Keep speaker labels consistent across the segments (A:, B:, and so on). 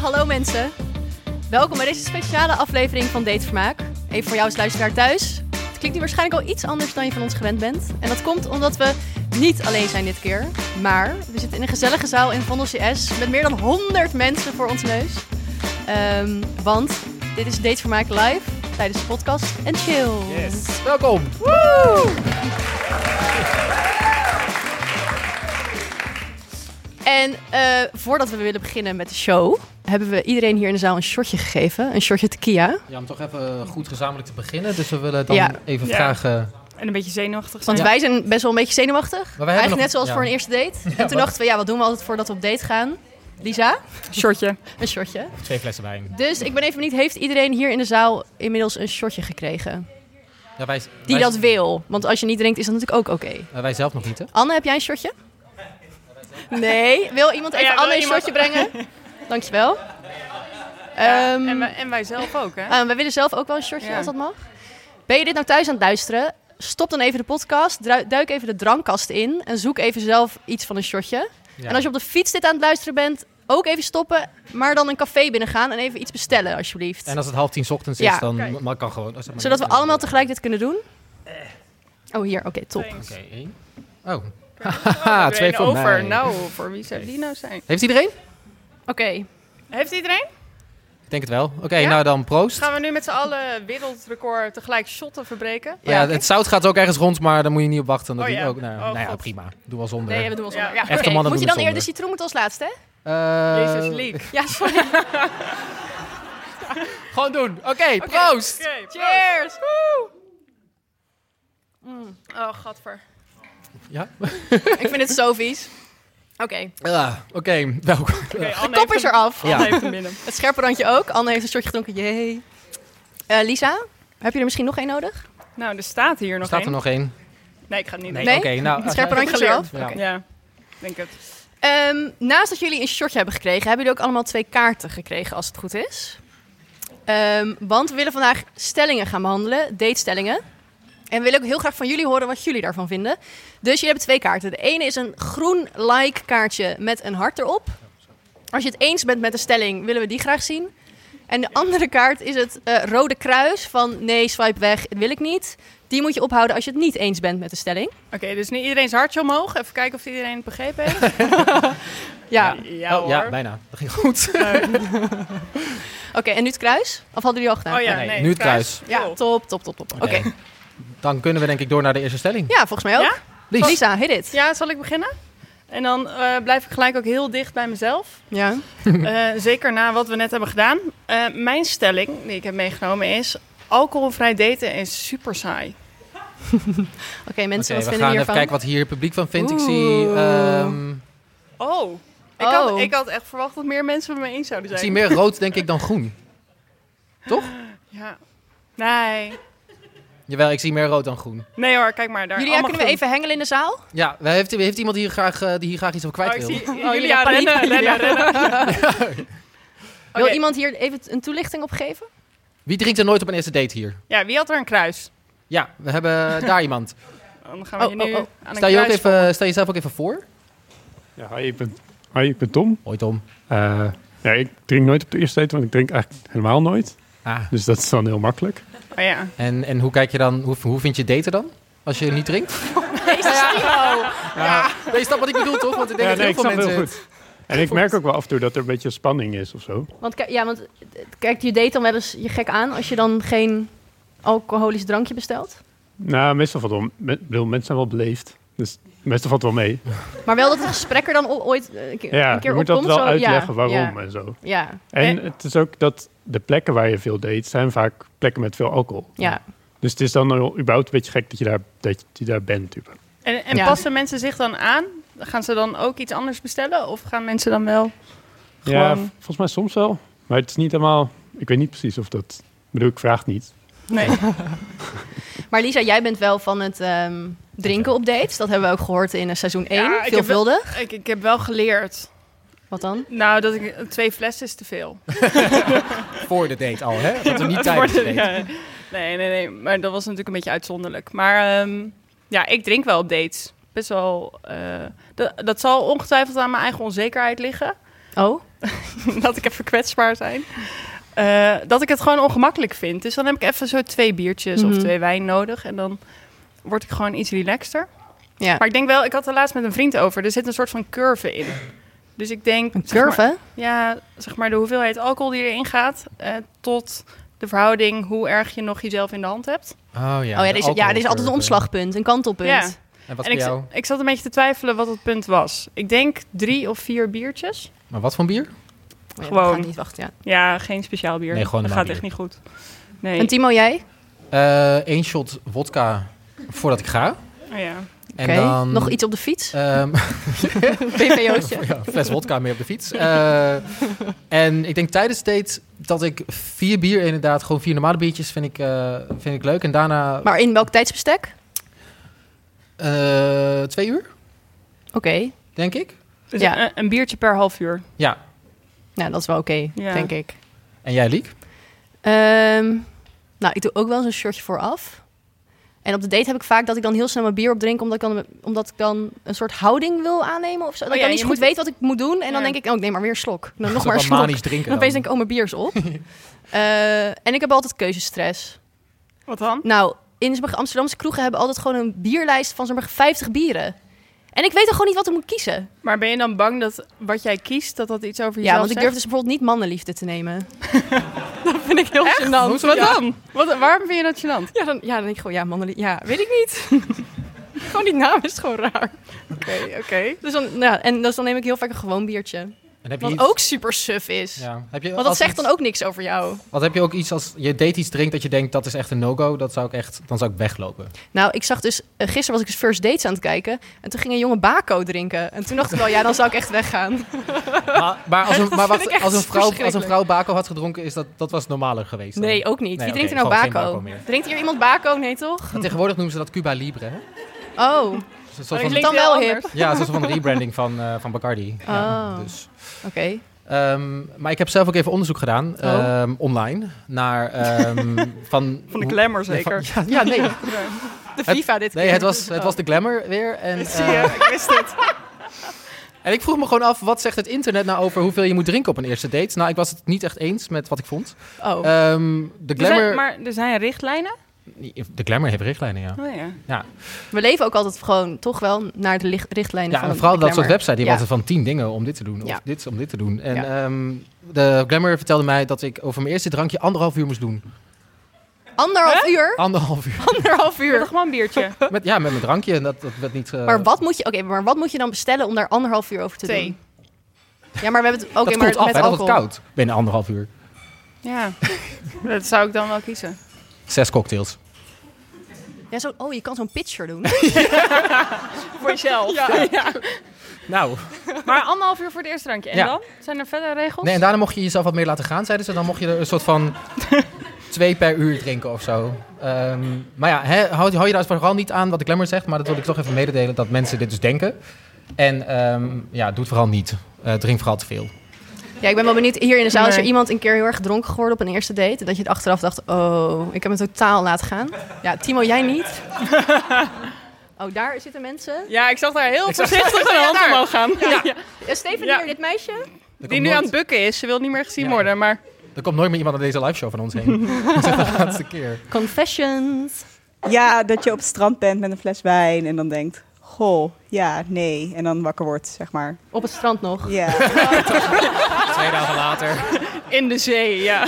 A: hallo mensen. Welkom bij deze speciale aflevering van Datevermaak. Even voor jou als luisteraar thuis. Het klinkt nu waarschijnlijk al iets anders dan je van ons gewend bent. En dat komt omdat we niet alleen zijn dit keer. Maar we zitten in een gezellige zaal in Vondel CS met meer dan 100 mensen voor ons neus. Ehm, want dit is Datevermaak live tijdens de podcast en chill.
B: Yes. Welkom.
A: En eh, voordat we willen beginnen met de show, hebben we iedereen hier in de zaal een shortje gegeven. Een shortje tequila.
B: Ja, om toch even eh, goed gezamenlijk te beginnen. Dus we willen dan
A: Ja.
B: even
C: Ja.
B: vragen.
C: En een beetje zenuwachtig zijn.
A: Want
B: Ja.
A: wij zijn best wel een beetje zenuwachtig.
B: nog-
A: Eigenlijk net zoals
B: ja.
A: voor een eerste date. en toen
B: wat-
A: dachten we, ja, wat doen we altijd voordat we op date gaan? Lisa,
C: Shortje.
A: een shortje.
D: Twee flessen wijn.
A: Dus ik ben even benieuwd, heeft iedereen hier in de zaal inmiddels een shortje gekregen?
B: Ja, wij,
A: Die
B: wij,
A: dat wil. Want als je niet drinkt, is dat natuurlijk ook oké.
B: eh, wij zelf nog niet, hè?
A: Anne, heb jij een shortje? Nee. Wil iemand even
C: Oh Ja, wil
A: Anne een
C: iemand-
A: shortje brengen? Dankjewel. Ehm
C: en, wij, en wij zelf ook, hè?
A: Ah, wij willen zelf ook wel een shortje,
C: Ja.
A: als dat mag. Ben je dit nou thuis aan het luisteren? Stop dan even de podcast, dru- duik even de drankkast in en zoek even zelf iets van een shortje.
B: Ja.
A: En als je op de fiets dit aan het luisteren bent, ook even stoppen, maar dan een café binnengaan en even iets bestellen, alsjeblieft.
B: En als het half tien 's ochtends
A: Ja.
B: is, dan
C: Kijk.
B: ma- kan gewoon. oh, zeg maar
A: Zodat we
B: niet.
A: allemaal tegelijk dit kunnen doen. Oh, hier, oké, top.
B: Oké, één. Oh.
C: Ah,
B: Haha, twee voor
C: over.
B: mij.
C: Nou, voor wie zou die nou zijn?
B: Heeft iedereen?
A: Oké,
C: Heeft iedereen?
B: Ik denk het wel. Oké,
C: Ja?
B: nou dan proost.
C: Gaan we nu met z'n allen wereldrecord tegelijk shotten verbreken?
B: Ja, het zout gaat ook ergens rond, maar daar moet je niet op wachten. Dat
C: Oh,
B: doe ik
C: ja.
B: ook. Nou,
C: Oh,
B: nou ja,
C: God.
B: prima. Doe wel zonder.
A: nee, we doen ons
C: Ja,
A: wel.
C: ja.
A: Oké,
B: Echte mannen
A: Moet je
B: doen
A: dan
B: het
A: eerder de citroen
B: zonder.
A: moeten als laatste, hè?
B: Eh,
C: Jezus, lief.
A: Ja, sorry.
B: Gewoon doen. Oké, proost.
C: Oké, proost.
A: Cheers!
C: Oh, gadver.
B: Ja?
A: Ik vind het zo vies. Oké,
B: Ja, Ah, Oké, welkom.
A: de kop is eraf.
B: Ja.
C: Even binnen.
A: Het scherpe randje ook. Anne heeft een shortje gedronken. Jee. Eh, Lisa, heb je er misschien nog één nodig?
C: Nou, er staat hier nog
B: Staat
C: één.
B: er nog één?
C: Nee, ik ga het niet
B: Nee,
C: doen.
A: Nee?
B: oké. nou,
A: Het scherpe randje
C: geleerd.
A: eraf?
B: Ja.
A: Oké.
C: Ja, denk het.
A: Ehm, naast dat jullie een shortje hebben gekregen, hebben jullie ook allemaal twee kaarten gekregen, als het goed is. Ehm, want we willen vandaag stellingen gaan behandelen, datestellingen. En we willen ook heel graag van jullie horen wat jullie daarvan vinden. Dus jullie hebben twee kaarten. De ene is een groen like kaartje met een hart erop. Als je het eens bent met de stelling, willen we die graag zien. En de andere kaart is het eh, rode kruis van nee, swipe weg, wil ik niet. Die moet je ophouden als je het niet eens bent met de stelling.
C: Oké, dus nu iedereen zijn hartje omhoog. Even kijken of iedereen het begrepen heeft.
A: Ja,
C: ja
B: Oh,
C: hoor.
B: ja, bijna. Dat ging goed.
A: Oké, en nu het kruis? Of hadden jullie al gedaan?
C: Oh ja,
B: Nee,
C: nee.
B: nu het
A: Ja,
C: Cool.
A: top, top, top, top. Oké.
B: Dan kunnen we denk ik door naar de eerste stelling.
A: Ja, volgens mij ook.
C: Ja?
B: Lies.
A: Lisa, hit it.
C: Ja, zal ik beginnen? En dan eh, blijf ik gelijk ook heel dicht bij mezelf.
A: Ja.
C: Eh, zeker na wat we net hebben gedaan. Eh, mijn stelling die ik heb meegenomen is... alcoholvrij daten is super saai.
A: Oké, mensen,
B: Oké,
A: wat vinden
B: we gaan
A: we
B: even
A: hiervan?
B: kijken wat hier het publiek van vindt. Ik zie,
A: Oeh.
B: ehm,
C: Oh. Ik,
A: Oh.
C: Had, ik had echt verwacht dat meer mensen met me eens zouden
B: ik
C: zijn.
B: zie meer rood, denk ik, dan groen. Toch?
C: Ja. Nee.
B: Jawel, ik zie meer rood dan groen.
C: Nee hoor, kijk maar. Daar
A: Jullie, ja,
C: allemaal
A: kunnen we
C: groen.
A: even hengelen in de zaal?
B: Ja, we- heeft, heeft iemand hier graag, eh, die hier graag iets over kwijt
C: Oh, ik
B: wil?
C: zie
A: Oh, jullie
C: Julia
A: hebben
C: rennen,
A: paniek.
C: rennen, rennen.
A: Wil
C: Oké.
A: iemand hier even een toelichting op geven?
B: Wie drinkt er nooit op een eerste date hier?
C: Ja, wie had er een kruis?
B: Ja, we hebben daar iemand.
C: Dan gaan we
A: Oh,
C: je nu
A: oh, oh.
C: aan een
B: Sta, je ook
C: kruis-
B: even, sta jezelf ook even voor?
E: Ja, hi, ik ben, hi, ik ben Tom.
B: Hoi Tom.
E: Eh, ja, ik drink nooit op de eerste date, want ik drink eigenlijk helemaal nooit.
B: Ah.
E: Dus dat is dan heel makkelijk.
C: Oh, ja.
B: En, en hoe kijk je dan, hoe, hoe vind je daten dan? Als je niet drinkt? Ja. Nee, snap wat ik bedoel toch? Want ik denk
E: ja,
B: dat heel veel
E: het
B: mensen...
E: goed. En ik merk ook wel af en toe dat er een beetje spanning is of zo.
A: Want, ki- ja, want eh, kijkt je date dan wel eens je gek aan als je dan geen alcoholisch drankje bestelt?
E: Nou, meestal valt wel... me- ik bedoel, mensen zijn wel beleefd. Dus meestal valt het wel mee.
A: Maar wel dat het gesprek er dan o- ooit eh, een keer,
E: Ja,
A: een keer
E: je moet dat
A: opkomt.
E: wel
A: zo,
E: uitleggen
A: ja,
E: waarom
A: Ja,
E: en zo.
A: ja, Eh,
E: En het is ook dat de plekken waar je veel date zijn vaak plekken met veel alcohol.
A: ja.
E: Dus het is dan wel überhaupt een beetje gek dat je daar, dat je daar bent. überhaupt.
C: En, en
A: Ja.
C: passen mensen zich dan aan? Gaan ze dan ook iets anders bestellen? Of gaan mensen dan wel...
E: Ja,
C: Gewoon-
E: v- volgens mij soms wel. Maar het is niet helemaal... Ik weet niet precies of dat... Ik bedoel, ik vraag niet.
C: Nee.
A: Maar Lisa, jij bent wel van het ehm, drinken op dates. Dat hebben we ook gehoord in eh, seizoen 1,
C: Ja, Ah, ik heb wel-
A: veelvuldig.
C: ik, ik heb wel geleerd.
A: Wat dan?
C: Nou, dat ik, twee flessen is te veel.
B: Voor de date al, hè? Dat we niet tijdens de
C: Worden-
B: date.
C: ja. Nee, nee, nee. Maar dat was natuurlijk een beetje uitzonderlijk. Maar ehm, ja, ik drink wel op dates. Best wel. eh, dat, dat zal ongetwijfeld aan mijn eigen onzekerheid liggen.
A: Oh?
C: dat ik even kwetsbaar zijn. Eh, dat ik het gewoon ongemakkelijk vind. Dus dan heb ik even zo twee biertjes
A: Mhm.
C: of twee wijn nodig. En dan word ik gewoon iets relaxter.
A: Ja.
C: Maar ik denk wel, ik had er laatst met een vriend over. Er zit een soort van curve in. Dus ik denk...
A: Een
C: zeg maar-
A: curve?
C: ja, zeg maar de hoeveelheid alcohol die erin gaat... eh, tot de verhouding hoe erg je nog jezelf in de hand hebt.
B: ja.
A: oh ja, er is, ja, er is altijd een omslagpunt, een kantelpunt.
C: Ja.
B: En wat
C: en
B: voor
C: ik,
B: jou?
C: ik zat een beetje te twijfelen wat het punt was. Ik denk drie of vier biertjes.
B: Maar wat voor bier?
A: Oh ja,
C: Gewoon.
A: we gaan niet wachten, ja.
C: Ja, geen speciaal bier.
B: Nee, gewoon
C: Dat
B: normaal
C: gaat
B: bier.
C: echt niet goed. Nee.
A: En Timo, jij?
B: Eén Eh, shot wodka voordat ik ga.
C: Oh ja.
B: En
A: Oké.
B: dan,
A: Nog iets op de fiets?
B: ehm,
A: BVO'tje.
B: ja, fles wodka mee op de fiets. Eh, en ik denk tijdens de date dat ik vier bier inderdaad, gewoon vier normale biertjes vind ik, eh, vind ik leuk. En daarna
A: Maar in welk tijdsbestek?
B: eh, twee uur,
A: Oké.
B: denk ik.
C: Dus
A: Ja.
C: een, een biertje per half uur.
B: Ja.
A: Nou, dat is wel oké,
C: Ja.
A: denk ik.
B: En jij, Liek?
A: Ehm, nou, ik doe ook wel eens een shirtje vooraf. En op de date heb ik vaak dat ik dan heel snel mijn bier opdrink... omdat ik dan, omdat ik dan een soort houding wil aannemen of zo. Dat
C: Oh
A: ik
C: ja,
A: dan niet
C: je
A: zo goed
C: moet-
A: weet wat ik moet doen. En dan
C: Ja.
A: denk ik, oh, ik neem maar weer een slok. Dan
B: Zo
A: nog maar een
B: wat
A: slok.
B: manisch drinken
A: En opeens denk ik, oh, mijn bier is op. Eh, en ik heb altijd keuzestress.
C: Wat dan?
A: Nou, in sommige Amsterdamse kroegen hebben altijd gewoon een bierlijst van zo'n 50 bieren. En ik weet dan gewoon niet wat ik moet kiezen.
C: Maar ben je dan bang dat wat jij kiest, dat dat iets over
A: Ja,
C: jezelf
A: want ik durf dus bijvoorbeeld niet mannenliefde te nemen. dat vind ik heel gênant.
C: Wat
A: Ja.
C: dan? Wat, waarom vind je dat gênant?
A: Ja, dan, ja, dan denk ik gewoon, ja, mannenliefde. Ja, weet ik niet. gewoon die naam is gewoon raar.
C: Oké, oké.
A: Dus dan, ja, en dus dan neem ik heel vaak een gewoon biertje.
B: En heb je
A: Wat
B: iets-
A: ook super suf is.
B: Ja. Heb je
A: Want dat
B: als
A: zegt
B: iets-
A: dan ook niks over jou.
B: Wat heb je ook iets als je date iets drinkt dat je denkt dat is echt een no-go? Dat zou ik echt, dan zou ik weglopen.
A: Nou, ik zag dus... eh, gisteren was ik eens First Dates aan het kijken. En toen ging een jonge bako drinken. En toen dacht ik wel, ja, dan zou ik echt weggaan.
B: Maar, maar, als, een, maar
A: vind ik
B: wacht,
A: echt
B: als, een vrouw, als een
A: verschrikkelijk.
B: vrouw Baco had gedronken, is dat, dat was normaler geweest. dan?
A: Nee, ook niet.
B: Nee,
A: Wie drinkt
B: oké,
A: er nou
B: gewoon geen
A: bako?
B: Baco meer.
A: Drinkt hier iemand bako? Nee, toch?
B: Maar tegenwoordig noemen ze dat Cuba Libre. Hè?
A: Oh, oké.
B: Dus een soort
C: Dat
B: van-
A: klinkt- Dan wel hip.
B: ja, het is een soort van rebranding van, eh, van Bacardi. Ja,
A: Oh.
B: dus. Ehm, maar ik heb zelf ook even onderzoek gedaan,
A: Oh.
B: ehm, online, naar... ehm, van,
C: Van de
B: hoe-
C: glamour
B: Ja, van-
C: zeker.
B: Ja, ja, nee.
A: De FIFA dit
B: nee
A: keer.
B: het, was, het was de glamour weer. En,
C: Zie
B: eh,
C: je, ik wist het.
B: En ik vroeg me gewoon af, wat zegt het internet nou over hoeveel je moet drinken op een eerste date? Nou, ik was het niet echt eens met wat ik vond.
A: Oh.
B: Ehm, de,
C: Er zijn,
B: glamour,
C: maar er zijn richtlijnen.
B: de glamour heeft richtlijnen, ja.
C: Oh, ja.
A: We leven ook altijd gewoon toch wel naar de licht- richtlijnen
B: Ja,
A: van
B: en vooral
A: de
B: dat soort
A: glamour.
B: websites, die
A: Ja.
B: hadden van tien dingen om dit te doen, of
A: Ja.
B: dit om dit te doen. En
A: Ja.
B: ehm, de glamour vertelde mij dat ik over mijn eerste drankje anderhalf uur moest doen.
A: Anderhalf uur?
B: Anderhalf uur.
A: Anderhalf
C: Met een
A: uur.
C: gewoon biertje.
B: Met, ja, met mijn drankje. En dat, dat werd niet... eh,
A: Maar wat, moet je, oké, maar wat moet je dan bestellen om daar anderhalf uur over te
C: Thee.
A: doen? Ja, maar we hebben het ook
B: dat
A: maar
B: koelt af,
A: met
B: hè, dat wordt
A: alcohol.
B: koud. Binnen anderhalf uur.
C: Ja, dat zou ik dan wel kiezen.
B: Zes cocktails.
A: Ja, zo, oh, je kan zo'n pitcher doen.
C: Voor jezelf.
B: Nou,
C: Maar anderhalf uur voor het eerste drankje. En
B: Ja.
C: dan? Zijn er verder regels?
B: nee, en daarna mocht je jezelf wat meer laten gaan, zeiden ze. Dan mocht je er een soort van twee per uur drinken of zo. Ehm, maar ja, hè, hou, hou je daar vooral niet aan wat de glamour zegt. Maar dat wil ik toch even mededelen, dat mensen dit dus denken. En ehm, ja, doe het vooral niet. Eh, drink vooral te veel.
A: ja, ik ben wel benieuwd. Hier in de zaal is er
C: Nee.
A: iemand een keer heel erg dronken geworden op een eerste date. En dat je het achteraf dacht, oh, ik heb me totaal laten gaan. Ja, Timo, jij niet? Oh, daar zitten mensen.
C: Ja, ik zag daar heel
B: zag-
C: voorzichtig een hand omhoog gaan. Ja.
A: Ja, Eh, Steven
C: Ja.
A: hier, dit meisje.
B: Er
C: Die
B: komt
C: nu
B: nooit-
C: aan het bukken is. Ze wil niet meer gezien
B: Ja.
C: worden, maar...
B: Er komt nooit meer iemand aan deze live show van ons heen. Dat is de laatste keer.
A: Confessions.
F: Ja, dat je op het strand bent met een fles wijn en dan denkt, goh, ja, nee. En dan wakker wordt, zeg maar.
A: Op het strand nog.
F: Ja,
B: Twee dagen later.
C: In de zee, ja.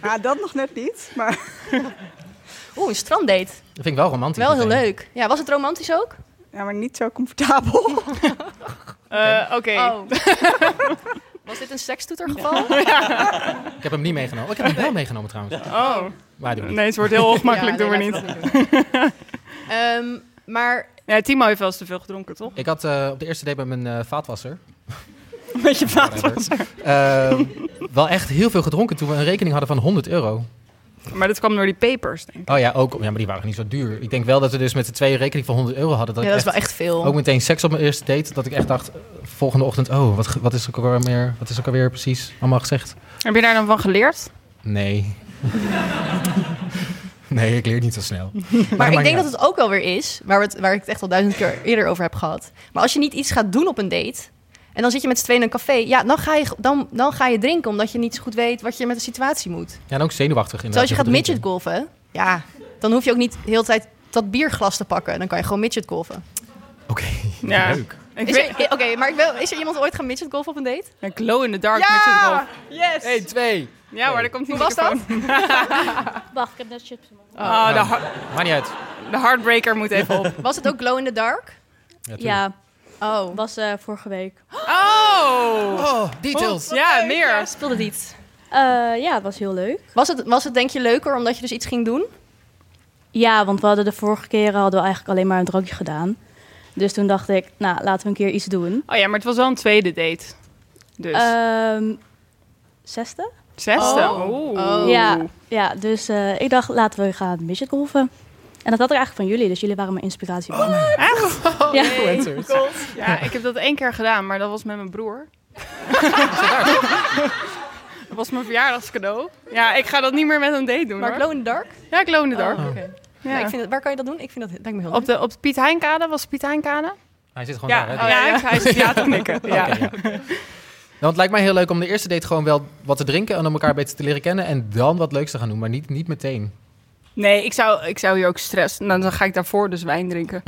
F: ah, dat nog net niet. Maar
A: Oeh, een stranddate.
B: Dat vind ik wel romantisch.
A: Wel heel
B: meteen.
A: leuk. Ja, was het romantisch ook?
F: ja, maar niet zo comfortabel.
C: Eh, Oké.
A: Oh. was dit een sekstoetergeval?
B: Ik heb hem niet meegenomen. Oh, ik heb hem wel meegenomen trouwens.
C: Oh.
B: Maar doe ik niet.
C: Nee, het wordt heel ongemakkelijk,
A: Ja,
C: doen we
A: nee,
C: niet.
A: laten we dat niet doen. Ehm, maar
C: Ja, Timo heeft wel eens te veel gedronken, toch?
B: Ik had eh, op de eerste date met mijn eh, vaatwasser.
C: Met je vader.
B: eh, wel echt heel veel gedronken toen we een rekening hadden van 100 euro.
C: Maar dat kwam door die papers, denk ik.
B: Oh ja, ook. Ja, maar die waren niet zo duur. Ik denk wel dat we dus met de twee een rekening van 100 euro hadden. Dat
A: ja,
B: ik
A: dat is wel
B: echt
A: echt veel.
B: ook meteen seks op mijn eerste date. Dat ik echt dacht, eh, volgende ochtend, oh, wat, ge- wat is er ook alweer, meer- wat is ook alweer precies allemaal gezegd?
C: Heb je daar dan van geleerd?
B: Nee. nee, ik leer niet zo snel.
A: maar ik denk dat het ook wel weer is, waar, we het, waar ik het echt al duizend keer eerder over heb gehad. Maar als je niet iets gaat doen op een date, en En dan zit je met z'n tweeën in een café. Ja, dan ga, je, dan, dan ga je drinken omdat je niet zo goed weet wat je met de situatie moet.
B: Ja, en ook zenuwachtig
A: Terwijl als
B: inderdaad.
A: je gaat
B: drinken.
A: midget golven, ja, dan hoef je ook niet de hele tijd dat bierglas te pakken. Dan kan je gewoon midget golven.
B: Oké,
C: Ja.
B: leuk.
C: Ik
A: Is
C: weet,
A: er- Oké, maar ik wil, is er iemand ooit gaan midget golven op een date?
C: een glow in the dark
A: Ja!
C: met zijn golf.
A: Yes!
B: 1, 2.
C: Ja, maar daar komt die
A: Hoe was dat?
C: microfoon.
G: Wacht, ik heb net chips in mijn mond.
C: Oh, de, har-
B: Maakt niet uit.
C: de heartbreaker moet even op.
A: Was het ook glow in the dark?
B: tuurlijk.
G: Ja,
A: Oh.
G: was eh, vorige week.
C: Oh!
B: Oh, details.
C: Ja, meer.
A: Speelde niet.
G: Eh, ja, het was heel leuk.
A: Was het, was het denk je leuker omdat je dus iets ging doen?
G: Ja, want we hadden de vorige keren hadden we eigenlijk alleen maar een drankje gedaan. Dus toen dacht ik, nou, laten we een keer iets doen.
C: Oh ja, maar het was wel een tweede date. Dus.
A: Eh,
G: Ehm zesde?
C: Zesde.
A: Oh.
C: Oeh.
A: Oh.
G: Ja, ja, dus eh, ik dacht, laten we gaan midget golven. En dat had ik eigenlijk van jullie, dus jullie waren mijn inspiratie.
C: Echt?
B: Oh,
G: ja.
B: Influencers.
C: Ja, ik heb dat één keer gedaan, maar dat was met mijn broer. dat was mijn verjaardagscadeau. Ja, ik ga dat niet meer met een date doen
A: Maar
C: hoor.
A: glow in the dark?
C: Ja, ik loonde daar.
A: Oh, oké.
C: Ja.
A: Nou, ik vind het, waar kan je dat doen? Ik vind dat lijkt me heel
C: Op de, op de Piet Heinkade, was het Piet Heinkade?
B: Hij zit gewoon
C: Ja,
B: daar. hè?
C: oh, ja,
H: Ja.
C: ik- hij is ja te knikken. Ja.
B: Oké, ja. Nou, het lijkt mij heel leuk om de eerste date gewoon wel wat te drinken en om elkaar beter te leren kennen en dan wat leuks te gaan doen, maar niet, niet meteen.
C: Nee, ik zou, ik zou hier ook stress. Nou, dan ga ik daarvoor dus wijn drinken.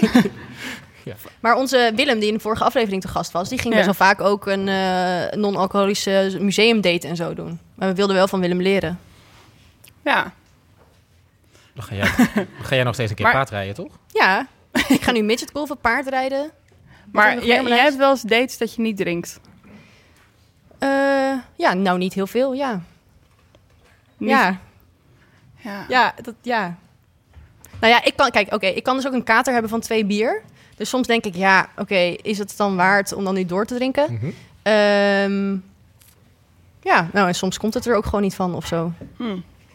A: Maar onze Willem, die in de vorige aflevering te gast was, die ging
C: Ja.
A: best wel vaak ook een eh, non-alcoholische museumdate en zo doen. Maar we wilden wel van Willem leren.
C: Ja.
B: Dan ga jij, dan ga jij nog steeds een keer
C: Maar-
B: paard rijden, toch?
A: Ja, ik ga nu midgetgolven, paardrijden. hebben
C: Maar
A: we
C: jij,
A: nog
C: jij
A: meer?
C: hebt wel eens dates dat je niet drinkt.
A: Eh, ja, nou niet heel veel, ja.
C: Niet-
A: Ja,
C: Ja.
A: ja, dat, ja. Nou ja, ik kan, kijk, oké, ik kan dus ook een kater hebben van twee bier. Dus soms denk ik, ja, oké, is het dan waard om dan nu door te drinken?
I: Hm.
B: Mhm.
A: Ehm, ja, nou en soms komt het er ook gewoon niet van of zo.
C: Hm.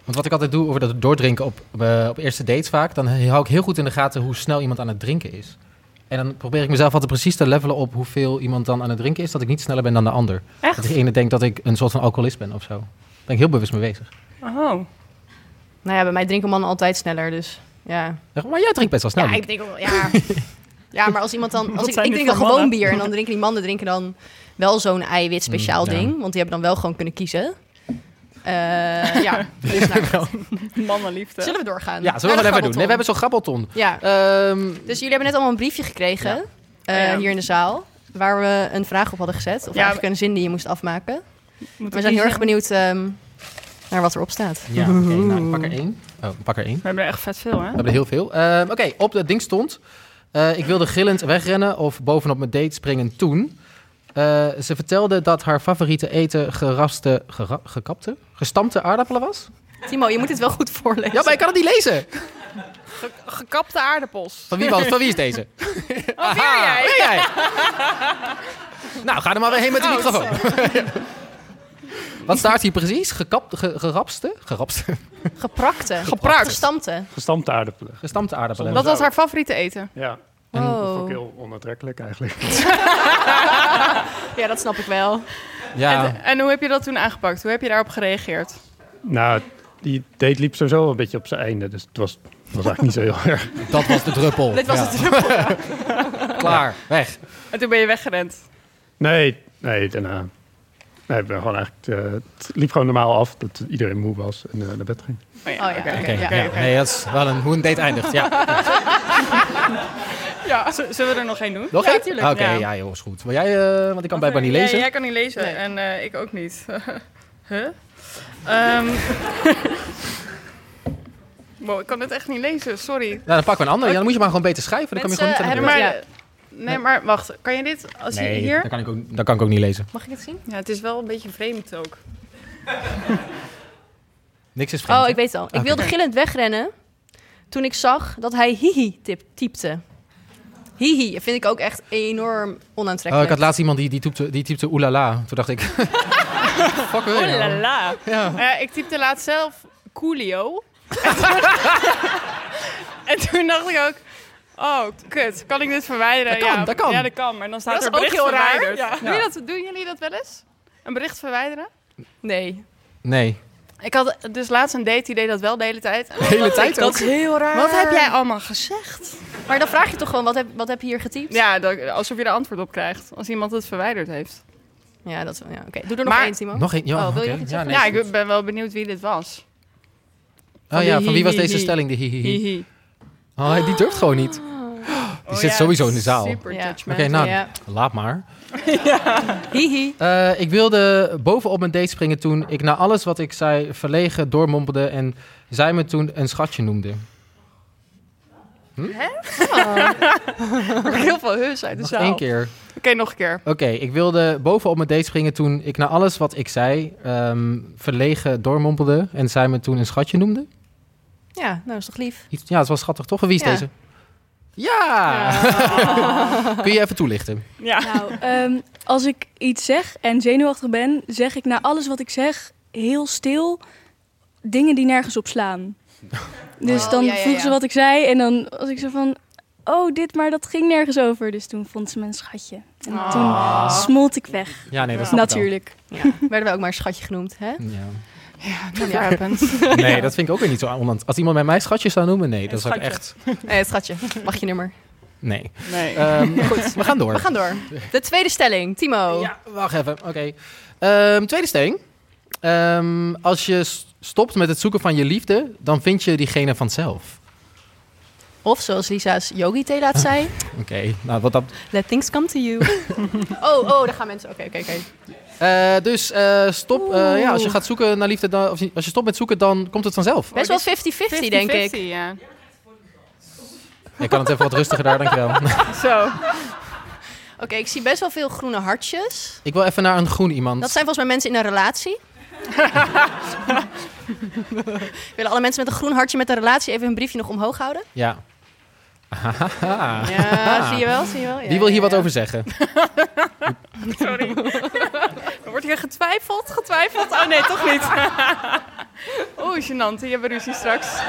B: Want wat ik altijd doe over dat doordrinken op, op, eh, op eerste dates vaak, dan hou ik heel goed in de gaten hoe snel iemand aan het drinken is. En dan probeer ik mezelf altijd precies te levelen op hoeveel iemand dan aan het drinken is, dat ik niet sneller ben dan de ander. Dat
C: Echt?
B: de ene denkt dat ik een soort van alcoholist ben of zo. Daar ben ik heel bewust mee bezig.
C: Oh.
A: Nou ja, bij mij drinken mannen altijd sneller, dus ja.
B: Maar jij drinkt best wel snel.
A: ja, ik denk ook wel- ja. ja, maar als iemand dan... Als ik,
C: zijn
A: ik
C: dit
A: drink dan
C: voor
A: gewoon
C: mannen?
A: bier en dan drinken die mannen drinken dan wel zo'n eiwit speciaal
B: Mm, ja.
A: ding. Want die hebben dan wel gewoon kunnen kiezen. Eh, ja, dus nou,
C: Mannenliefde.
A: zullen we doorgaan?
B: Ja,
A: Naar
B: zullen we
A: de
B: wel even doen. Nee, we
A: grabbelton.
B: hebben zo'n grabbelton.
A: Ja,
B: Ehm,
A: dus jullie hebben net allemaal een briefje gekregen
B: Ja.
A: eh,
C: Ja.
A: hier in de zaal. Waar we een vraag op hadden gezet. Of
C: Ja,
A: eigenlijk een zin die je moest afmaken.
C: Moet
A: We
C: ik
A: zijn
C: kiezen?
A: heel erg benieuwd ehm, naar wat erop staat.
B: ja, oké. nou, ik pak er één. Oh, ik pak er één.
C: We hebben er echt vet veel, hè?
B: We hebben er heel veel. Ehm, Oké, op dat ding stond... eh, ik wilde gillend wegrennen of bovenop mijn date springen toen. Eh, ze vertelde dat haar favoriete eten geraste, gera- gekapte, gestampte aardappelen was.
A: Timo, je moet het wel goed voorlezen.
B: Ja, maar ik kan het niet lezen.
C: Gekapte aardappels.
B: Van wie, was, van wie is deze?
C: Oh, weer
B: Ah,
C: jij?
B: weer jij. nou, ga er maar weer heen met de
C: Oh,
B: microfoon. Wat staat hier precies? Gekapt, ge- gerapste? Gerapste.
A: Geprakte.
B: Geprakt.
A: Gestampte.
E: Gestampte aardappelen.
B: Gestampte aardappelen.
C: Dat was haar favoriete eten.
E: Ja,
B: En-
E: dat vond
A: Oh.
E: ik heel onaantrekkelijk eigenlijk.
A: Ja, dat snap ik wel.
B: ja.
C: En, en hoe heb je dat toen aangepakt? Hoe heb je daarop gereageerd?
E: Nou, die date liep sowieso een beetje op zijn einde. Dus het was, het was eigenlijk niet zo heel erg.
B: Dat was de druppel.
A: Dit was
B: Ja.
A: het
B: Klaar, weg.
C: En toen ben je weggerend.
E: Nee, nee, daarna. Nee, ik ben gewoon eigenlijk, eh, het liep gewoon normaal af dat iedereen moe was en eh, naar bed ging.
C: Oh ja,
A: Oh ja,
C: oké,
A: oké,
C: oké,
B: Oké,
C: oké,
B: ja.
C: oké.
B: nee, dat is wel een, hoe een date eindigt. Ja.
C: Ja, z- zullen we er nog één doen?
B: Nog
C: ja,
B: één?
C: tuurlijk,
B: Oké, ja. joh, is goed. Wil jij, eh, want ik kan blijkbaar niet
C: Ja,
B: lezen.
C: jij kan niet lezen
A: Nee.
C: en eh, ik ook niet. huh? Ehm wow, ik kan het echt niet lezen, sorry.
B: Nou, dan pakken we een ander. Ja, dan moet je maar gewoon beter schrijven. Dan
A: Mensen,
B: kom je
C: Nee,
B: gewoon
C: maar,
B: niet
A: Ja.
C: nee, maar wacht, kan je dit als
B: aan de beurt.
C: je
B: Nee,
C: hier?
B: dan kan, ik ook, dan kan ik ook niet lezen.
A: Mag ik het zien?
C: Ja, het is wel een beetje vreemd ook.
B: Niks is vreemd.
A: Oh,
B: hè?
A: ik weet het al. Ik
B: Ah, Oké.
A: wilde gillend wegrennen toen ik zag dat hij hihi tip typte. Hihi vind ik ook echt enorm
B: Oh, ik
A: onaantrekkelijk.
B: had laatst iemand die, die typte, die typte oelala. Toen dacht ik... oh Fuck wil je nou?
C: la.
B: Ja.
C: Eh, ik typte laatst zelf Coolio. en toen dacht ik ook, oh kut, kan ik dit verwijderen?
B: Dat kan,
C: ja,
B: dat kan.
C: Ja, dat kan, maar dan staat
A: Dat is
C: er bericht
A: ook heel raar.
C: verwijderd.
A: Ja.
C: Doe je dat, doen jullie dat wel eens? Een bericht verwijderen?
A: Nee.
B: Nee.
G: Ik had dus laatst een date, die deed dat wel de hele tijd.
B: De hele tijd ook.
A: Dat is heel raar.
G: Wat heb jij allemaal gezegd?
A: Maar dan vraag je toch gewoon, wat heb, wat heb je hier getypt?
G: Ja, dat- alsof je er antwoord op krijgt. Als iemand het verwijderd heeft.
A: Ja, dat is ja, oké. Doe er nog
G: Maar-
A: één, Timo.
B: Nog een, ja,
A: Oh, wil je
B: oké.
A: nog iets
B: ja, nee,
G: ja,
B: is goed.
G: ik ben wel benieuwd wie dit was.
B: Oh ja, van wie was
G: Hi, hi,
B: deze
G: hi.
B: stelling? De hihihi.
G: Hihi.
B: Oh, hij- die durft gewoon niet.
G: Oh
B: zit sowieso in de zaal.
G: Super
A: Ja.
G: judgmental.
B: Oké, nou,
A: Ja.
B: laat maar.
A: Hihi.
B: Eh, ik wilde bovenop mijn date springen toen ik na alles wat ik zei verlegen doormompelde en zij me toen een schatje noemde.
G: Er kwam heel veel heus uit de
B: Hm? Nog
G: zaal.
B: één keer.
G: Oké, nog een keer.
B: Oké, ik wilde bovenop mijn date springen toen ik na alles wat ik zei ehm, verlegen doormompelde en zij me toen een schatje noemde.
A: Ja, nou, dat is toch lief?
B: Iets- Ja, het was schattig toch? En Wie is
A: Ja.
B: deze? Ja!
A: Ah.
B: Kun je even toelichten?
G: Ja.
J: Nou, ehm, als ik iets zeg en zenuwachtig ben, zeg ik na alles wat ik zeg heel stil dingen die nergens op slaan. Dus
A: Oh,
J: dan
A: ja, ja,
J: vroegen ze
A: ja.
J: wat ik zei en dan was ik zo van, oh dit, maar dat ging nergens over. Dus toen vond ze mijn schatje. En
A: Ah.
J: toen smolt ik weg,
B: Ja, nee, dat snap ik wel.
J: natuurlijk.
A: Ja. Werden wij ook maar schatje genoemd, hè?
B: Ja.
G: Never happened.
B: Nee, dat vind ik ook weer niet zo aanwand. Als iemand mij mijn schatje zou noemen, nee, dat zou ik
G: schatje.
B: echt...
A: Nee, het schatje. Mag je nummer.
B: Nee.
G: Nee.
B: Ehm, goed, we gaan door.
A: We gaan door. De tweede stelling, Timo.
B: Ja, wacht even. Oké. Ehm, tweede stelling. Ehm, als je s- stopt met het zoeken van je liefde, dan vind je diegene vanzelf.
A: Of zoals Lisa's yogi-thee laat zei,
B: Oké, nou wat dat...
A: let things come to you. oh, oh, daar gaan mensen. Oké, oké, oké.
B: Eh, dus eh, stop, eh,
A: Oeh.
B: ja, als je gaat zoeken naar liefde, dan, of als je stopt met zoeken, dan komt het vanzelf.
A: Best wel 50-50, denk ik.
G: Ja.
B: Ik kan het even wat rustiger daar, dankjewel.
G: Zo.
A: Oké, ik zie best wel veel groene hartjes.
B: Ik wil even naar een groen iemand.
A: Dat zijn volgens mij mensen in een relatie. Willen alle mensen met een groen hartje met een relatie even hun briefje nog omhoog houden?
B: Ja. Ahaha.
A: Ja, zie je wel, zie je wel. Ja,
B: Wie wil hier
A: ja,
B: wat
A: ja.
B: over zeggen?
G: Sorry. er wordt hier getwijfeld, getwijfeld. Oh nee, toch niet. Oeh, gênant. Die hebben ruzie straks.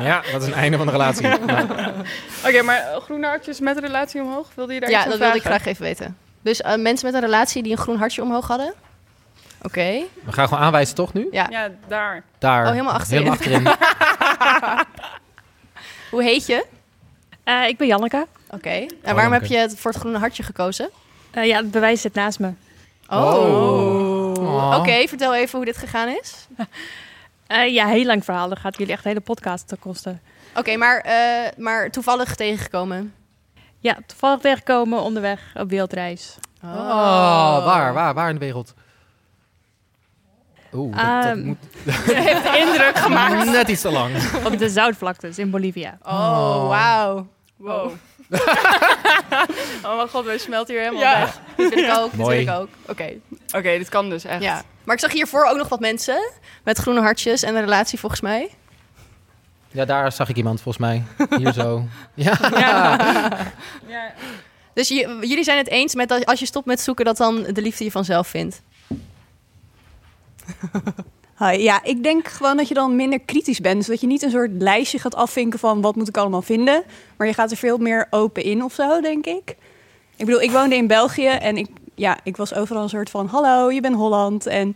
B: Ja, dat is een einde van de relatie. Nou, Maar-
G: Oké, maar eh, groene hartjes met relatie omhoog. Wilde je daar
A: Ja,
G: iets
A: dat
G: van
A: wilde ik
G: vragen?
A: graag even weten. Dus eh, mensen met een relatie die een groen hartje omhoog hadden? Oké.
B: we gaan gewoon aanwijzen, toch nu?
A: Ja.
G: Ja, daar.
B: Daar.
A: Oh, helemaal achterin.
B: Helemaal achterin.
A: Hoe heet je?
K: Eh, ik ben Janneke.
A: Oké. En waarom heb
B: oké.
A: je het voor het groene hartje gekozen?
K: Eh, ja, het bewijs zit naast me.
A: Oh.
B: Oh.
A: Oké, vertel even hoe dit gegaan is.
K: Eh, ja, heel lang verhaal. Dan gaat jullie echt de hele podcast te kosten.
A: Oké, maar, eh, maar toevallig tegengekomen.
K: Ja, toevallig tegenkomen onderweg op wereldreis.
B: Oh, waar, waar, waar in de wereld? Oeh, dat, dat
K: Ehm,
B: moet
G: Indruk gemaakt.
B: net iets te lang.
K: Op de zoutvlaktes in Bolivia.
A: Oh, wauw.
G: Wow. oh mijn god, wij smelten hier helemaal weg.
A: Dit wil ik ook, dit wil
B: Mooi.
A: ik ook. Oké,
G: Oké, dit kan dus echt.
A: ja. Maar ik zag hiervoor ook nog wat mensen met groene hartjes en een relatie volgens mij.
B: Ja, daar zag ik iemand volgens mij. Hier zo. Ja.
G: Ja.
A: Dus j- jullie zijn het eens met dat als je stopt met zoeken, dat dan de liefde je vanzelf vindt.
I: Hi, ja, ik denk gewoon dat je dan minder kritisch bent. Zodat je niet een soort lijstje gaat afvinken van wat moet ik allemaal vinden. Maar je gaat er veel meer open in of zo, denk ik. Ik bedoel, ik woonde in België en ik, ja, ik was overal een soort van... Hallo, je bent Holland. En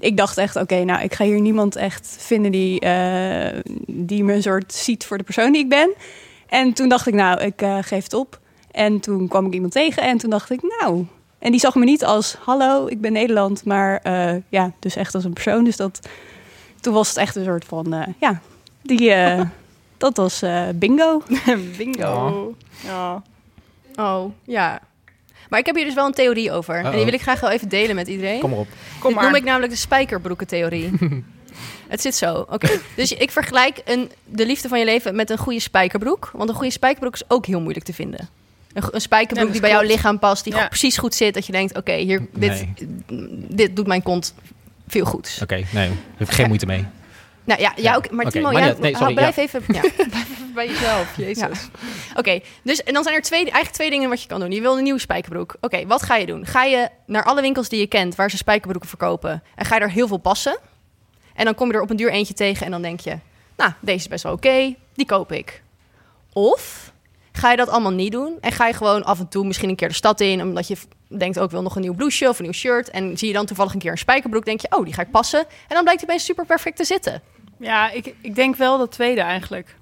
I: ik dacht echt, oké, nou, ik ga hier niemand echt vinden die, eh, die me een soort ziet voor de persoon die ik ben. En toen dacht ik, nou, ik eh, geef het op. En toen kwam ik iemand tegen en toen dacht ik, nou... En die zag me niet als, hallo, ik ben Nederland, maar eh, ja, dus echt als een persoon. Dus dat, toen was het echt een soort van, eh, ja, die, eh, dat was eh, bingo.
G: Bingo. Ja.
A: Oh, ja. Maar ik heb hier dus wel een theorie over. En die
B: Uh-oh.
A: wil ik graag wel even delen met iedereen.
B: Kom maar op.
G: Kom
A: Dit
G: maar.
A: noem ik namelijk de spijkerbroekentheorie. het zit zo. Oké. Dus ik vergelijk een, de liefde van je leven met een goede spijkerbroek. Want een goede spijkerbroek is ook heel moeilijk te vinden. Een, go- een spijkerbroek
G: Ja,
A: die
G: dat
A: bij jouw
G: klopt.
A: lichaam past, die
G: Ja.
A: go- precies goed zit. Dat je denkt, oké, hier dit, dit doet mijn kont veel goed.
B: Oké, nee. Daar heb ik geen moeite mee.
A: Nou ja, ja,
B: Ja,
A: oké, maar
B: oké,
A: Timo,
B: maar
A: jij-
B: net- nee, sorry,
A: blijf
B: ja.
A: even ja, blijf even bij jezelf. Jezus. Oké, dus en dan zijn er twee, eigenlijk twee dingen wat je kan doen. Je wil een nieuwe spijkerbroek. Oké, wat ga je doen? Ga je naar alle winkels die je kent waar ze spijkerbroeken verkopen en ga je er heel veel passen? En dan kom je er op een duur eentje tegen en dan denk je, nou, deze is best wel oké, die koop ik. Of Ga je dat allemaal niet doen? En ga je gewoon af en toe misschien een keer de stad in, omdat je v- denkt ook wel nog een nieuw blouseje of een nieuw shirt. En zie je dan toevallig een keer een spijkerbroek, denk je, oh, die ga ik passen. En dan blijkt die opeens super perfect te zitten.
C: Ja, ik, ik denk wel dat tweede eigenlijk.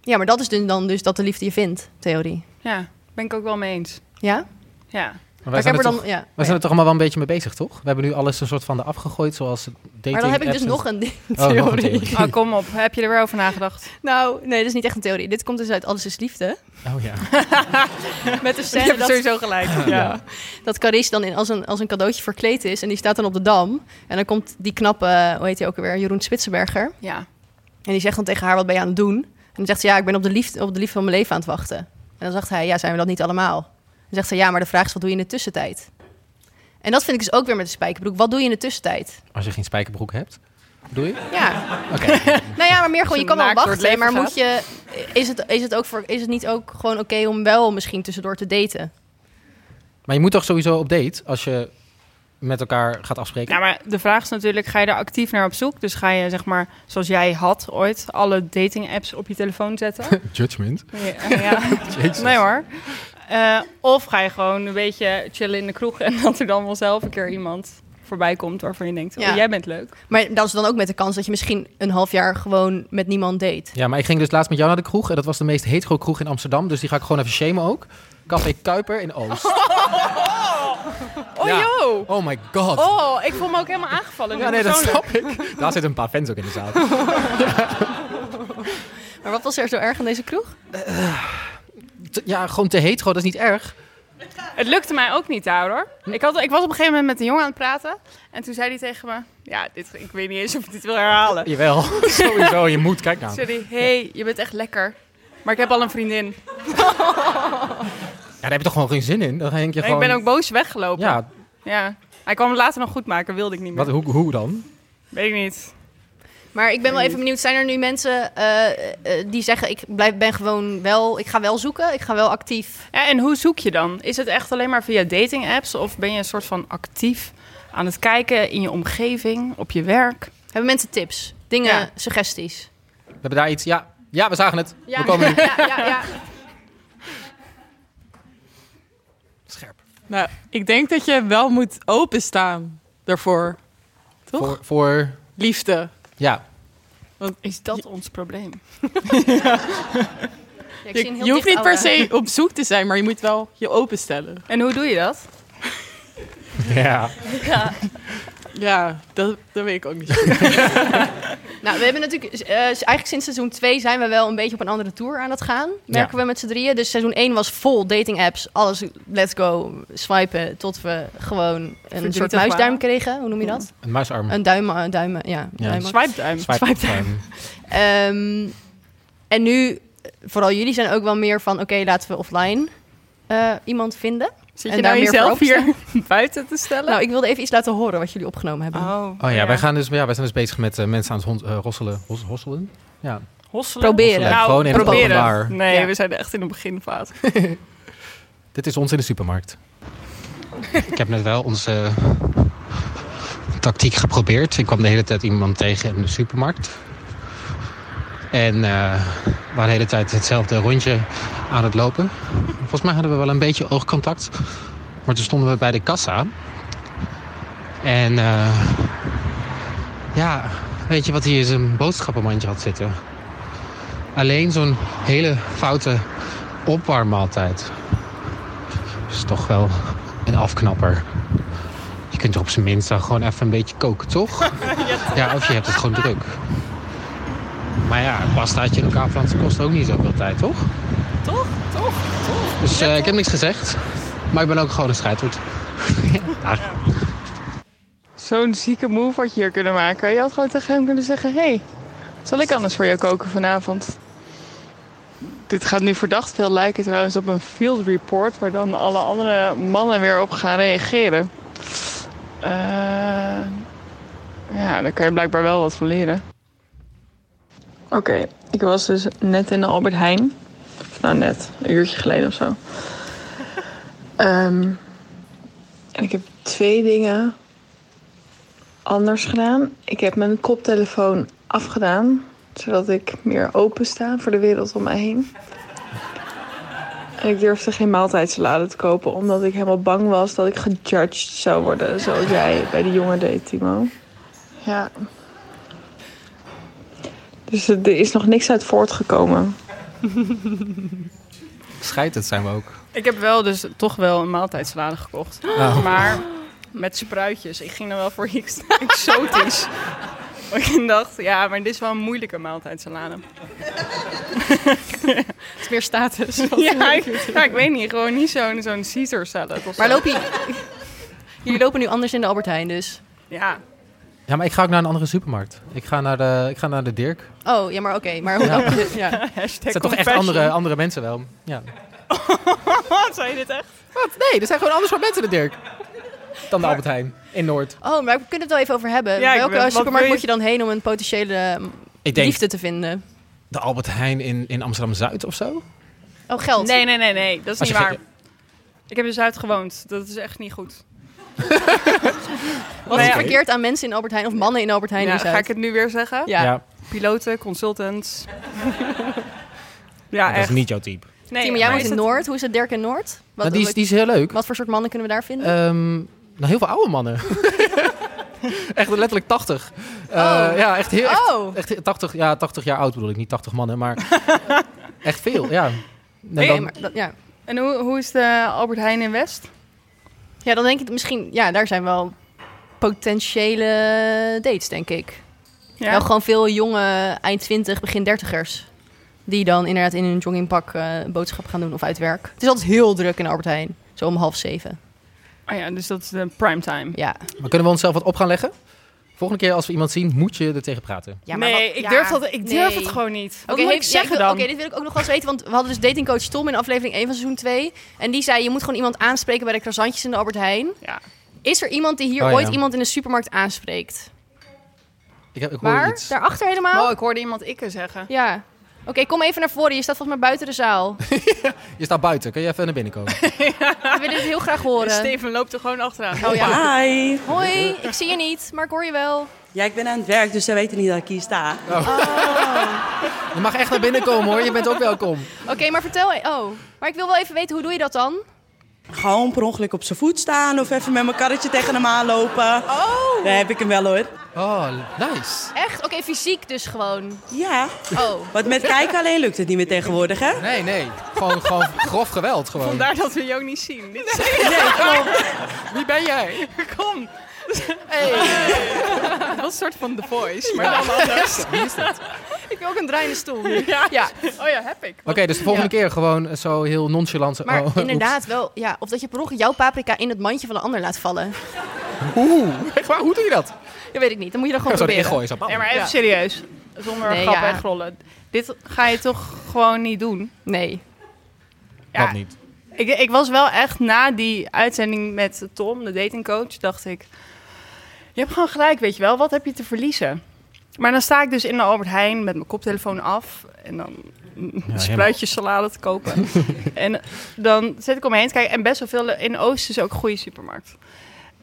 A: Ja, maar dat is dus dan dus dat de liefde je vindt, theorie.
C: Ja, ben ik ook wel mee eens.
A: Ja?
C: Ja.
B: Maar
A: Maar
B: wij
A: ik heb
B: zijn,
A: er
B: er
A: dan,
B: toch,
A: ja.
B: wij zijn er toch allemaal wel een beetje mee bezig, toch? We hebben nu alles een soort van eraf gegooid, zoals het dating
A: Maar dan heb ik
B: apps
A: dus
B: en-
A: nog een
B: nog een
A: theorie.
B: theorie.
C: Oh, kom op. Heb je er weer over nagedacht?
A: Nou, nee, dat is niet echt een theorie. Dit komt dus uit Alles is Liefde.
B: Oh ja.
A: Met de
C: Je
A: scène
C: hebt
A: dat,
C: sowieso gelijk. Ja.
A: dat Carice dan in, als, een, als een cadeautje verkleed is. En die staat dan op de dam. En dan komt die knappe, hoe heet hij ook alweer, Jeroen Spitsenberger.
C: ja.
A: En die zegt dan tegen haar, wat ben je aan het doen? En dan zegt ze, ja, ik ben op de liefde, op de liefde van mijn leven aan het wachten. En dan zegt hij, ja, zijn we dat niet allemaal? Dan zegt ze, ja, maar de vraag is, wat doe je in de tussentijd? En dat vind ik dus ook weer met de spijkerbroek. Wat doe je in de tussentijd?
B: Als je geen spijkerbroek hebt, bedoel je?
A: Ja,
B: Oké.
A: nou ja, maar meer gewoon, je
C: Als je
A: kan wel
C: naakt door het
A: wachten. Maar
C: leven
A: moet je, is, het, is, het ook voor, is het niet ook gewoon oké om wel misschien tussendoor te daten?
B: Maar je moet toch sowieso op date als je met elkaar gaat afspreken?
C: Nou, maar de vraag is natuurlijk, ga je er actief naar op zoek? Dus ga je, zeg maar, zoals jij had ooit, alle dating apps op je telefoon zetten?
B: Judgment.
C: ja, ja. Nee hoor. Eh, of ga je gewoon een beetje chillen in de kroeg en dat er dan wel zelf een keer iemand voorbij komt waarvan je denkt,
A: Ja.
C: oh, jij bent leuk.
A: Maar dat is dan ook met de kans dat je misschien een half jaar gewoon met niemand date.
B: Ja, maar ik ging dus laatst met jou naar de kroeg. En dat was de meest hetero kroeg in Amsterdam. Dus die ga ik gewoon even shamen ook. Café Kuiper in Oost.
C: Oh
B: Ja.
C: yo!
B: Oh my god.
C: Oh, ik voel me ook helemaal aangevallen. nu
B: ja, nee, dat
C: persoonlijk.
B: snap ik. Daar zitten een paar fans ook in de zaal.
A: Maar wat was er zo erg aan deze kroeg?
B: Te- Ja, gewoon te hetero, dat is niet erg.
C: Het lukte mij ook niet daar hoor. Ik, had, ik was op een gegeven moment met een jongen aan het praten. En toen zei hij tegen me, ja, dit, ik weet niet eens of ik dit wil herhalen.
B: Eh, Jawel, sowieso. Je moet, kijk nou.
C: Sorry, hey, je bent echt lekker. Maar ik heb al een vriendin.
B: Ja, daar heb je toch gewoon geen zin in? Dan denk je
C: En ik
B: gewoon...
C: ben ook boos weggelopen. Ja.
B: Ja,
C: Hij kwam het later nog goed maken, wilde ik niet meer.
B: wat, hoe, hoe dan?
C: Weet ik niet.
A: Maar ik ben wel even benieuwd, zijn er nu mensen eh, eh, die zeggen ik blijf, ben gewoon wel, ik ga wel zoeken, ik ga wel actief.
C: Ja, en hoe zoek je dan? Is het echt alleen maar via dating apps? Of ben je een soort van actief aan het kijken in je omgeving, op je werk?
A: Hebben mensen tips, dingen,
C: Ja.
A: suggesties?
B: We hebben daar iets... Ja, ja we zagen het.
A: Ja.
B: We komen nu.
A: Ja, ja, ja.
B: Scherp.
L: Nou, ik denk dat je wel moet openstaan daarvoor. Toch?
B: Voor, voor...
L: Liefde.
B: Ja,
C: Is dat ons probleem?
A: Ja, ik
L: Je,
A: zie een heel
L: je hoeft
A: dicht
L: niet per
A: oude-
L: se op zoek te zijn, maar je moet wel je openstellen.
C: En hoe doe je dat?
B: Ja.
L: Ja, dat, dat weet ik ook niet.
A: Nou, we hebben natuurlijk, eh, eigenlijk sinds seizoen 2 zijn we wel een beetje op een andere tour aan het gaan. Merken we met z'n drieën. Dus seizoen 1 was vol dating apps. Alles, let's go, swipen. Tot we gewoon een
C: Verdrietig
A: soort muisduim
C: waren.
A: kregen. Hoe noem je dat?
B: Een muisarm.
A: Een duim, een duim, eh, ja. een
B: Ja.
A: duim.
C: Swipeduim.
B: Swipe-
A: swipe
B: swipe.
A: Ehm, en nu, vooral jullie zijn ook wel meer van, oké, laten we offline eh, iemand vinden.
C: Zit
A: En
C: je
A: daar
C: nou
A: meer
C: jezelf
A: voor
C: hier buiten te stellen?
A: Nou, ik wilde even iets laten horen wat jullie opgenomen hebben.
B: Oh ja, Wij, gaan dus, ja, wij zijn dus bezig met eh, mensen aan het hond, eh, rosselen. Ros- rosselen? Ja.
C: Hosselen?
A: Proberen.
B: Nou, Gewoon in het
C: proberen.
B: openbaar.
C: Nee,
A: Ja.
C: we zijn echt in de beginfase.
B: Dit is ons in de supermarkt. Ik heb net wel onze tactiek geprobeerd. Ik kwam de hele tijd iemand tegen in de supermarkt. En eh, we waren de hele tijd hetzelfde rondje aan het lopen. Volgens mij hadden we wel een beetje oogcontact. Maar toen stonden we bij de kassa. En eh, ja, weet je wat hij in zijn boodschappenmandje had zitten? Alleen zo'n hele foute opwarmmaaltijd is toch wel een afknapper. Je kunt er op zijn minst dan gewoon even een beetje koken, toch? ja, of je hebt het gewoon druk. Maar ja, een pastaatje in elkaar flansen kost ook niet zoveel tijd, toch? Toch? Toch? toch. Dus eh, ik heb niks gezegd. Maar ik ben ook gewoon een scheidwoord. Daar.
C: Zo'n zieke move had je hier kunnen maken. Je had gewoon tegen hem kunnen zeggen... hey, zal ik anders voor jou koken vanavond? Dit gaat nu verdacht veel lijken trouwens op een field report... waar dan alle andere mannen weer op gaan reageren. Eh, ja, daar kan je blijkbaar wel wat van leren. Oké, ik was dus net in de Albert Heijn. Of Nou, net. Een uurtje geleden of zo. Ehm, en ik heb twee dingen anders gedaan. Ik heb mijn koptelefoon afgedaan, zodat ik meer open sta voor de wereld om mij heen.
G: En ik durfde geen maaltijdsalade te kopen, omdat ik helemaal bang was dat ik gejudged zou worden. Zoals jij bij de jongen deed, Timo. Ja. Dus er is nog niks uit voortgekomen.
B: Schijt, het zijn we ook.
C: Ik heb wel dus toch wel een maaltijdsalade gekocht.
B: Oh.
C: Maar met spruitjes. Ik ging dan wel voor iets exotisch. Maar ik dacht, ja, maar dit is wel een moeilijke maaltijdsalade. het is meer status.
B: Dus
C: Ja, ik, ja, ik weet niet. Gewoon niet zo'n zo'n Caesar salad. of
A: Maar
C: zo.
A: loop je... Jullie lopen nu anders in de Albert Heijn, dus...
C: Ja.
B: Ja, maar ik ga ook naar een andere supermarkt. Ik ga naar de, ik ga naar de Dirk.
A: Oh, ja, maar oké. Maar hoe
B: Ja.
A: loop je... Ja.
B: Het zijn toch echt andere, andere mensen wel. Ja.
C: Wat, zei je dit echt?
B: Wat? Nee, er zijn gewoon anders soort mensen de Dirk. Dan de Albert Heijn in Noord.
A: Oh, maar we kunnen het wel even over hebben.
C: Ja, ik
A: Welke
C: ben- wat
A: supermarkt
C: wil je- Nou
A: moet je dan heen om een potentiële eh,
B: Ik denk
A: liefde te vinden?
B: de Albert Heijn in, in Amsterdam-Zuid of zo.
A: Oh, geld.
C: Nee, nee, nee, nee. Dat is
B: Als
C: niet
B: je
C: waar.
B: ge-
C: Ik heb dus uitgewoond. Dat is echt niet goed.
B: Nou,
A: Wat is
C: ja.
A: verkeerd aan mensen in Albert Heijn of mannen in Albert Heijn?
C: Ja,
A: in Zuid?
C: ga ik het nu weer zeggen?
A: Ja.
C: Piloten, consultants. ja,
B: dat is
C: echt.
B: niet jouw type.
C: Nee,
A: Timo, jij
C: maar
A: woont in
C: is
A: Noord. Hoe is het Dirk in Noord? Wat,
B: Nou, die, is, die is heel leuk.
A: wat voor soort mannen kunnen we daar vinden?
B: Ehm, nou, heel veel oude mannen. echt letterlijk 80. Eh, ja, echt heel. Echt,
A: oh,
B: echt heel- 80, ja, 80 jaar oud bedoel ik, niet 80 mannen, maar echt veel, ja. Nee,
A: nee,
B: dan-
A: maar dat, ja.
C: En hoe, hoe is de Albert Heijn in West?
A: ja, dan denk ik misschien... Ja, daar zijn wel potentiële dates, denk ik.
C: Ja.
A: Wel gewoon veel jonge eind 20, begin 30ers. Die dan inderdaad in hun joggingpak eh, een boodschap gaan doen of uit werk. Het is altijd heel druk in Albert Heijn. Zo om half zeven.
C: Oh ja, dus dat is de prime time.
A: Ja.
B: Maar kunnen we onszelf wat op gaan leggen? Volgende keer als we iemand zien, moet je er tegen praten.
A: ja maar
C: nee,
A: wat-
C: ik
A: ja,
C: durf, dat, ik durf
A: nee.
C: het gewoon niet. Wat
A: Oké,
C: moet ik
A: heeft- ja,
C: zeggen
A: wil-
C: dan?
A: Oké, dit wil ik ook nog wel eens weten. Want we hadden dus datingcoach Tom in aflevering 1 van seizoen 2. En die zei, je moet gewoon iemand aanspreken bij de croissantjes in de Albert Heijn.
C: Ja.
A: Is er iemand die hier
B: Oh, ja.
A: ooit iemand in de supermarkt aanspreekt?
B: Ik, heb- ik hoor
A: Maar
B: iets.
A: daarachter helemaal?
C: Oh, ik hoorde iemand ikke zeggen.
A: Ja. Oké, kom even naar voren. Je staat volgens mij buiten de zaal.
B: Je staat buiten, kun je even naar binnen komen?
A: We willen dit heel graag horen.
C: Steven loopt er gewoon achteraan.
A: Oh ja.
M: Hi.
A: Hoi, ik zie je niet, maar ik hoor je wel.
M: Ja, ik ben aan het werk, dus zij weten niet dat ik hier sta.
B: Oh.
M: Oh.
B: Je mag echt naar binnen komen hoor, je bent ook welkom.
A: Oké, maar vertel... Oh, maar ik wil wel even weten, hoe doe je dat dan?
M: Gewoon per ongeluk op zijn voet staan of even met mijn karretje tegen hem aanlopen.
A: Oh,
M: Daar heb ik hem wel hoor.
B: Oh, nice.
A: echt? Oké, fysiek dus gewoon.
M: Ja,
A: Oh.
M: want met kijken alleen lukt het niet meer tegenwoordig, hè?
B: Nee, nee. Gewoon, gewoon grof geweld gewoon.
C: Vandaar dat we jou niet zien. Dit is
M: Nee, klopt.
B: Wie ben jij?
C: Kom. Hey. Dat is een soort van The Voice, maar
B: Ja.
C: dan anders.
A: Ik wil ook een draaiende stoel nu.
C: Ja.
A: Ja.
C: Oh ja, heb ik.
B: Oké, dus de volgende keer gewoon zo heel nonchalant. zo-
A: Maar
B: oh, oeps.
A: inderdaad wel, ja, of dat je per ongeluk jouw paprika in het mandje van de ander laat vallen.
B: Oeh, echt waar? Hoe doe je dat?
A: Dat weet ik niet, dan moet je dat
B: Ja,
A: gewoon
B: zo erin
A: proberen.
B: gooien. Zo, bam.
C: Nee, maar even
A: Ja.
C: serieus. Zonder
A: Nee,
C: grap
A: ja.
C: wegrollen. Dit ga je toch gewoon niet doen?
A: Nee.
B: Wat niet.
C: Ik, ik was wel echt na die uitzending met Tom, de datingcoach, dacht ik... Je hebt gewoon gelijk, weet je wel. Wat heb je te verliezen? Maar dan sta ik dus in de Albert Heijn met mijn koptelefoon af. En dan een
B: helemaal.
C: spruitjesalade te kopen. en dan zit ik om me heen te kijken. En best wel veel in Oost is ook een goede supermarkt.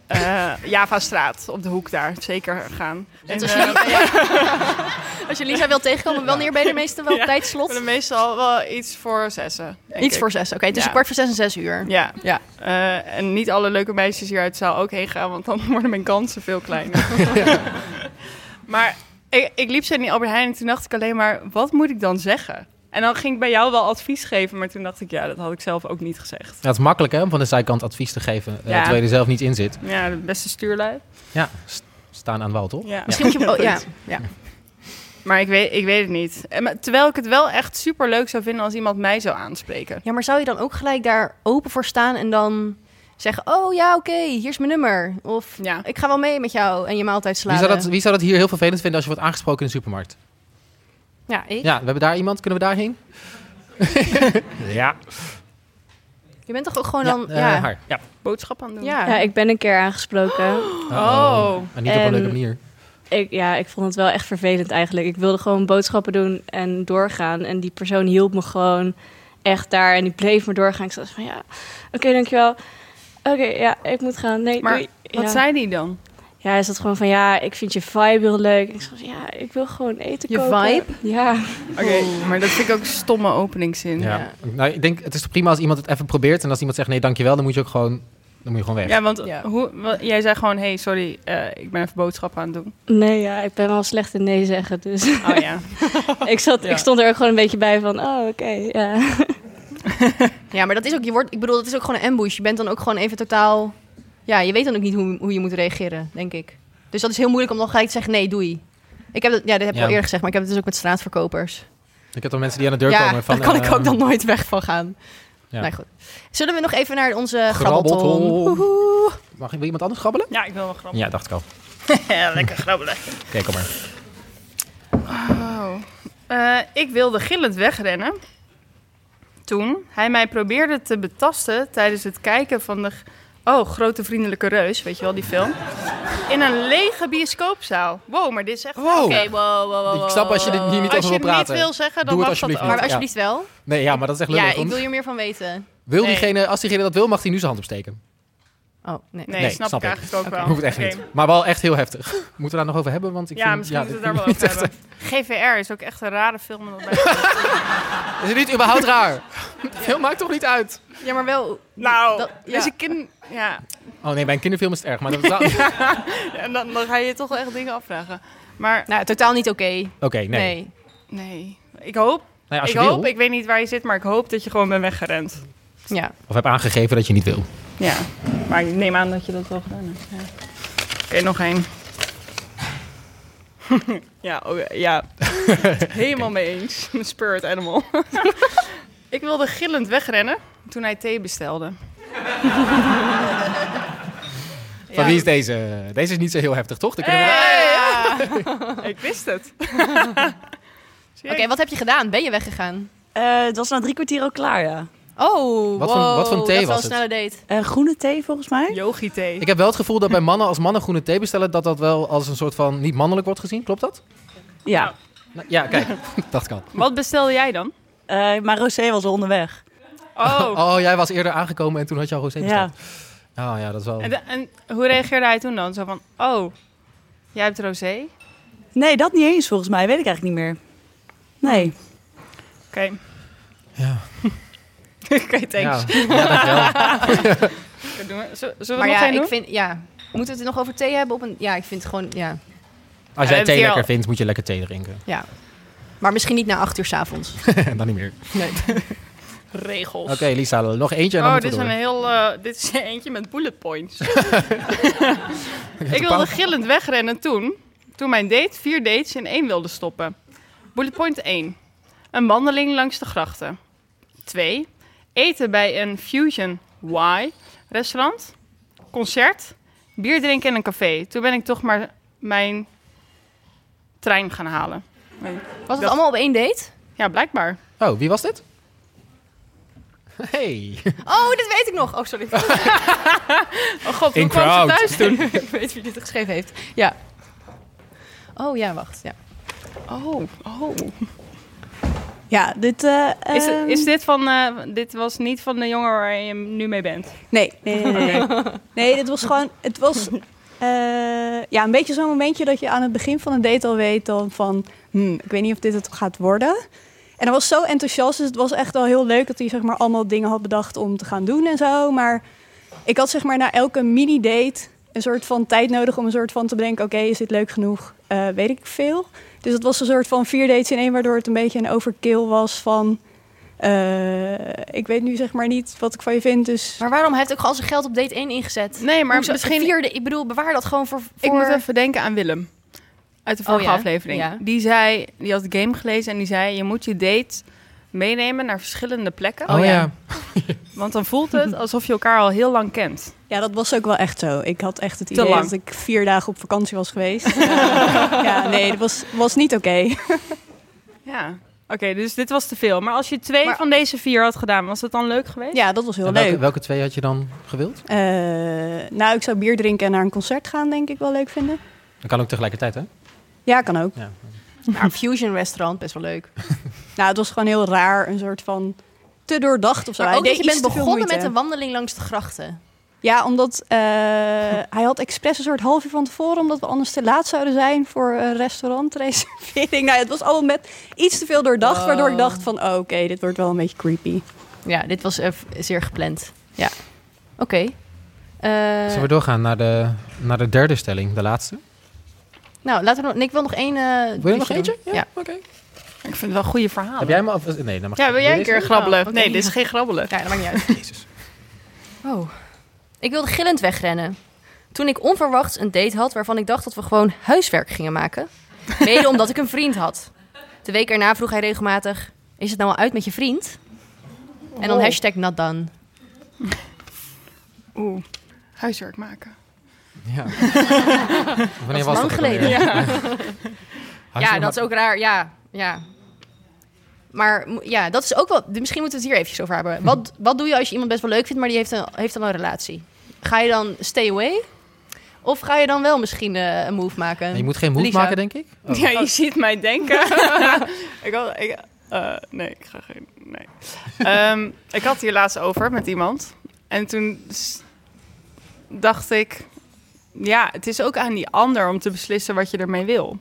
C: Eh Java Straat, op de hoek daar. Zeker gaan. En,
A: als,
C: eh,
A: je, als je Lisa wil tegenkomen, wanneer ben je er meestal wel op
C: Ja.
A: tijdslot?
C: We hebben meestal wel iets voor zessen. denk
A: Iets
C: ik.
A: voor zes, oké, Dus tussen
C: Ja.
A: kwart voor zes en zes uur.
C: Ja.
A: Ja.
C: Eh, en niet alle leuke meisjes hier uit de zaal ook heen gaan, want dan worden mijn kansen veel kleiner. maar ik, ik liep zo in die Albert Heijn en toen dacht ik alleen maar, wat moet ik dan zeggen? En dan ging ik bij jou wel advies geven, maar toen dacht ik, ja, dat had ik zelf ook niet gezegd.
B: Ja, het is makkelijk hè, om van de zijkant advies te geven, eh,
C: Ja.
B: terwijl je er zelf niet in zit.
C: Ja, de beste stuurlui.
B: Ja, st- staan aan wal, toch?
C: Ja.
A: Misschien moet je... Oh, ja. ja.
C: Maar ik weet, ik weet het niet. En, maar, terwijl ik het wel echt super leuk zou vinden als iemand mij zou aanspreken.
A: ja, maar zou je dan ook gelijk daar open voor staan en dan zeggen... Oh ja, oké, hier is mijn nummer. Of
C: Ja.
A: ik ga wel mee met jou en je maaltijd
B: Wie
A: slaan. eh.
B: zou, dat, wie zou dat hier heel vervelend vinden als je wordt aangesproken in de supermarkt?
A: Ja, ik.
B: Ja, we hebben daar iemand. Kunnen we daarheen? ja.
A: Je bent toch ook gewoon
B: Ja,
A: dan...
B: eh,
A: ja.
B: haar. Ja.
C: Boodschap aan doen.
A: Ja.
K: Ja, ik ben een keer aangesproken.
C: Oh.
B: En niet op een
K: En-
B: leuke manier.
K: Ik, ja, ik vond het wel echt vervelend eigenlijk. Ik wilde gewoon boodschappen doen en doorgaan. En die persoon hielp me gewoon echt daar. En die bleef me doorgaan. Ik zat van, ja, oké, dankjewel. Oké, ja, ik moet gaan. Nee,
C: Maar
K: doei.
C: Wat
K: ja.
C: zei die dan?
K: Ja, is dat gewoon van, ja, ik vind je vibe heel leuk. En ik zeg, ja, ik wil gewoon eten
C: Je
K: koken.
C: vibe? Oh.
K: Ja.
C: Oké, maar dat vind ik ook een stomme openingszin.
B: Ja. Nou, ik denk, het is toch prima als iemand het even probeert. En als iemand zegt nee, dankjewel, dan moet je ook gewoon, dan moet je gewoon weg.
C: Ja, want Hoe, wa- jij zei gewoon, hey, sorry, eh, ik ben even boodschappen aan het doen.
K: Nee, ja, ik ben wel slecht in nee zeggen, dus...
C: Oh ja.
K: ik, zat,
C: Ja.
K: ik stond er ook gewoon een beetje bij van, oh, oké, ja.
A: Ja, maar dat is ook, je wordt, ik bedoel, dat is ook gewoon een ambush. Je bent dan ook gewoon even totaal, ja, je weet dan ook niet hoe, hoe je moet reageren, denk ik. Dus dat is heel moeilijk om dan gelijk te zeggen, nee, doei. Ik heb dat, ja, dat heb ik
B: Ja.
A: al eerder gezegd, maar ik heb het dus ook met straatverkopers.
B: Ik heb dan mensen die aan de deur
A: ja,
B: komen van...
A: daar kan
B: eh,
A: ik ook dan nooit weg van gaan.
B: Ja.
A: Nee, goed. Zullen we nog even naar onze
B: Grabbelton.
A: grabbelton? Woehoe.
B: Mag ik, wil iemand anders grabbelen?
C: Ja, ik wil wel grabbelen.
B: Ja, dacht ik al.
C: Lekker grabbelen.
B: Oké, kom maar.
C: Oh. Eh, ik wilde gillend wegrennen. Toen hij mij probeerde te betasten tijdens het kijken van de... g- Oh, Grote Vriendelijke Reus, weet je wel, die film. In een lege bioscoopzaal. Wow, maar dit is echt... Oké, wow, wow, wow,
B: Ik snap als je dit hier niet
C: wow.
B: over
C: Als je het
B: wil
C: niet
B: praten.
C: wil zeggen, dan
B: Doe het
C: mag dat
B: alsjeblieft
C: ook.
B: niet.
A: Maar alsjeblieft wel.
B: Nee, ja, maar dat is echt lullig.
A: Ja, ik
B: want
A: wil hier meer van weten.
B: wil
A: Nee.
B: diegene, als diegene dat wil, mag hij nu zijn hand opsteken.
A: Oh, nee.
C: Nee, snap ik eigenlijk ook wel.
B: Hoeft echt
C: Oké.
B: niet. Maar wel echt heel heftig. Moeten we daar nog over hebben? Want ik
C: ja,
B: vind,
C: misschien moeten we het daar
B: dit
C: wel over
B: vind ik
C: hebben.
B: niet
C: GVR is ook echt een rare film. om dat bij-
B: echt- Is het niet überhaupt raar? Film maakt toch niet uit?
A: Ja, maar wel...
C: Nou,
A: Dat- ja.
C: dus ik ken... Ja,
B: Oh nee, bij een kinderfilm is het erg. Maar dat Oké,
C: en dan, dan ga je je toch wel echt dingen afvragen. Maar...
A: Nou, totaal niet oké.
B: nee.
C: Nee. Nee. Ik hoop...
B: ja, als
C: ik
B: je wil.
C: hoop, ik weet niet waar je zit, maar ik hoop dat je gewoon bent weggerend.
A: Ja.
B: Of heb aangegeven dat je niet wil.
C: Ja. Maar ik neem aan dat je dat wel gedaan hebt. Ja. Oké, nog één. ja, oké, ja. Helemaal mee eens. Mijn spirit animal. ik wilde gillend wegrennen toen hij thee bestelde.
B: Van wie is deze? Deze is niet zo heel heftig, toch? Dan kunnen we-
M: Ah.
C: ik wist het.
A: Oké, wat heb je gedaan? Ben je weggegaan?
M: Eh, het was na drie kwartier al klaar, ja.
A: Oh,
B: Wat voor- wow, wat voor thee dat is wel was een
A: het? snelle date.
M: Eh, groene thee, volgens mij.
C: Yogi thee.
B: Ik heb wel het gevoel dat bij mannen, als mannen groene thee bestellen, dat dat wel als een soort van niet mannelijk wordt gezien. Klopt dat?
M: Ja.
B: Nou, ja, kijk. dat kan.
C: Wat bestelde jij dan?
M: maar Rosé was al onderweg.
C: Oh.
B: Oh, jij was eerder aangekomen en toen had je al rosé besteld. Ja. Oh ja, dat is wel...
C: En, de- en hoe reageerde hij toen dan? Zo van, oh, jij hebt rosé? Oké.
M: Nee, dat niet eens, volgens mij. Weet ik eigenlijk niet meer. Nee.
B: Ja.
C: Oké, thanks.
B: Ja, ja, dankjewel.
C: Oké, doen we- Zullen we er
A: maar
C: nog
A: ja,
C: één doen?
A: ik vind, ja. Moeten we het nog over thee hebben? Op een, ja, ik vind het gewoon, ja. Eh,
B: Als
C: Ja,
B: jij
C: dat
B: thee
C: hier
B: lekker
C: al-
B: vindt, moet je lekker thee drinken.
A: ja. Maar misschien niet na acht uur s'avonds.
B: dan niet meer.
A: Nee.
C: Regels.
B: Oké, Lisa, nog eentje en dan
C: Oh,
B: moeten
C: dit is
B: we
C: een
B: door.
C: heel. eh, dit is eentje met bullet points.
B: een
C: ik wilde
B: paar.
C: gillend wegrennen toen. Toen mijn date vier dates in één wilde stoppen. Bullet point 1. Een wandeling langs de grachten. 2. Eten bij een Fusion Y restaurant. Concert. Bier drinken in een café. Toen ben ik toch maar mijn trein gaan halen.
A: Was het allemaal op één date?
C: Ja, blijkbaar.
B: Oh, wie was dit? Hey.
A: Oh, dit weet ik nog. Oh, sorry.
C: oh god,
B: hoe In kwam ze crowd. thuis toen?
A: ik weet wie dit geschreven heeft. Ja. Oh ja, wacht. Ja.
C: Oh, oh.
M: Ja, dit... eh,
C: Is,
M: ehm,
C: is dit van. eh, dit was niet van de jongen waar je nu mee bent.
M: Nee, nee, nee. Nee,
I: Nee, het was gewoon. Het was. eh, ja, een beetje zo'n momentje dat je aan het begin van een date al weet dan van. hmm, ik weet niet of dit het gaat worden. En hij was zo enthousiast, dus het was echt al heel leuk dat hij zeg maar allemaal dingen had bedacht om te gaan doen en zo. Maar ik had zeg maar na elke mini-date een soort van tijd nodig om een soort van te bedenken: oké, is dit leuk genoeg? Eh, weet ik veel. Dus het was een soort van vier dates in één, waardoor het een beetje een overkill was van. eh, ik weet nu zeg maar niet wat ik van je vind, dus.
A: Maar waarom hij heeft ook al zijn geld op date 1 ingezet?
C: Nee, maar
A: Hoezo-
C: misschien-
A: Vierde, ik bedoel, bewaar dat gewoon voor... voor...
C: Ik moet even denken aan Willem. Uit de
A: Oh,
C: vorige
A: ja?
C: aflevering.
A: Ja.
C: Die zei, die had de game gelezen en die zei... je moet je date meenemen naar verschillende plekken.
B: Oh, ja.
C: Want dan voelt het alsof je elkaar al heel lang kent.
I: Ja, dat was ook wel echt zo. Ik had echt het
C: Te
I: idee
C: lang.
I: dat ik vier dagen op vakantie was geweest. ja, nee, dat was, was niet oké.
C: Ja. Oké, dus dit was te veel. Maar als je twee
I: Maar-
C: van deze vier had gedaan, was dat dan leuk geweest?
I: Ja, dat was heel
B: En
I: leuk.
B: welke, welke twee had je dan gewild?
I: Eh, nou, ik zou bier drinken en naar een concert gaan, denk ik wel leuk vinden.
B: Dat kan ook tegelijkertijd, hè?
I: Ja, kan ook.
C: Eh.
B: Ja.
A: Naar een fusion restaurant, best wel leuk.
I: Nou, het was gewoon heel raar, een soort van te doordacht of zo.
A: Maar
I: Hij
A: ook dat
I: deed
A: Oh, je
I: iets
A: bent
I: te veel
A: begonnen
I: moeite.
A: met een wandeling langs de grachten.
I: Ja, omdat eh, hij had expres een soort half uur van tevoren, omdat we anders te laat zouden zijn voor een restaurantreservering. Nou, het was allemaal met iets te veel doordacht, waardoor ik dacht van, oh, oké, dit wordt wel een beetje creepy.
A: Ja, dit was eh, v- zeer gepland. Ja. Oké. Eh,
B: Zullen we doorgaan naar de, naar de derde stelling, de laatste?
A: nou, laten we nog... nee, ik wil nog één... eh,
B: Wil je nog
A: briefje
B: eentje?
A: doen. Ja,
B: oké.
C: Ik vind het wel goede verhalen.
B: Heb jij hem af? Nee, dan mag
C: Ah, ja, wil jij een
B: Deze?
C: keer grabbelen?
A: Oh, oké.
C: Nee, dit is geen grabbelen.
A: Ja, dat maakt niet uit. Oh. Ik wilde gillend wegrennen. Toen ik onverwachts een date had waarvan ik dacht dat we gewoon huiswerk gingen maken. Mede omdat ik een vriend had. De week erna vroeg hij regelmatig... Is het nou al uit met je vriend? En dan
C: Oh.
A: hashtag not done.
C: Oeh, huiswerk maken.
B: Ja.
A: Dat is
B: was
A: lang
B: dat ook
A: geleden.
B: alweer?
A: Ja. ja,
B: Huiswerk
A: dat is ook raar. Ja, ja. Maar mo- ja, dat is ook wel... Misschien moeten we het hier eventjes over hebben. Wat, wat doe je als je iemand best wel leuk vindt, maar die heeft, een, heeft dan een relatie? Ga je dan stay away? Of ga je dan wel misschien eh, een move maken?
B: Nee, je moet geen move
A: Lisa?
B: maken, denk ik. Oh.
C: Ja, je ziet mij denken. ik had, ik, eh, nee, ik ga geen. Nee. Ehm, ik had het hier laatst over met iemand. En toen s- dacht ik. Ja, het is ook aan die ander om te beslissen wat je ermee wil.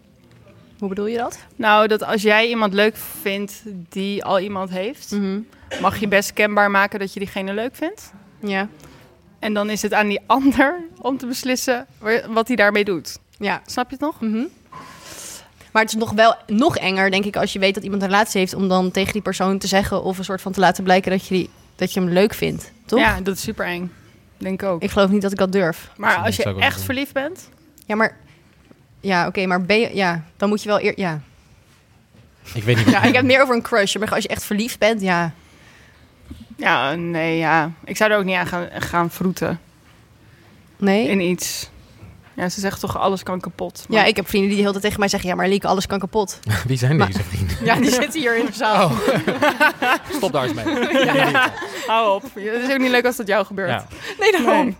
A: Hoe bedoel je dat?
C: Nou, dat als jij iemand leuk vindt die al iemand heeft,
A: Mhm.
C: mag je best kenbaar maken dat je diegene leuk vindt.
A: Ja.
C: En dan is het aan die ander om te beslissen wa- wat hij daarmee doet.
A: Ja. Mhm.
C: Snap je het nog?
A: Maar het is nog wel nog enger, denk ik, als je weet dat iemand een relatie heeft... om dan tegen die persoon te zeggen of een soort van te laten blijken dat je, die, dat je hem leuk vindt. Toch?
C: Ja, dat is super eng. Denk ik ook.
A: Ik geloof niet dat ik dat durf.
C: Maar als
A: zou ik
C: je
A: ook
C: echt
A: doen.
C: verliefd bent,
A: Ja, maar... Ja, oké, maar ben je... Ja, dan moet je wel eer... Ja.
B: Ik weet niet.
A: ja, ik heb het meer over een crush. Maar als je echt verliefd bent, ja.
C: Ja, nee, ja. Ik zou er ook niet aan gaan, gaan vroeten.
A: Nee?
C: In iets. Ja, ze zegt toch alles kan kapot.
A: Ja, ik heb vrienden die de hele tijd tegen mij zeggen... Ja, maar Lieke, alles kan kapot.
B: Wie zijn deze vrienden?
A: Ja, die zitten hier in de zaal.
B: Stop daar eens mee.
C: Ja, hou op. Het is ook niet leuk als dat jou gebeurt.
B: Ja.
A: Nee, daarom.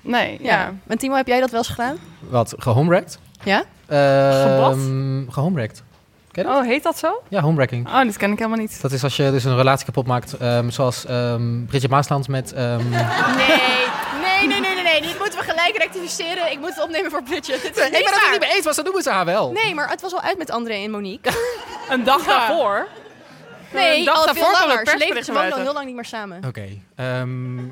C: Nee, ja.
A: Ja. En Timo, heb jij dat wel eens gedaan?
B: Wat, gehomerekt?
A: Ja?
B: Ehm, gehomerekt.
C: Oh, heet dat zo?
B: Ja, homeracking.
C: Oh, dat ken ik helemaal niet.
B: Dat is als je dus een relatie kapot maakt, ehm, zoals ehm Bridget Maasland met... ehm,
A: Nee. Nee, nee, nee, nee, nee. Dit moeten we gelijk rectificeren. Ik moet het opnemen voor Bridget. Dit is
B: ik ben het er
A: waar.
B: niet mee eens, want ze noemen ze haar wel.
A: Nee, maar het was al uit met André en Monique.
C: Oh. Een dag daarvoor?
A: Nee,
C: Een dag
A: al
C: daarvoor
A: veel
C: kwam
A: langer.
C: het
A: Ze leefden
C: persbericht
A: gewoon al
C: buiten. Oh.
A: heel lang niet meer samen.
B: Oké. ehm,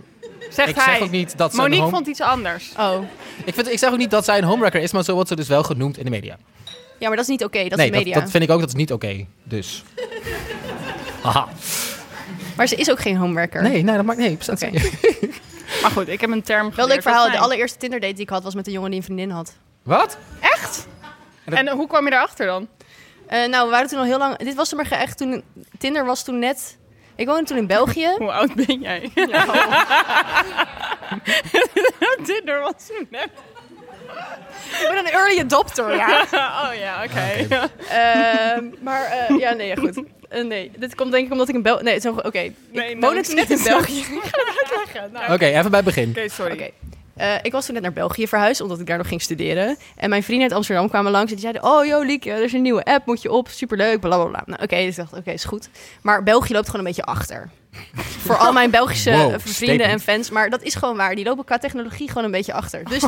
C: Zegt
B: ik
C: hij.
B: Zeg ook niet dat ze
C: Monique
B: een home-
C: vond iets anders.
A: Oh.
B: ik, vind, ik zeg ook niet dat zij een homewrecker is, maar zo wordt ze dus wel genoemd in de media.
A: Ja, maar dat is niet oké. dat
B: nee,
A: is de media.
B: Dat, dat vind ik ook, dat is niet oké. Dus. Aha.
A: Maar ze is ook geen homewrecker.
B: Nee, nee, dat maakt nee. dat
A: Oké.
C: Maar goed, ik heb een term
A: Wel leuk
C: geleerd,
A: verhaal.
C: dat
A: De
C: is fijn.
A: allereerste Tinder date die ik had was met een jongen die een vriendin had.
B: Wat?
C: Echt? En, hoe kwam je erachter dan?
A: Eh, nou, we waren toen al heel lang. Dit was er maar ge- echt toen. Tinder was toen net. Ik woonde toen in België.
C: Hoe oud ben jij? Tinder was toen net.
A: Ik ben een early adopter. Ja.
C: oh ja, oké.
A: Ehm, maar eh, ja, nee, ja, goed. Eh, nee, dit komt denk ik omdat ik in België. Nee, zo- oké.
C: Nee,
A: ik
C: nou,
A: woonde toen net in
C: zo-
A: België.
C: Ik ga het uitleggen. Nou.
B: Oké, even bij het begin.
C: Oké, sorry.
A: Eh, ik was toen net naar België verhuisd, omdat ik daar nog ging studeren. En mijn vrienden uit Amsterdam kwamen langs en die zeiden... Oh, joh, Lieke, er is een nieuwe app, moet je op, superleuk, blablabla. Nou, oké, dus ik dacht, oké, is goed. Maar België loopt gewoon een beetje achter. Voor al mijn Belgische
N: Wow,
A: eh, vrienden en
N: statement.
A: fans. Maar dat is gewoon waar. Die lopen qua technologie gewoon een beetje achter. Dus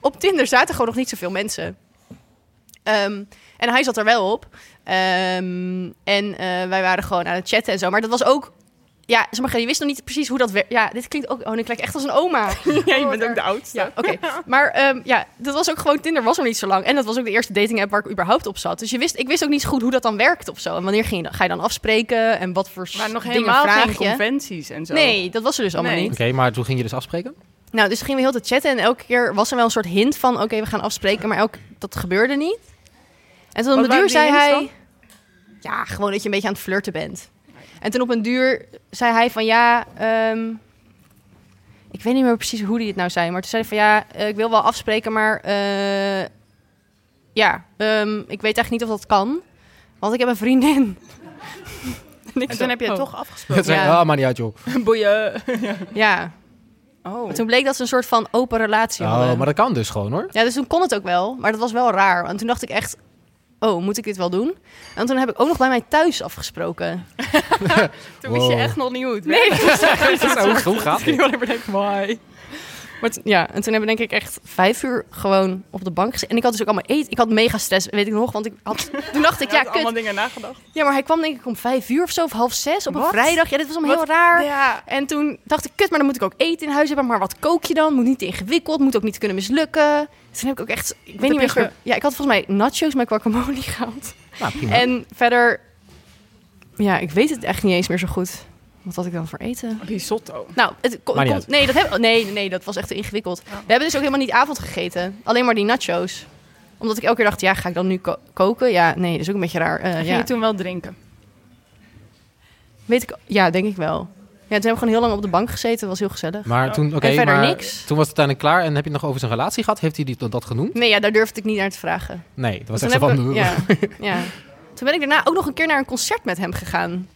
A: op Tinder zaten gewoon nog niet zoveel mensen. Ehm, en hij zat er wel op. Ehm, en eh, wij waren gewoon aan het chatten en zo. Maar dat was ook... Ja, zeg maar, je wist nog niet precies hoe dat werkt. Ja, dit klinkt ook... Oh, nu klink ik echt als een oma.
C: Jij bent ook de oudste.
A: Ja, oké. Maar ehm, ja, dat was ook gewoon... Tinder was nog niet zo lang. En dat was ook de eerste dating app waar ik überhaupt op zat. Dus je wist, ik wist ook niet zo goed hoe dat dan werkt of zo. En wanneer ging je dan, ga je dan afspreken? En wat voor
C: Maar nog
A: dingen
C: helemaal
A: vraag
C: geen
A: je?
C: conventies en zo.
A: Nee, dat was er dus allemaal
C: Nee.
A: niet.
B: Oké, maar toen ging je dus afspreken?
A: Nou, dus gingen we heel de chatten en elke keer was er wel een soort hint van: oké, we gaan afspreken, maar elk, dat gebeurde niet. En toen op
C: Wat
A: een duur zei
C: waren die hints
A: hij:
C: dan?
A: Ja, gewoon dat je een beetje aan het flirten bent. En toen op een duur zei hij: van ja, ehm, ik weet niet meer precies hoe die het nou zei, maar toen zei hij: van ja, eh, ik wil wel afspreken, maar eh, ja, ehm, ik weet eigenlijk niet of dat kan, want ik heb een vriendin. En, ik
C: En
A: zo,
C: toen heb je het
A: oh.
C: toch
B: Dat
C: afgesproken.
B: zei,
A: Ja.
B: ja. maar niet uit, joh.
C: Boeien. ja.
A: Ja.
C: Oh.
A: Maar toen bleek dat ze een soort van open relatie hadden.
B: Oh, maar dat kan dus gewoon, hoor.
A: Ja, dus toen kon het ook wel, maar dat was wel raar. En toen dacht ik echt, oh, moet ik dit wel doen? En toen heb ik ook nog bij mij thuis afgesproken.
C: Toen wist je
B: Wow.
C: echt nog niet hoe het
A: Nee,
C: werkte.
A: dat is echt-
B: Zo, hoe gaat dit?
C: Ik denk, why?
A: Maar t- ja, en toen hebben we denk ik echt vijf uur gewoon op de bank gezeten. En ik had dus ook allemaal eten. Ik had mega stress, weet ik nog. Want ik had, toen dacht ik, ja,
C: had allemaal
A: kut.
C: dingen nagedacht.
A: Ja, maar hij kwam denk ik om vijf uur of zo, of half zes op een
C: Wat?
A: vrijdag. Ja, dit was allemaal
C: Wat?
A: heel raar.
C: Ja.
A: En toen dacht ik, kut, maar dan moet ik ook eten in huis hebben. Maar wat kook je dan? Moet niet te ingewikkeld, moet ook niet kunnen mislukken. Toen heb ik ook echt, ik weet
C: heb
A: niet meer.
C: je
A: eens- Ja, ik had volgens mij nachos met guacamole gehaald.
B: Nou, prima.
A: En verder, ja, ik weet het echt niet eens meer zo goed. Wat had ik dan voor eten?
C: Risotto.
A: Nou, het ko-
B: Maakt niet
A: komt- nee, dat heb, oh, nee, nee, dat was echt te
C: Oh.
A: ingewikkeld. We hebben dus ook helemaal niet avond gegeten. Alleen maar die nachos. Omdat ik elke keer dacht, ja, ga ik dan nu ko- koken? Ja, nee, dat is ook een beetje raar. Eh,
C: Ging
A: ja.
C: je toen wel drinken?
A: Weet ik, ja, denk ik wel. Ja, toen hebben we gewoon heel lang op de bank gezeten. was heel gezellig.
C: Oh.
B: Maar toen, oké,
A: Oh. en verder
B: maar
A: niks.
B: toen was het uiteindelijk klaar. En heb je het nog over zijn relatie gehad? Heeft hij die, dat genoemd?
A: Nee, ja, daar durfde ik niet naar te vragen. Dus
B: Nee, dat was
A: Toen
B: echt zo
A: heb
B: van...
A: ik- ja, ja. Toen ben ik daarna ook nog een keer naar een concert met hem gegaan.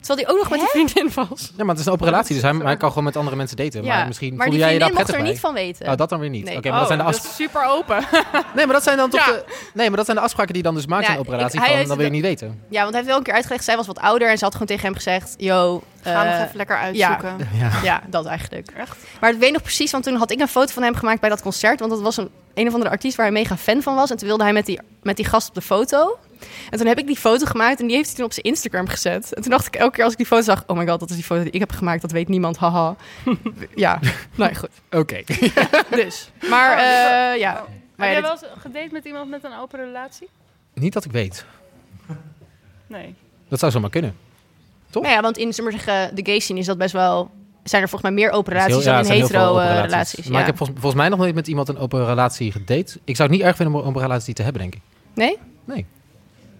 A: Terwijl hij ook nog met een vriendin was.
B: Ja, maar het is een open relatie, dus hij, hij kan gewoon met andere mensen daten.
A: Ja,
B: Maar misschien
A: maar
B: voelde
A: die
B: jij je daar
A: vriendin
B: prettig
A: mocht er
B: bij.
A: niet van weten.
B: Nou, dat dan weer niet.
A: Nee. Oh,
B: Oké, maar dat zijn de
C: Oh, dat
B: afspraken.
C: is super open.
B: Nee, maar dat zijn dan toch de... Nee, maar dat zijn de afspraken die je dan dus maakt
A: Ja,
B: in een open
A: ik-
B: relatie.
A: hij
B: van,
A: heeft
B: dan wil je
A: het-
B: niet weten.
A: Ja, want hij heeft wel een keer uitgelegd, zij was wat ouder en ze had gewoon tegen hem gezegd: Yo,
C: Ga
A: eh,
C: nog even lekker uitzoeken.
A: Ja,
B: Ja.
A: ja, dat eigenlijk. Maar ik weet nog precies, want toen had ik een foto van hem gemaakt bij dat concert. Want dat was een, een of andere artiest waar hij mega fan van was. En toen wilde hij met die, met die gast op de foto. En toen heb ik die foto gemaakt en die heeft hij toen op zijn Instagram gezet. En toen dacht ik elke keer als ik die foto zag: Oh my god, dat is die foto die ik heb gemaakt, dat weet niemand. Haha. ja, nou ja, goed.
B: Oké.
A: Dus. Maar
C: Oh, dus-
A: eh, ja. Maar ja,
C: Oh. heb jij
A: dit-
C: wel eens gedate met iemand met een open relatie?
B: Niet dat ik weet.
C: Nee.
B: Dat zou zomaar kunnen.
A: Nou ja, want in zullen we zeggen, de gay scene is dat best wel. Zijn er volgens mij meer open relaties
B: Heel- ja,
A: dan
B: er
A: in
B: zijn heel veel
A: hetero
B: open
A: eh, relaties.
B: Maar
A: ja.
B: ik heb volgens, volgens mij nog nooit met iemand een open relatie gedate. Ik zou het niet erg vinden om een open relatie te hebben, denk ik.
A: Nee?
B: Nee.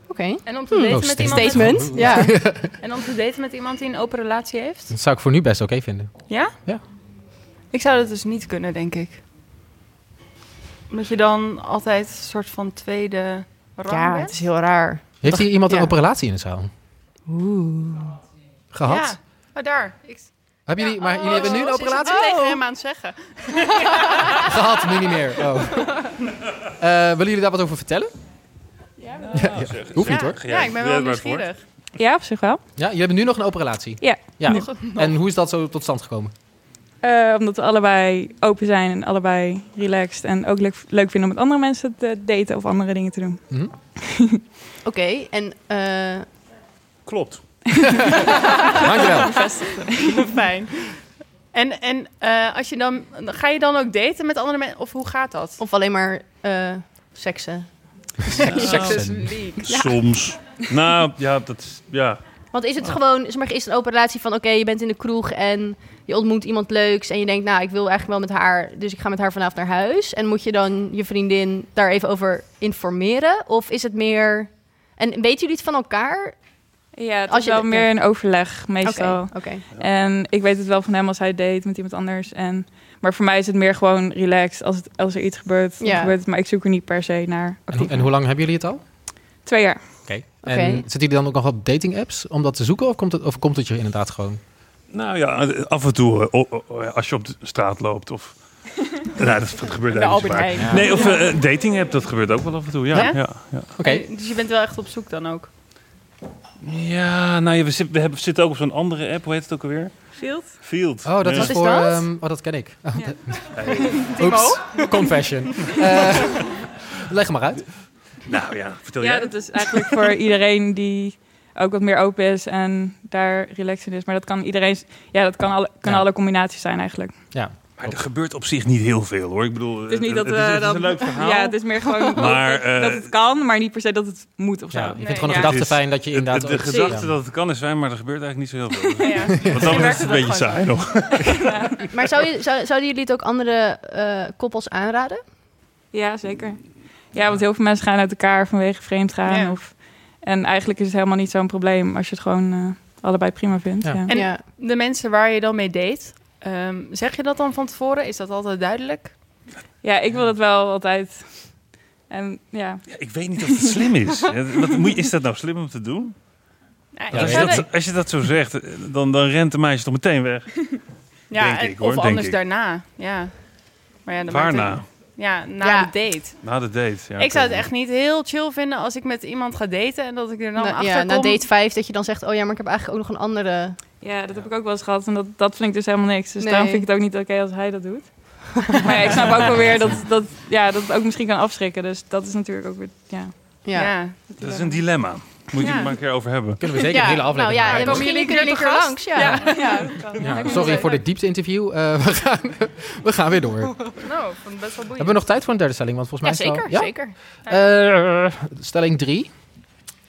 A: Oké.
C: En om te
A: Hmm.
C: daten
B: Oh,
C: met
B: statement.
C: iemand... met-
B: Statement, ja.
C: en om te daten met iemand die een open relatie heeft?
B: Dat zou ik voor nu best oké vinden.
C: Ja?
B: Ja.
C: Ik zou dat dus niet kunnen, denk ik. Omdat je dan altijd een soort van tweede rang
A: Ja,
C: bent.
A: het is heel raar.
B: Heeft hier iemand een
C: Ja.
B: open relatie in de zaal?
A: Oeh.
B: Gehad?
C: Ja. Oh, daar. Ik... Oh,
B: Hebben jullie, maar jullie hebben nu een open
C: Ik
B: relatie?
C: zit het tegen hem aan het zeggen.
B: Gehad, nu niet meer. Oh. Eh, willen jullie daar wat over vertellen?
C: Ja,
B: Ja, Hoeft niet hoor.
C: Ja, ik ben wel nieuwsgierig.
L: Ja, op zich wel.
B: Ja, jullie hebben nu nog een open relatie?
L: Ja.
B: ja.
L: Nog-
B: En hoe is dat zo tot stand gekomen?
L: Eh, omdat we allebei open zijn en allebei relaxed. En ook leuk, leuk vinden om met andere mensen te daten of andere dingen te doen.
A: Oké, en... eh
N: Klopt.
B: Dankjewel.
C: Fijn. En, en eh, als je dan, ga je dan ook daten met andere mensen? Of hoe gaat dat?
A: Of alleen maar eh, seksen?
C: Seks is
N: Seksen.
C: leak.
N: Soms. Nou, ja, dat is... Ja.
A: Want is het
N: Ah.
A: gewoon, zeg maar, is het een open relatie van... Oké, je bent in de kroeg en je ontmoet iemand leuks... en je denkt, nou, ik wil eigenlijk wel met haar... dus ik ga met haar vanavond naar huis. En moet je dan je vriendin daar even over informeren? Of is het meer... En weten jullie het van elkaar?
L: Ja, het
A: Als
L: is
A: je-
L: wel
A: ja.
L: meer een overleg meestal.
A: Oké, oké.
L: En ik weet het wel van hem als hij date met iemand anders. En, maar voor mij is het meer gewoon relaxed. Als, het, als er iets gebeurt, dan
A: Ja.
L: gebeurt het. Maar ik zoek er niet per se naar.
B: En, hoe- en hoe lang hebben jullie het al? Oké.
L: Twee jaar.
B: En
L: Oké.
B: zitten jullie dan ook nog op dating apps om dat te zoeken? Of komt het, of komt het je inderdaad gewoon?
N: Nou ja, af en toe eh, o- o- als je op de straat loopt of... nou, dat, dat gebeurt
C: De
N: eigenlijk
C: Albert
N: vaak.
C: Heijn.
N: Nee, of eh, een dating app, dat gebeurt ook wel af en toe. Ja,
C: Ja?
N: ja? ja,
C: Dus je bent wel echt op zoek dan ook?
N: Ja, nou ja, we, zit- we hebben, zitten ook op zo'n andere app. Hoe heet het ook alweer?
C: Field?
N: Field.
B: Oh, dat
N: Ja.
B: is voor... ehm, oh, dat ken ik. Oh, dat-
N: Timo?
B: Oeps. Confession. Eh, leg hem maar uit.
N: Nou ja, vertel
L: Ja, dat is eigenlijk voor iedereen die ook wat meer open is en daar relaxed in is. Maar dat kan iedereen, ja, dat kan alle, kan alle combinaties zijn eigenlijk.
B: Ja.
N: Maar er gebeurt op zich niet heel veel, hoor. Ik bedoel,
L: Het is niet dat we
N: is, het is
L: dan-
N: een leuk verhaal.
L: Ja, het is meer gewoon
N: Maar,
L: dat, het- dat
N: eh,
L: het kan, maar niet per se dat het moet of zo.
B: Ja, je vindt
L: Nee.
B: gewoon een
L: Ja.
B: gedachte
N: Het is-
B: fijn dat je
N: het-
B: inderdaad...
N: De,
B: ook-
N: gedachte
B: Ja.
N: dat het kan is fijn, maar er gebeurt eigenlijk niet zo heel veel.
C: Ja.
N: Want dan is het een beetje saai nog.
A: Maar zou je, zou, zouden jullie het ook andere eh, koppels aanraden?
L: Ja, zeker. Ja, want heel veel mensen gaan uit elkaar vanwege vreemd gaan.
A: Ja.
L: Of, en eigenlijk is het helemaal niet zo'n probleem als je het gewoon eh, allebei prima vindt. Ja.
C: En de mensen waar je dan mee date, ehm, zeg je dat dan van tevoren? Is dat altijd duidelijk?
L: Ja, ik wil dat wel altijd. En ja.
N: Ik weet niet of het slim is. Ja, Wat, moet je- is dat nou slim om te doen?
C: Ja,
N: Want als, je dat, als je dat zo zegt, eh, dan, dan rent de meisje toch meteen weg. denk
C: en-
B: eh,
N: ik, hoor,
C: of
N: denk
C: anders
N: ik.
C: daarna. Ja. Maar ja, dan
N: Waar
C: maakt het-
N: na?
C: Ja, na de date.
N: Na de date. Ja,
C: ik zou het
N: oké.
C: echt niet heel chill vinden als ik met iemand ga daten en dat ik er dan
A: Na-
C: achter
A: Nou, ja, na
C: kom.
A: date 5 dat je dan zegt... Oh ja, maar ik heb eigenlijk ook nog een andere...
L: Ja, dat heb ik ook wel eens gehad. En dat, dat vind ik dus helemaal niks. Dus
A: Nee.
L: daarom vind ik het ook niet oké als hij dat doet. Maar ja, ik snap ook wel weer dat, dat, ja, dat het ook misschien kan afschrikken. Dus dat is natuurlijk ook weer... Ja.
A: Ja.
N: Dat is een dilemma. Moet je
L: Ja.
N: het maar een keer over hebben.
B: Kunnen we zeker een hele aflevering
A: Nou ja,
B: maken.
A: ja misschien
C: jullie
A: kunnen jullie een
C: een
A: keer
C: keer
A: langs.
C: te gast?
A: Ja.
C: Ja. Ja.
B: Ja, sorry voor dit diepste interview. Eh, we, gaan, we gaan weer door.
C: Nou, ik vond het best wel boeiend.
B: Hebben we nog tijd voor een derde stelling? Want
C: Ja,
B: volgens mij
C: zeker,
B: is het al-
C: zeker.
B: Ja? Eh, stelling 3.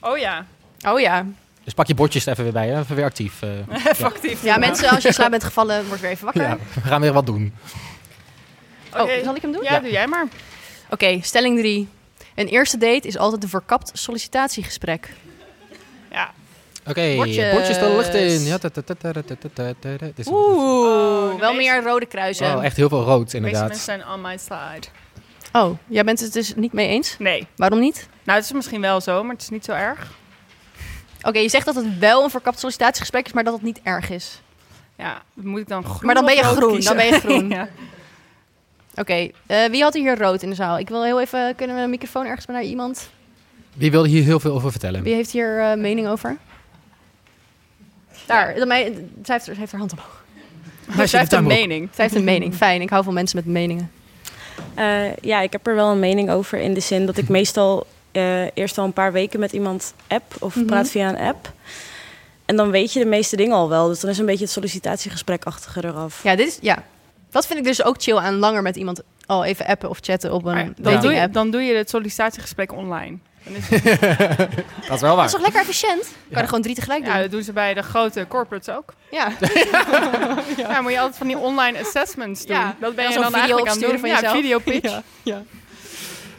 C: Oh ja.
A: Oh ja.
B: Dus pak je bordjes er even weer bij. Hè? Even weer actief. eh.
C: Even
B: ja.
C: actief.
A: Ja, mensen, als je in slaap bent gevallen, word weer even wakker.
B: Ja, we gaan weer wat doen.
A: Oh, zal ik hem doen?
C: Ja, Ja. doe jij maar.
A: Oké, stelling 3. Een eerste date is altijd een verkapt sollicitatiegesprek.
C: Ja.
B: Oké,
A: Bordjes.
B: bordjes de lucht in. Ja, ta- ta- ta- ta- ta- ta- ta- ta- ta- Dit is
A: Oeh, Oh, wel meer rode kruisen.
B: oh, echt heel veel rood,
C: De meeste mensen
B: inderdaad.
C: zijn on my side.
A: Oh, jij bent het dus niet mee eens?
C: Nee.
A: Waarom niet?
C: Nou, het is misschien wel zo, maar het is niet zo erg.
A: Oké, je zegt dat het wel een verkapt sollicitatiegesprek is, maar dat het niet erg is.
C: Ja, moet ik dan groen
A: maar dan ben je
C: of rood
A: groen. Dan
C: kiezen?
A: ben je groen.
C: Ja.
A: Oké, eh, wie had hier rood in de zaal? Ik wil heel even, kunnen we een microfoon ergens bij naar iemand?
B: Wie wilde hier heel veel over vertellen?
A: Wie heeft hier eh, mening over? Daar, dat mij, zij, heeft, zij heeft haar hand omhoog.
K: Meisje in de tuinbroek.
A: Zij heeft een mening. Fijn, ik hou van mensen met meningen.
O: Eh, ja, ik heb er wel een mening over in de zin dat ik meestal eh, eerst al een paar weken met iemand app of
A: Mhm.
O: praat via een app. En dan weet je de meeste dingen al wel. Dus dan is een beetje het sollicitatiegesprekachtige eraf.
A: Ja, dit is, ja, dat vind ik dus ook chill aan langer met iemand al even appen of chatten op een
C: Dan, doe je,
A: dating-app.
C: dan doe je het sollicitatiegesprek online. Dan is het-
B: Dat is wel
A: Dat
B: waar.
A: is toch lekker efficiënt? Kan je er gewoon drie tegelijk doen.
C: Ja, dat doen ze bij de grote corporates ook.
A: Ja.
C: ja. moet je altijd van die online assessments doen.
A: Ja.
C: Dat ben
A: Ja,
C: je
A: zo'n
C: dan
A: video
C: eigenlijk aan het
A: opsturen
C: doen.
A: van
C: ja,
A: jezelf.
C: video pitch.
A: Ja,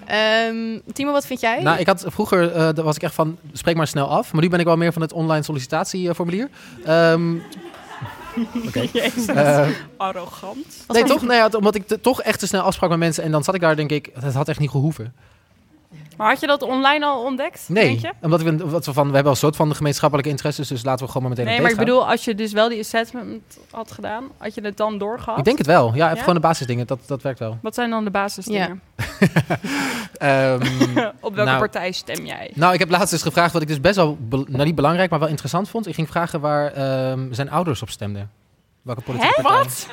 A: Ehm, Timo, wat vind jij?
B: Nou, ik had vroeger, eh, daar was ik echt van, spreek maar snel af. Maar nu ben ik wel meer van het online sollicitatieformulier. Ehm Oké.
C: Jezus.
B: Eh,
C: Arrogant.
B: nee, toch? Nee, ja, omdat ik te- toch echt te snel afsprak met mensen. En dan zat ik daar, denk ik, dat had echt niet gehoeven.
C: Maar had je dat online al ontdekt?
B: Nee,
C: Denk je?
B: omdat we, wat we, van, we hebben al een soort van de gemeenschappelijke interesses. Dus laten we gewoon maar meteen
C: Nee,
B: op
C: maar
B: date
C: ik
B: gaan.
C: bedoel, als je dus wel die assessment had gedaan, had je het dan doorgehad?
B: Ik denk het wel. Ja, even
C: Ja?
B: gewoon de basisdingen. Dat, dat werkt wel.
C: Wat zijn dan de basisdingen?
B: Ehm,
C: Op welke
B: nou,
C: partij stem jij?
B: Nou, ik heb laatst eens gevraagd wat ik dus best wel, be- nou niet belangrijk, maar wel interessant vond. Ik ging vragen waar ehm, zijn ouders op stemden. Welke politieke
C: Hè?
B: partij.
C: Wat?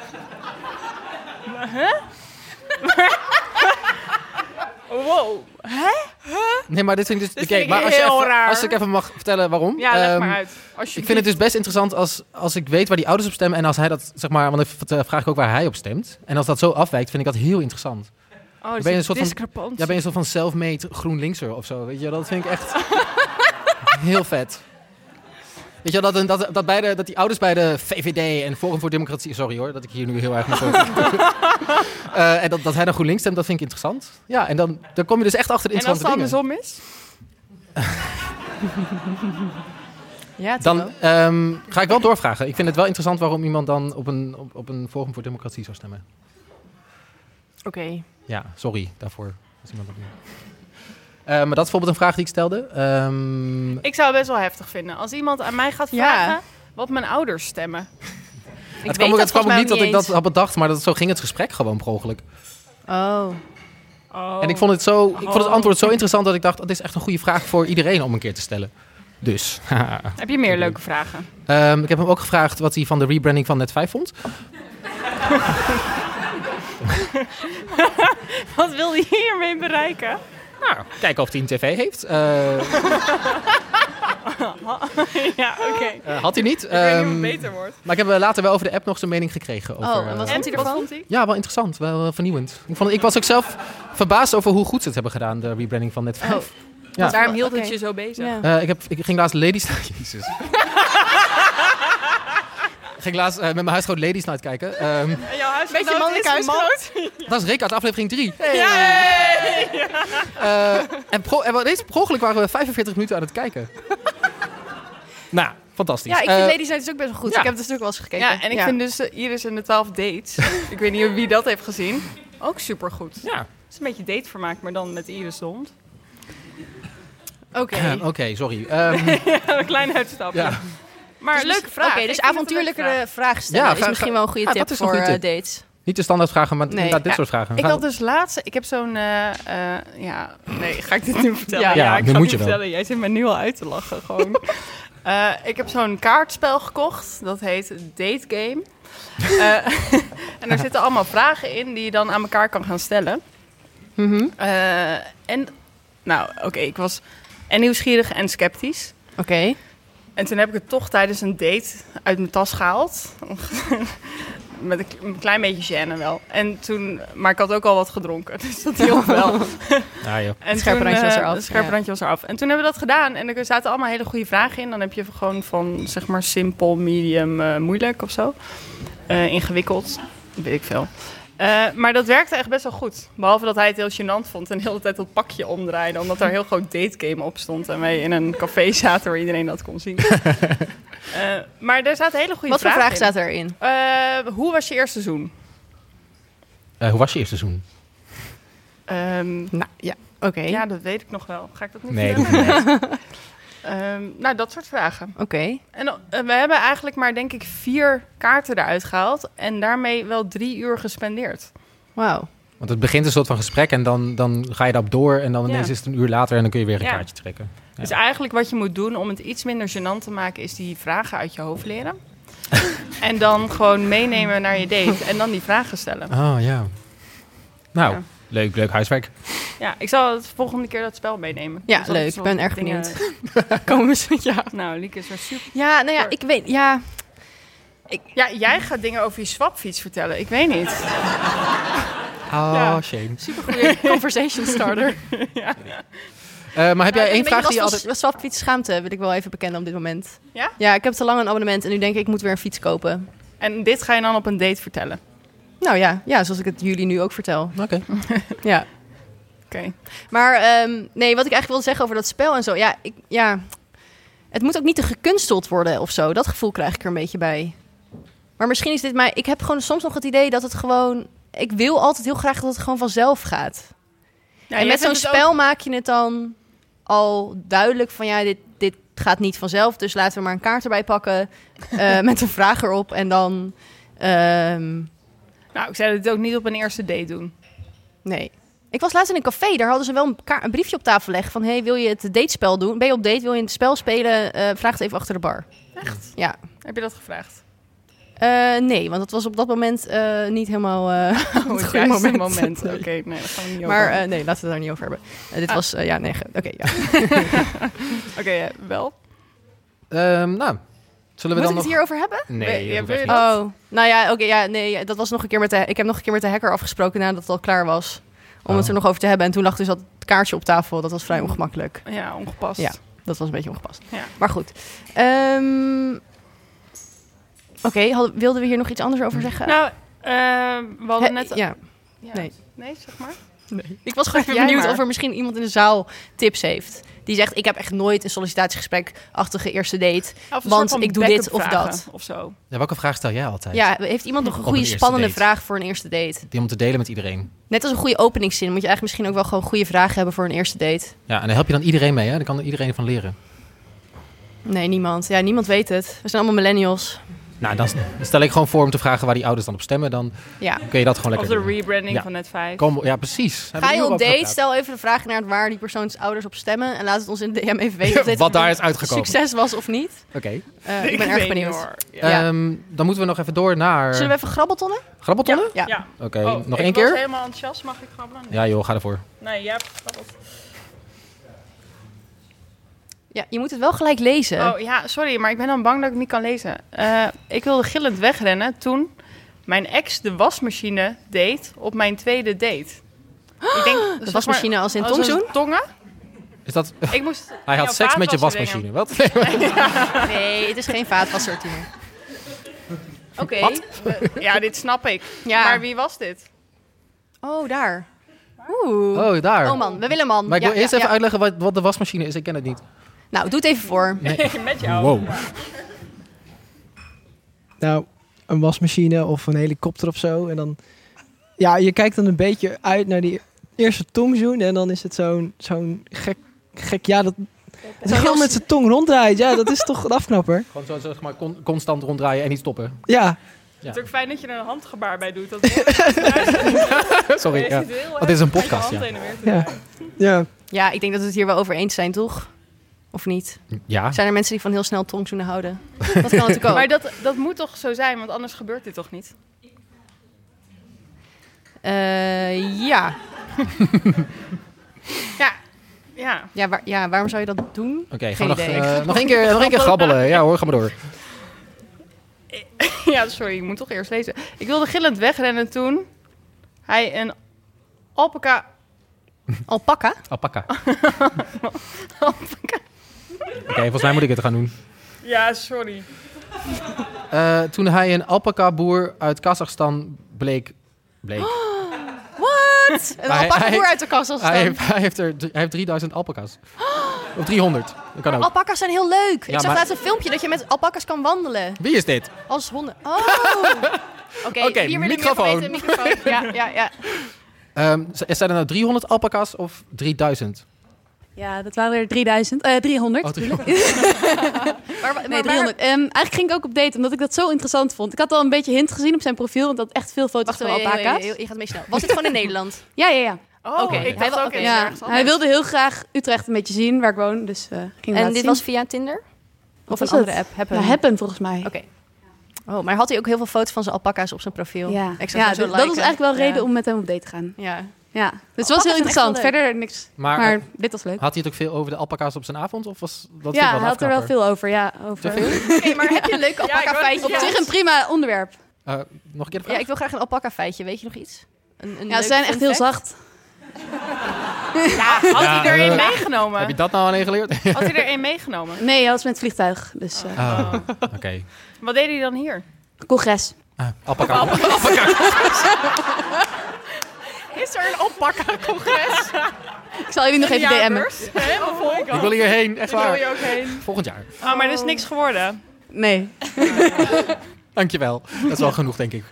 C: Huh? wow. Hè?
B: Nee, maar dit vind ik dus...
C: Dit
B: Kijk,
C: vind ik
B: maar als, je
C: heel
B: even-
C: raar.
B: als ik even mag vertellen waarom.
C: Ja, leg
B: Ehm,
C: maar uit.
B: Ik vind het dus best interessant als, als ik weet waar die ouders op stemmen. En als hij dat, zeg maar, want dan v- vraag ik ook waar hij op stemt. En als dat zo afwijkt, vind ik dat heel interessant.
C: Oh,
B: Dan
C: er
B: ben je
C: zit
B: een soort van,
C: discrepantie.
B: ja, ben je een soort van self-made GroenLinkser of zo. Weet je, dat vind ik echt heel vet. Weet je, dat, een- dat, dat, beide, dat die ouders bij de VVD en Forum voor Democratie... Sorry hoor, dat ik hier nu heel erg moet over... Eh, en dat, dat hij naar GroenLinks stemt, dat vind ik interessant. Ja, en dan, dan kom je dus echt achter de
C: En als
B: interessante
C: het
B: dingen.
C: andersom is?
A: ja,
B: Dan
A: Timo.
B: ehm, ga ik wel doorvragen. Ik vind het wel interessant waarom iemand dan op een, op, op een Forum voor Democratie zou stemmen.
A: Oké.
B: Ja, sorry daarvoor. Als iemand dat doet. Eh, maar dat is bijvoorbeeld een vraag die ik stelde. Ehm,
C: Ik zou het best wel heftig vinden. Als iemand aan mij gaat
A: Ja.
C: vragen wat mijn ouders stemmen.
B: het kwam, ook- het kwam ook niet dat ik dat had bedacht, maar dat, zo ging het gesprek gewoon per ongeluk.
A: Oh.
C: Oh.
B: En ik vond, het zo, ik vond het antwoord zo interessant dat ik dacht, dat dit is echt een goede vraag voor iedereen om een keer te stellen. Dus. haha.
C: Heb je meer leuke vragen?
B: Ehm, ik heb hem ook gevraagd wat hij van de rebranding van Net5 vond.
C: Wat wil je hiermee bereiken?
B: Nou, kijken of hij een tv heeft. Eh,
C: ja, oké.
B: Eh, had hij niet.
C: Ik weet niet hoe het
B: ehm,
C: beter wordt.
B: Maar ik heb eh, later wel over de app nog zijn mening gekregen. Over,
A: Oh, en wat
B: eh,
A: vond hij ervan?
B: Ja, wel interessant. Wel eh, vernieuwend. Ik, vond, ik was ook zelf verbaasd over hoe goed ze het hebben gedaan, de rebranding van Net5.
A: Oh.
B: Ja.
C: Dus Daarom hield het je zo bezig.
B: Eh, ik, heb, ik ging laatst Ladies Night... Jezus. Ik ging laatst eh, met mijn huisgenoot Ladies Night kijken. Ehm,
C: En jouw huisgenoot
A: Beetje mannelijk
C: is een man.
A: huisgenoot.
B: dat is Rick uit aflevering 3.
C: Yay! Eh,
B: en pro, en deze per ongeluk waren we 45 minuten aan het kijken. nou, fantastisch.
A: Ja, ik vind
B: Eh,
A: Lady Night dus ook best wel goed.
B: ja.
A: Ik heb het dus ook wel eens gekeken.
C: Ja, en ik vind dus eh, Iris en de 12 dates. ik weet niet wie dat heeft gezien. Ook supergoed.
B: Ja.
C: Het is een beetje datevermaak, maar dan met Iris de hond. Oké.
B: Oké, sorry. Ehm,
C: een klein uitstapje.
B: Ja.
C: Maar
A: Dus
C: leuke
A: mis-
C: vraag.
A: Oké, dus
C: Ik vind het een leuke
A: avontuurlijkere
C: vraag.
A: vragen stellen
B: Ja,
A: is
B: ga-
A: misschien
B: ga-
A: wel een goede
B: ja,
A: tip
B: dat is een
A: voor
B: goede
A: eh,
B: tip.
A: dates.
B: niet de standaardvragen, maar
A: Nee.
B: inderdaad dit
A: Ja,
B: soort vragen.
C: Ik
B: Ga-
C: had dus laatst, ik heb zo'n, eh, eh, ja, nee, ga ik dit nu vertellen?
B: Ja,
C: Ja,
B: ja,
C: ik
B: nu
C: ga het
B: moet
C: niet
B: je wel.
C: vertellen. Jij zit me nu al uit te lachen, gewoon. Eh, ik heb zo'n kaartspel gekocht. Dat heet Date Game. Eh, en daar zitten allemaal vragen in die je dan aan elkaar kan gaan stellen.
B: Mhm.
C: Eh, en, nou, oké, ik was en nieuwsgierig en sceptisch.
A: Oké.
C: En toen heb ik het toch tijdens een date uit mijn tas gehaald. Met een k- een klein beetje gêne wel. En toen, maar ik had ook al wat gedronken, dus dat hielp wel.
B: Ja, joh.
C: En
A: Het Ah, scherpe
C: toen,
A: randje was
C: eh,
A: eraf,
C: Het scherpe
A: ja.
C: randje was eraf. En toen hebben we dat gedaan. En er zaten allemaal hele goede vragen in. Dan heb je gewoon van, zeg maar, simpel, medium, eh, moeilijk of zo. Eh, ingewikkeld, weet ik veel. Eh, maar dat werkte echt best wel goed. Behalve dat hij het heel gênant vond en de hele tijd dat pakje omdraaide. Omdat daar een heel groot dategame op stond. En wij in een café zaten waar iedereen dat kon zien. Eh, maar daar zaten hele goede
A: Wat voor
C: vragen
A: vraag staat
C: in.
A: erin?
C: Eh, hoe was je eerste seizoen?
B: Eh, hoe was je eerste seizoen?
C: nou,
A: Ehm, ja, oké.
C: Ja, dat weet ik nog wel. Ga ik dat nu
B: Nee,
C: vertellen?
B: dat
C: Ehm, nou, dat soort vragen.
A: Oké.
C: En dan, eh, we hebben eigenlijk maar, denk ik, vier kaarten eruit gehaald. En daarmee wel drie uur gespendeerd.
A: Wauw.
B: Want het begint een soort van gesprek en dan, dan ga je daarop door en dan
C: Ja.
B: ineens is het een uur later en dan kun je weer een
C: Ja.
B: kaartje trekken. Ja.
C: Dus eigenlijk wat je moet doen om het iets minder gênant te maken... is die vragen uit je hoofd leren. en dan gewoon meenemen naar je date. En dan die vragen stellen.
B: Oh ja. Nou,
C: Ja.
B: leuk, leuk huiswerk.
C: Ja, ik zal het volgende keer dat spel meenemen.
A: Ja,
C: Dus dat
A: leuk.
C: is
A: Ik
C: wat
A: ben erg
C: dingen-
A: benieuwd. Komen we zo, ja.
C: Nou, Lieke is er super.
A: Ja, nou ja, ik weet, ja.
C: Ja, jij gaat dingen over je swapfiets vertellen. Ik weet niet.
B: Oh,
C: Ja.
B: shame.
A: Supergoeie conversation starter.
C: ja.
B: Eh,
A: Nou,
B: maar heb jij één vraag die je altijd...
A: Was swap fiets schaamte, wil ik wel even bekennen op dit moment.
C: Ja?
A: Ja, ik heb te lang een abonnement en nu denk ik, ik moet weer een fiets kopen.
C: En dit ga je dan op een date vertellen?
A: Nou ja, ja zoals ik het jullie nu ook vertel.
B: Oké.
A: ja.
C: Oké.
A: Maar ehm, nee, wat ik eigenlijk wil zeggen over dat spel en zo. Ja, ik, ja, het moet ook niet te gekunsteld worden of zo. Dat gevoel krijg ik er een beetje bij. Maar misschien is dit mij... Ik heb gewoon soms nog het idee dat het gewoon... Ik wil altijd heel graag dat het gewoon vanzelf gaat.
C: Ja,
A: en
C: jij
A: met zo'n
C: vindt het ook-
A: spel maak je het dan al duidelijk van... Ja, dit, dit gaat niet vanzelf. Dus laten we maar een kaart erbij pakken eh, met een vraag erop. En dan... ehm,
C: Nou, ik zou dit ook niet op een eerste date doen.
A: Nee. Ik was laatst in een café, daar hadden ze wel een, ka- een briefje op tafel leggen van... hey, wil je het datespel doen? Ben je op date? Wil je het spel spelen? Eh, vraag het even achter de bar.
C: Echt?
A: Ja.
C: Heb je dat gevraagd?
A: Eh, nee, want dat was op dat moment eh, niet helemaal eh,
C: Oh, het
A: het goede
C: juiste
A: moment.
C: moment. Oké, nee, dat gaan we niet over
A: Maar
C: hebben.
A: eh, nee, laten we het daar niet over hebben. Eh, dit
C: Ah.
A: was, eh, ja, nee, ge- oké, ja.
C: Oké,
A: eh,
C: ja, wel.
B: Ehm, nou, zullen
A: Moet
B: we dan
A: ik
B: nog...
A: het hierover hebben?
B: Nee, dat hoeft echt niet.
A: Oh, nou ja, oké, ja, nee, dat was nog een keer met de... Ik heb nog een keer met de hacker afgesproken nadat het al klaar was. Om
B: Oh.
A: het er nog over te hebben. En toen lag dus dat kaartje op tafel. Dat was vrij ongemakkelijk.
C: Ja, ongepast.
A: Ja, dat was een beetje ongepast.
C: Ja.
A: Maar goed. Ehm, Oké, hadden- wilden we hier nog iets anders over zeggen?
C: Nou, eh, we hadden
A: Hè,
C: net...
A: ja.
C: Ja,
A: Nee.
C: Nee, zeg maar.
A: Nee. Ik was gewoon even
C: Jij
A: benieuwd
C: maar.
A: of er misschien iemand in de zaal tips heeft. Die zegt, ik heb echt nooit een sollicitatiegesprek-achtige eerste date.
C: Of een soort
A: want
C: van
A: ik doe dit of
C: backup
A: dat.
C: vragen Of zo.
B: Ja, welke vraag stel jij altijd?
A: Ja, heeft iemand nog een
B: Op
A: goede,
B: een eerste
A: spannende
B: date.
A: vraag voor een eerste date?
B: Die om te delen met iedereen.
A: Net als een goede openingszin moet je eigenlijk misschien ook wel gewoon goede vragen hebben voor een eerste date.
B: Ja, en daar help je dan iedereen mee, hè? Daar kan er iedereen van leren.
A: Nee, niemand. Ja, niemand weet het. We zijn allemaal millennials.
B: Nou, dan stel ik gewoon voor om te vragen waar die ouders dan op stemmen. Dan
A: Ja.
B: kun je dat gewoon
C: Of
B: lekker
C: de
B: doen.
C: rebranding
B: Ja.
C: van net 5.
B: Kom, ja, precies. Hebben
A: Ga
B: we
A: je
B: hier
A: op
B: over
A: date,
B: gepraat?
A: stel even de vraag naar waar die persoons ouders op stemmen. En laat het ons in de DM even weten of dit
B: Wat daar is uitgekomen.
A: succes was of niet.
B: Oké.
A: Eh, ik
C: Ik
A: ben
C: weet
A: erg
C: niet,
A: benieuwd.
C: hoor.
A: Ja.
B: Ehm, dan moeten we nog even door naar...
A: Zullen we even grabbeltonnen?
B: Grabbeltonnen?
A: Ja.
C: Ja.
B: Oké,
C: Oh,
B: nog
C: ik
B: één
C: was
B: keer?
C: helemaal enthousiast. Mag ik grabbelen?
B: Ja joh, ga ervoor.
C: Nee, jij hebt gegrabbeld.
A: Ja, je moet het wel gelijk lezen.
C: Oh ja, sorry, maar ik ben dan bang dat ik het niet kan lezen. Eh, ik wilde gillend wegrennen toen mijn ex de wasmachine deed op mijn tweede date. Ik denk, zeg maar,
A: wasmachine als
B: Oh,
A: in
C: een
A: tongzoen?
C: Tongen?
B: Is dat...
C: Ik moest
B: Hij
C: jouw
B: had seks met je
C: vaatwasser
B: wasmachine.
C: dingen.
B: Wat? Nee, maar-
A: Nee, het is geen vaatwasser, Tine. Oké.
C: Wat? Eh, ja, dit snap ik.
A: Ja.
C: Maar wie was dit?
A: Oh, daar. Oeh.
B: Oh, daar.
A: Oh man, we willen man.
B: Maar ik wil
A: Ja,
B: eerst
A: ja,
B: even
A: ja.
B: uitleggen wat, wat de wasmachine is. Ik ken het niet.
A: Nou, doe het even voor.
B: Nee.
C: met
B: Wow.
P: Nou, een wasmachine of een helikopter of zo. En dan, ja, je kijkt dan een beetje uit naar die eerste tongzoen. En dan is het zo'n zo'n gek, gek, ja, dat. Het heel met zijn tong ronddraait. Ja, dat is toch een afknapper.
B: Gewoon zo zeg maar con- constant ronddraaien en niet stoppen.
P: Ja,
C: Het is ook fijn dat je er een handgebaar bij doet. Dat hoort.
B: Sorry,
C: Je
B: ja.
C: zit heel
B: Want
C: erg
B: dit is een
C: met je
B: podcast,
C: hand
B: ja.
C: heen en weer te
P: ja.
A: Ja, ik denk dat we het hier wel over eens zijn, toch? Of niet?
B: Ja.
A: Zijn er mensen die van heel snel tongzoenen houden? Dat kan natuurlijk ook.
C: Maar dat, dat moet toch zo zijn, want anders gebeurt dit toch niet?
A: Eh, ja.
C: ja. Ja.
A: Ja, waar- ja, waarom zou je dat doen?
B: Oké, gaan
A: Geen
B: we nog,
A: idee.
B: eh, nog één keer, nog één keer grabbelen. Ja hoor, ga maar door.
C: ja, sorry, ik moet toch eerst lezen. Ik wilde gillend wegrennen toen hij een alpaca...
A: Alpaca?
B: Alpaca.
C: alpaca.
B: Oké, volgens mij moet ik het gaan doen.
C: Ja, sorry.
B: Eh, toen hij een alpaca-boer uit Kazachstan bleek... bleek.
A: Wat? Een
B: Maar hij-
A: alpaca boer
B: hij-
A: uit de kast als
B: Hij heeft, hij, heeft er, hij heeft 3000 alpaca's. Of 300. Dat kan ook.
A: Alpaca's zijn heel leuk.
B: Ja,
A: ik zag
B: maar-
A: laatst een filmpje dat je met alpaca's kan wandelen.
B: Wie is dit?
A: Als honden. Oh! Oké,
B: Oké,
A: hier wil ik meer van
B: microfoon.
A: weten. microfoon. Ja, ja, ja.
B: Ehm, z- zijn er nou 300 alpaca's of 3000?
O: Ja, dat waren er 3000. eh 300.
B: Oh,
O: natuurlijk.
A: Maar, wa-
O: nee,
A: maar
O: 300. Ehm, eigenlijk ging ik ook op date, omdat ik dat zo interessant vond. Ik had al een beetje hint gezien op zijn profiel, want dat echt veel
A: Wacht
O: foto's van
A: even, heel- heel-
O: alpaca's.
A: heel- je gaat mee snel. Was dit gewoon in Nederland?
O: Ja, ja, ja.
A: Oh, Oké, ik dacht
O: wil-
A: ook
O: oké.
A: ergens
O: ja,
A: anders.
O: Hij wilde heel graag Utrecht een beetje zien, waar ik woon. Dus, eh, ging hem
A: En
O: laten
A: dit
O: zien.
A: was via Tinder? Of
O: Wat
A: een
O: was
A: andere
O: het?
A: app? Happen?
O: Ja, Happen, volgens mij. Oké.
A: Oh, maar had hij ook heel veel foto's van zijn alpaca's op zijn profiel?
O: Ja,
A: ik zou
O: ja
A: het zo
O: d- dat is
A: liken.
O: eigenlijk wel
A: Ja.
O: reden om met hem op date te gaan.
A: Ja.
O: Ja,
Q: Oh,
O: dus het
A: Alpaca's
O: was
A: zijn
O: heel
A: echt
O: interessant.
A: wel leuk.
O: Verder niks. Maar, dit was leuk.
B: Had hij het ook veel over de alpaca's op zijn avond? Of was dat
O: ja, hij had er wel veel over. Ja, over.
A: Oké, maar heb je een leuke alpaca feitje?
O: Op zich een prima onderwerp.
B: over. Eh, nog een keer de vraag?
A: Ja, ik wil graag een alpaca feitje. Weet je nog iets? Een, een
O: Ja,
A: leuk
O: ze zijn
A: fun
O: echt heel
A: fact?
O: zacht.
C: Ja, Oh, had hij er
B: eh,
C: één meegenomen?
B: Heb je dat nou alleen geleerd?
C: Had hij er één meegenomen?
O: Nee, hij was met het vliegtuig. Dus eh,
B: Oh, Oké.
C: Wat deed hij dan hier?
O: congres.
B: Ah,
C: Ah,
B: Alpaca.
C: Is er een alpaca-congres?
O: Ik zal jullie nog even DM'en.
B: Ik wil hierheen, echt waar.
C: Oh Ik wil hier ook heen.
B: Volgend jaar.
C: Oh, maar er is niks geworden.
O: Nee.
B: Dankjewel. Dat is wel genoeg, denk ik.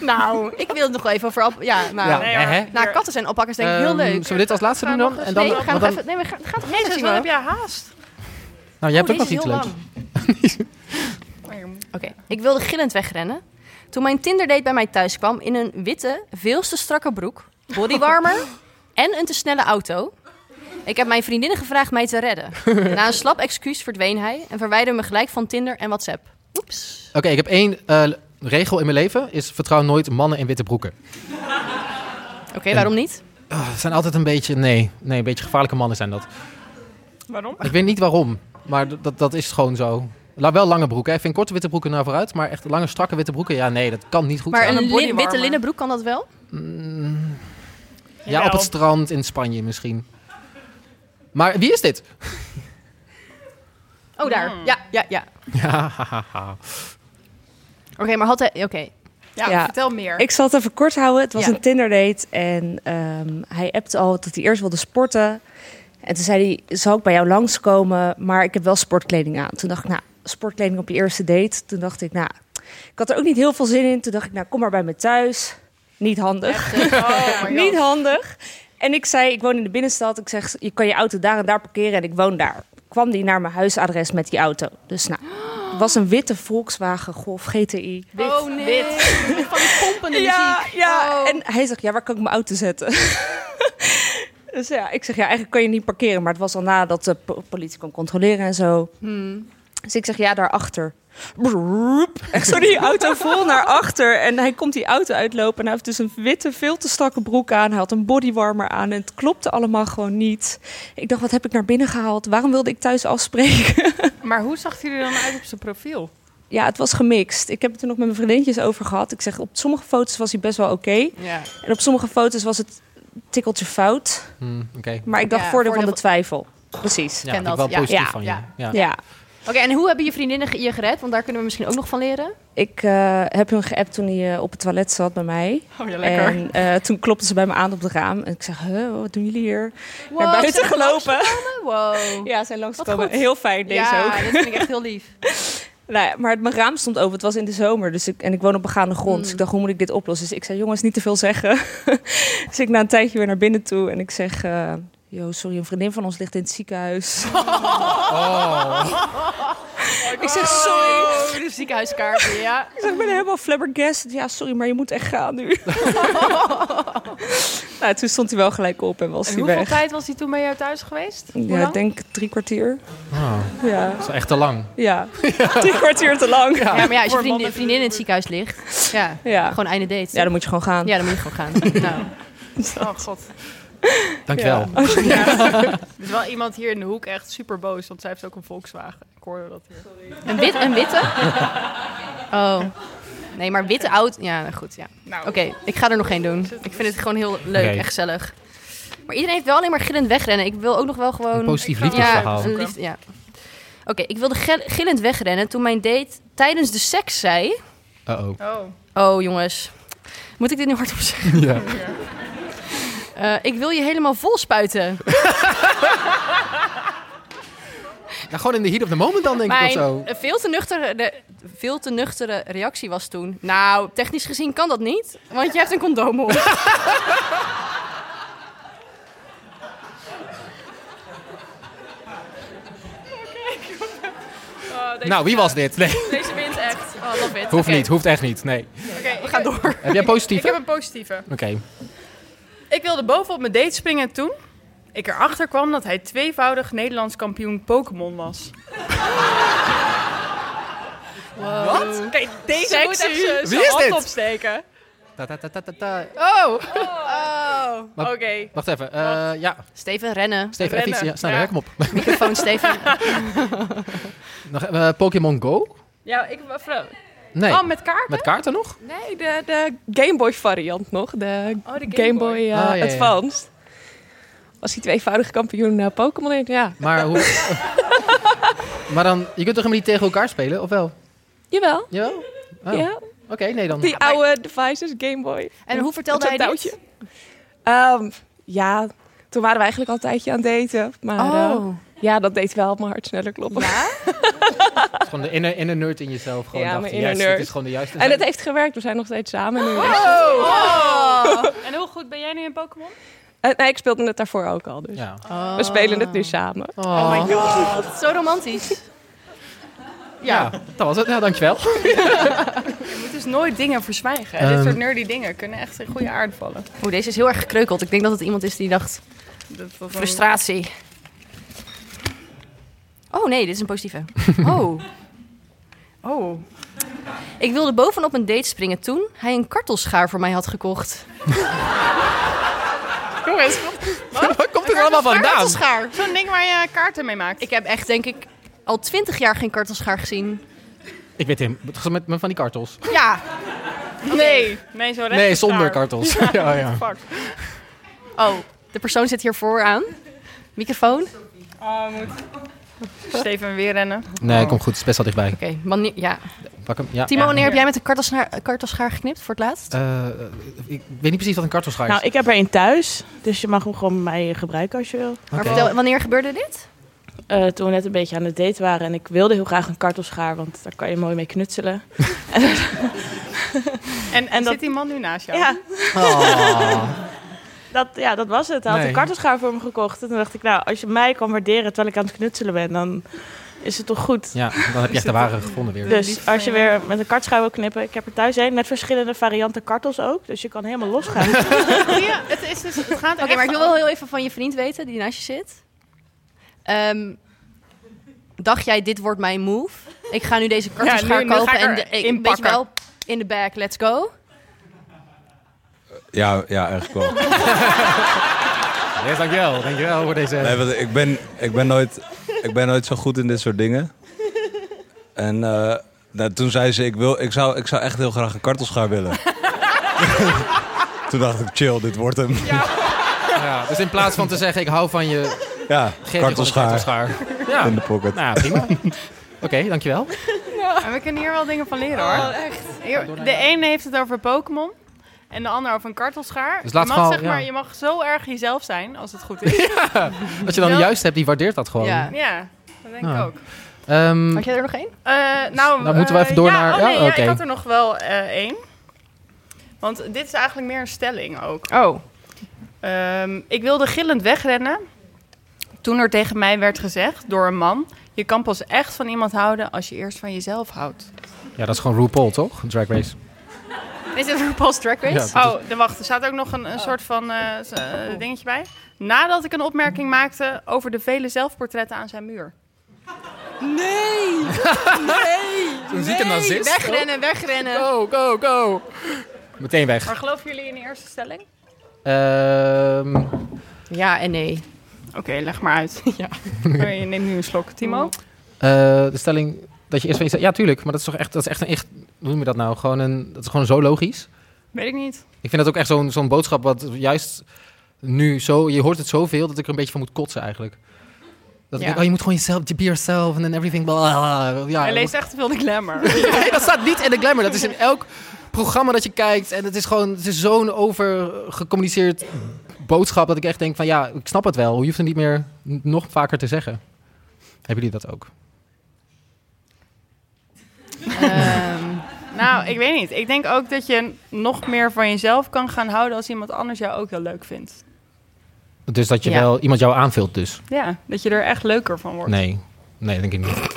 A: Nou, ik wil het nog wel even over alpaca. Ja, nou,
B: Ja, Nee, hè, hoor. hè?
A: nou, katten zijn alpaca's denk ik heel
B: Ehm,
A: leuk.
B: Zullen we dit als laatste doen dan? En dan,
A: nee, we gaan nog
B: want dan
A: even... Nee, we gaan, gaan toch
C: Jezus,
A: verder,
C: wat heb
A: Timo?
C: jij haast?
B: nou, jij hebt
A: Oh,
B: ook nog
A: deze
B: iets
A: is
B: leuks.
A: heel Oké, ik wilde gillend wegrennen. Toen mijn Tinder-date bij mij thuis kwam in een witte, veel te strakke broek, bodywarmer en een te snelle auto. Ik heb mijn vriendinnen gevraagd mij te redden. Na een slap excuus verdween hij en verwijderde me gelijk van Tinder en WhatsApp. Oeps.
B: Oké, ik heb één eh, regel in mijn leven. Is vertrouw nooit mannen in witte broeken.
A: Oké, waarom niet?
B: Ah, Het zijn altijd een beetje... Nee, nee, een beetje gevaarlijke mannen zijn dat.
C: Waarom?
B: Ik weet niet waarom, maar d- dat, dat is gewoon zo. La, wel lange broeken. Hè. Ik vind korte witte broeken nou vooruit, maar echt lange, strakke witte broeken... Ja, nee, dat kan niet goed
A: Maar
B: zijn.
A: een lin- witte linnenbroek kan dat wel?
B: Mm, ja,
A: Jawel.
B: op het strand in Spanje misschien. Maar wie is dit?
A: Oh, daar. Ja, ja, ja.
B: Ja, hahaha.
A: Oké, maar had hij... Oké.
Q: Ik zal het even kort houden. Het was
A: Ja.
Q: een Tinder-date en ehm, hij appte al dat hij eerst wilde sporten. En toen zei hij, zal ik bij jou langskomen? Maar ik heb wel sportkleding aan. Toen dacht ik, nou, sportkleding op je eerste date. Toen dacht ik, nou, ik had er ook niet heel veel zin in. Toen dacht ik, nou, kom maar bij me thuis. Niet handig. niet handig. En ik zei, ik woon in de binnenstad. Ik zeg, je kan je auto daar en daar parkeren en ik woon daar. Kwam die naar mijn huisadres met die auto. Dus nou, het was een witte Volkswagen Golf GTI.
A: Oh, nee. Van die pompende
Q: Ja,
A: muziek. Oh.
Q: ja. En hij zegt, ja, waar kan ik mijn auto zetten? dus ja, ik zeg, ja, eigenlijk kan je niet parkeren. Maar het was al nadat de po- politie kon controleren en zo.
M: Hmm.
Q: Dus ik zeg, ja, daarachter. Broep. Echt zo die auto vol naar achter. En hij komt die auto uitlopen. En hij heeft dus een witte, veel te strakke broek aan. Hij had een bodywarmer aan. En het klopte allemaal gewoon niet. Ik dacht, wat heb ik naar binnen gehaald? Waarom wilde ik thuis afspreken?
C: Maar hoe zag hij er dan uit op zijn profiel?
Q: Ja, het was gemixt. Ik heb het er nog met mijn vriendinnetjes over gehad. Ik zeg, op sommige foto's was hij best wel oké.
C: Ja.
Q: En op sommige foto's was het tikkeltje fout.
B: Hmm, Oké.
Q: Maar ik dacht
A: Ja,
Q: voordeel van
A: voordeel
Q: de twijfel. Precies.
B: Ja, Ken dat. dat. Wel positief van je. Ja.
Q: Ja.
A: Oké, en hoe hebben je vriendinnen ge- je gered? Want daar kunnen we misschien ook nog van leren.
Q: Ik eh, heb hun geappt toen hij eh, op het toilet zat bij mij.
A: Oh, ja, lekker.
Q: En eh, toen klopte ze bij me aan op het raam. En ik zeg, huh, wat doen jullie hier? Naar buiten
A: zijn ze
Q: gelopen.
A: langsgekomen? Wow.
Q: Ja, zijn
A: langsgekomen.
Q: Komen. Heel fijn, deze
A: ja,
Q: ook.
A: dat vind ik echt heel lief.
Q: Nou ja, maar het- mijn raam stond open. Het was in de zomer. Dus ik, en ik woon op begaande grond.
C: Mm.
Q: Dus ik dacht, hoe moet ik dit oplossen? Dus ik zei, jongens, niet te veel zeggen. dus ik na een tijdje weer naar binnen toe. En ik zeg, eh, Yo, sorry, een vriendin van ons ligt in het ziekenhuis.
B: Oh.
A: ik zeg sorry. De ziekenhuiskaartje, ja.
Q: Ik zeg, ik ben helemaal flabbergasted. Ja, sorry, maar je moet echt gaan nu. nou, toen stond hij wel gelijk op en was
C: En
Q: hij
C: hoeveel
Q: weg.
C: tijd was hij toen bij jou thuis geweest? Hoe
Q: Ja,
C: lang?
Q: ik denk drie kwartier. Ja.
B: Dat Oh. is wel echt te lang.
Q: Ja, drie kwartier te lang.
A: Ja, maar ja, als je vriendin, vriendin in het ziekenhuis ligt, ja,
Q: Ja.
A: gewoon einde date.
Q: Ja, dan moet je gewoon gaan.
A: Ja, dan moet je gewoon gaan. nou.
C: Oh god.
B: Dankjewel.
Q: Oh,
C: Ja. Er is wel iemand hier in de hoek echt super boos, want zij heeft ook een Volkswagen. Ik hoorde dat hier.
A: Een, wit, een witte? Oh. Nee, maar witte oud. Ja, nou goed. Ja.
C: Nou.
A: Oké, ik ga er nog geen doen. Ik vind het gewoon heel leuk
B: Oké.
A: en gezellig. Maar iedereen heeft wel alleen maar gillend wegrennen. Ik wil ook nog wel gewoon...
B: Een positief
A: Ik ga-
B: liefdesverhaal.
A: Ja, een liefde, ja. Oké, ik wilde gel- gillend wegrennen toen mijn date tijdens de seks zei...
B: Uh-oh.
A: Oh, jongens. Moet ik dit nu hardop zeggen?
B: Ja.
A: Eh, ik wil je helemaal vol spuiten.
B: Nou, gewoon in the heat of the moment dan, denk ik of
A: Mijn
B: zo.
A: eh, veel te, nuchtere, de, veel te nuchtere reactie was toen... Nou, technisch gezien kan dat niet, want je hebt een condoom op.
C: Eh,
B: Nou, wie was dit? Nee.
C: Deze wint echt. Oh, love it.
B: Hoeft
C: Oké.
B: niet, hoeft echt niet. Nee.
C: Oké, we gaan door.
B: Heb jij positieve?
C: Ik heb een positieve.
B: Oké.
C: Ik wilde bovenop mijn date springen toen ik erachter kwam dat hij tweevoudig Nederlands kampioen Pokémon was. Wat? Oké, Oh. deze
A: Sexy.
C: moet echt zijn-
B: Wie
C: zijn
B: is
C: hand
B: dit?
C: opsteken.
B: Ta -ta -ta -ta -ta -ta.
C: Oh! Oh! Oké.
B: Wat- Wacht even. eh, ja.
A: Steven, rennen.
B: Steven, even iets. Ja, snel, ja. kom op.
A: Microfoon, Steven.
B: Nog, eh, Pokémon Go?
M: Ja, ik...
C: eh,
M: Vrouw.
B: Nee.
M: Oh, met kaarten?
B: Met kaarten nog?
M: Nee, de, de Game Boy variant nog. De,
C: oh,
M: de
C: Game
M: Game
C: Boy.
M: Boy, eh,
B: Ah, ja, ja.
M: Advanced. Was hij tweevoudige kampioen eh, Pokémon? in? Ja,
B: Maar hoe... maar dan, je kunt toch helemaal niet tegen elkaar spelen, of wel?
M: jawel.
B: Jawel? Oh.
M: Ja.
B: Oké, nee dan. Ah,
M: Die oude devices, Game Boy.
A: En hoe vertelde
M: Met zo'n
A: hij dit?
M: touwtje. Ehm, ja, toen waren we eigenlijk al een tijdje aan het daten. Maar eh,
A: Oh.
M: ja, dat deed wel mijn hart sneller kloppen.
B: Het is Gewoon de inner, inner nerd in jezelf. Gewoon
M: Ja,
B: dacht,
M: mijn inner
B: yes,
M: nerd.
B: dit is gewoon de juiste.
M: En het heeft gewerkt. We zijn nog steeds samen. Nu
C: Oh. En hoe goed ben jij nu in Pokémon?
M: Eh, nee, ik speelde het daarvoor ook al. Dus.
B: Ja.
M: We spelen het nu samen.
B: Oh my
A: god. Zo romantisch.
B: Ja, dat was het. Ja, dankjewel.
C: Je moet dus nooit dingen verzwijgen. hè.
B: Ehm.
C: Dit soort nerdy dingen kunnen echt in goede aard vallen.
A: Oeh, deze is heel erg gekreukeld. Ik denk dat het iemand is die dacht...
C: Dat was een-
A: Frustratie. Oh nee, dit is een positieve. Oh. Oh. Ik wilde bovenop een date springen toen hij een kartelschaar voor mij had gekocht.
C: Jongens,
B: waar komt
C: dit
B: allemaal vandaan?
C: Kartelschaar. Zo'n ding waar je kaarten mee maakt.
A: Ik heb echt, denk ik, al twintig jaar geen kartelschaar gezien.
B: Ik weet hem. Het was Met, met van die kartels.
A: Ja.
C: Nee. Nee, zo recht
B: Nee,
C: is
B: zonder
C: daar.
B: kartels. Ja, ja.
C: Fuck.
A: Oh, de persoon zit hier vooraan. Microfoon.
C: Oh, moet... Steven weer rennen.
A: Oh.
B: Nee, komt goed. Het is best wel dichtbij.
A: Oké, wanneer, ja.
B: Pak hem. Ja.
A: Timo,
B: Ja.
A: wanneer heb jij met een kartelschaar, kartelschaar geknipt voor het laatst?
B: Eh, eh, ik weet niet precies wat een kartelschaar is.
R: Nou, ik heb er een thuis, dus je mag hem gewoon bij je gebruiken als je wil.
A: Maar vertel, wanneer gebeurde dit?
R: Eh, toen we net een beetje aan het date waren en ik wilde heel graag een kartelschaar, want daar kan je mooi mee knutselen.
C: En, en
R: dat-
C: zit die man nu naast jou?
R: Ja.
B: Oh.
R: Dat, ja, dat was het. Hij had
B: Nee.
R: een kartelschaar voor me gekocht. En toen dacht ik, nou, als je mij kan waarderen terwijl ik aan het knutselen ben, dan is het toch goed.
B: Ja, dan heb je echt de ware gevonden weer.
R: Dus als je weer met een kartschaar wil knippen, ik heb er thuis een met verschillende varianten kartels ook. Dus je kan helemaal losgaan.
C: Ja, het, is dus, het gaat
A: Oké, maar ik wil wel heel even van je vriend weten die naast je zit. Ehm, dacht jij, dit wordt mijn move? Ik ga nu deze kartelschaar
C: nu- nu ga
A: kopen
C: ik
A: en
C: er
A: de, ik,
C: in
A: weet je
C: pakken.
A: wel, in de bag, let's go.
S: Ja, ja, eigenlijk wel.
B: Yes, dankjewel. Dankjewel voor deze...
S: Nee, want ik, ben, ik, ben nooit, ik ben nooit zo goed in dit soort dingen. En eh, nou, toen zei ze, ik, wil, ik, zou, ik zou echt heel graag een kartelschaar willen. toen dacht ik, chill, dit wordt hem.
B: Ja, dus in plaats van te zeggen, ik hou van je...
S: Ja,
B: geef je gewoon een
S: kartelschaar.
B: kartelschaar. Ja.
S: In de pocket.
B: Nou, prima. Oké, dankjewel.
C: Maar we kunnen hier wel dingen van leren hoor.
B: Oh,
C: echt. de ene heeft het over Pokémon. En de ander over een kartelschaar.
B: Dus
C: je,
B: laat
C: mag,
B: gewoon-
C: zeg
B: ja.
C: maar, je mag zo erg jezelf zijn, als het goed is.
B: Ja, Als je dan
C: Wel-
B: juist hebt, die waardeert dat gewoon.
C: Ja, dat denk ik
B: Ja.
C: ook.
B: Ehm,
A: jij er nog één?
C: nou,
B: Nou, moeten we
C: eh,
B: even door
C: ja,
B: naar-
C: oh
B: ja,
C: nee,
B: oké.
C: ik had er nog wel eh, één. Want dit is eigenlijk meer een stelling ook.
A: Oh.
C: ik wilde Ehm, gillend wegrennen toen er tegen mij werd gezegd door een man... je kan pas echt van iemand houden als je eerst van jezelf houdt.
B: Ja, dat is gewoon RuPaul, toch? Drag Race.
C: Is dit RuPaul's Drag
B: Race? Ja, dat
C: oh, de wacht. Er staat ook nog een, een soort van eh, z- eh, dingetje bij. Nadat ik een opmerking maakte over de vele zelfportretten aan zijn muur.
M: Nee! Nee!
B: Een zieke nazist.
C: Wegrennen, wegrennen.
B: Go, go, go. Oh. Meteen weg.
C: Maar geloven jullie in de eerste stelling?
B: Ehm,
C: Ja Ah, en nee. Oké, leg maar uit. ja. Mm. Je neemt nu een slok. Timo?
B: eh, de stelling dat je eerst van jezelf... Ja, tuurlijk. Maar dat is toch echt, dat is echt een echt... Hoe noem je dat nou? Gewoon een, dat is gewoon zo logisch.
C: Weet ik niet.
B: Ik vind dat ook echt zo'n zo'n boodschap wat juist nu zo... Je hoort het zoveel dat ik er een beetje van moet kotsen eigenlijk.
C: Ja.
B: Dat ik denk, oh, je moet gewoon jezelf, be yourself and then everything. Blah, blah, blah. Ja,
C: Hij
B: dat
C: leest echt te veel de glamour.
B: nee, dat staat niet in de glamour. Dat is in elk programma dat je kijkt. En het is gewoon het is zo'n overgecommuniceerd boodschap dat ik echt denk van ja, ik snap het wel. Je hoeft het niet meer n- nog vaker te zeggen. Hebben jullie dat ook?
C: Ehm, nou, ik weet niet. Ik denk ook dat je nog meer van jezelf kan gaan houden als iemand anders jou ook heel leuk vindt.
B: Dus dat je
C: Ja.
B: wel iemand jou aanvult dus?
C: Ja, dat je er echt leuker van wordt.
B: Nee. Nee, denk ik niet.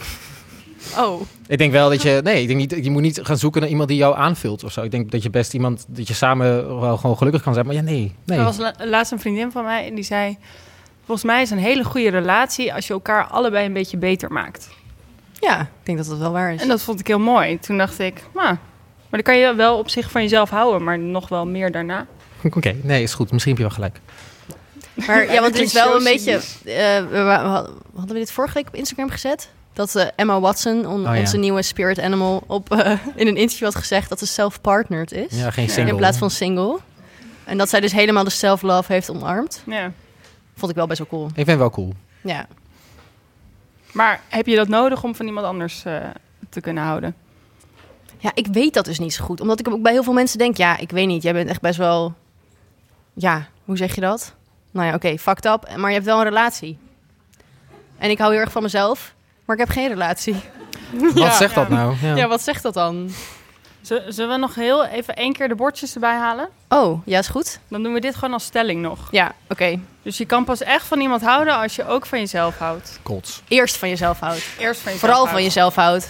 C: Oh,
B: Ik denk wel dat je... Nee, ik denk niet, je moet niet gaan zoeken naar iemand die jou aanvult of zo. Ik denk dat je best iemand... Dat je samen wel gewoon gelukkig kan zijn. Maar ja, nee. nee.
C: er was la- laatst een vriendin van mij en die zei... Volgens mij is een hele goede relatie als je elkaar allebei een beetje beter maakt.
A: Ja, ik denk dat dat wel waar is.
C: En dat vond ik heel mooi. Toen dacht ik, "Nou, maar dan kan je wel op zich van jezelf houden, maar nog wel meer daarna.
B: Oké, nee, is goed. Misschien heb je wel gelijk.
A: Maar ja, want
C: Eigenlijk
A: het is wel
C: zo
A: een beetje.
C: cynisch.
A: eh, we, wa- we hadden- hadden we dit vorige week op Instagram gezet? Dat eh, Emma Watson, on-
B: Oh ja.
A: onze nieuwe spirit animal, op, eh, in een interview had gezegd dat ze self-partnered is.
B: Ja, geen single,
A: In plaats
B: hè?
A: van single. En dat zij dus helemaal de self-love heeft omarmd.
C: Ja.
A: Vond ik wel best wel cool.
B: Ik vind het wel cool.
A: Ja.
C: Maar heb je dat nodig om van iemand anders eh, te kunnen houden?
A: ja, ik weet dat dus niet zo goed. Omdat ik ook bij heel veel mensen denk, ja, ik weet niet, jij bent echt best wel... Ja, hoe zeg je dat? Nou ja, oké, fucked up, maar je hebt wel een relatie. En ik hou heel erg van mezelf, maar ik heb geen relatie.
B: Wat zegt dat nou? Ja.
A: Ja. wat zegt dat dan?
C: Z- Zullen we nog heel even één keer de bordjes erbij halen?
A: Oh, ja, is goed.
C: Dan doen we dit gewoon als stelling nog.
A: Ja, oké.
C: Dus je kan pas echt van iemand houden als je ook van jezelf houdt.
B: Kots.
A: Eerst van jezelf houdt.
C: Eerst van jezelf
A: Vooral
C: houden.
A: van jezelf houdt.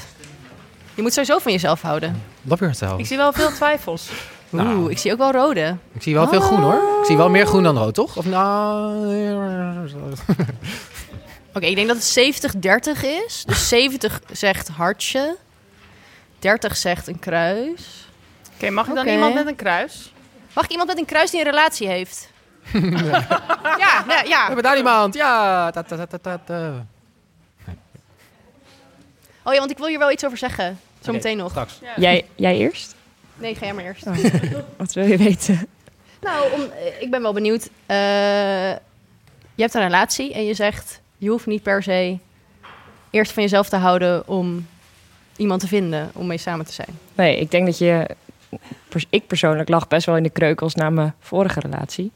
A: Je moet sowieso van jezelf houden.
B: Love yourself.
C: Oh. Ik zie wel veel twijfels. Nou.
A: Oeh, ik zie ook wel rode.
B: Ik zie wel veel groen hoor. Ik zie wel meer groen dan rood, toch? Of nou.
A: Oké, ik denk dat het 70-30 is. Dus 70 zegt hartje. 30 zegt een kruis.
C: Oké, mag ik dan iemand met een kruis?
A: Mag ik iemand met een kruis die een relatie heeft?
C: Ja, ja, ja.
B: We hebben daar iemand. Ja. ta, ta, ta, ta, ta, ta.
A: Oh ja, want ik wil hier wel iets over zeggen. Zometeen nog.
B: straks.
A: Ja.
O: Jij, Oh. jij eerst?
A: Nee, ga jij maar eerst.
O: Wat wil je weten?
A: nou, om, eh, ik ben wel benieuwd. Eh, je hebt een relatie en je zegt... je hoeft niet per se eerst van jezelf te houden... om iemand te vinden, om mee samen te zijn.
O: Nee, ik denk dat je... pers- Ik persoonlijk lag best wel in de kreukels na mijn vorige relatie.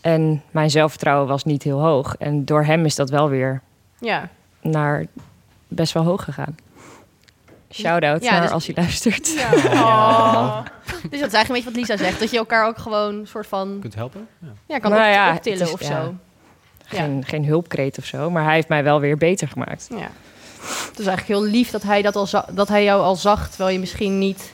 O: En mijn zelfvertrouwen was niet heel hoog. En door hem is dat wel weer
A: Ja.
O: naar best wel hoog gegaan. Shout-out
A: Ja,
O: naar
A: dus-
O: als hij luistert.
A: Oh. Dus dat is eigenlijk een beetje wat Lisa zegt. Dat je elkaar ook gewoon een soort van...
B: Kunt helpen?
A: Ja, kan
O: Nou
A: op,
O: ja,
A: optillen
O: het is-
A: of
O: ja.
A: zo.
O: Geen, geen hulpkreet of zo. Maar hij heeft mij wel weer beter gemaakt.
A: Ja. Het is eigenlijk heel lief dat hij, dat, al za- dat hij jou al zag... terwijl je misschien niet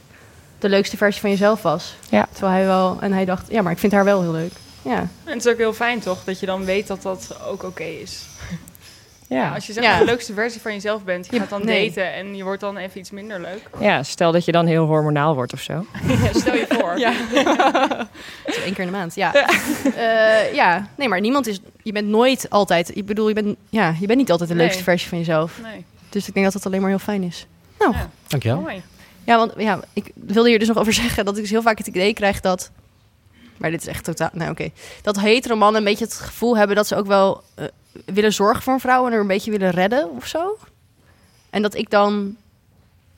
A: de leukste versie van jezelf was.
O: Ja.
A: Terwijl hij wel... En hij dacht, ja, maar ik vind haar wel heel leuk. Ja.
C: En het is ook heel fijn toch, dat je dan weet dat dat ook oké is.
O: Ja.
C: Als je zeg
A: Ja.
C: maar de leukste versie van jezelf bent, je
A: Je-
C: gaat dan
A: nee.
C: daten en je wordt dan even iets minder leuk.
O: Ja, stel dat je dan heel hormonaal wordt of zo.
C: Ja, stel je voor.
A: Ja. Zo één keer in de maand, ja. Eh, ja, nee, maar niemand is... Je bent nooit altijd... Ik bedoel, je bent, ja, je bent niet altijd de
C: Nee.
A: leukste versie van jezelf.
C: Nee.
A: Dus ik denk dat dat alleen maar heel fijn is. Nou,
B: Dankjewel.
C: Mooi.
A: Ja, want ja, ik wilde hier dus nog over zeggen dat ik dus heel vaak het idee krijg dat. Maar dit is echt totaal. Nou, oké. Dat hetero mannen een beetje het gevoel hebben dat ze ook wel eh, willen zorgen voor een vrouw en er een beetje willen redden of zo. En dat ik dan.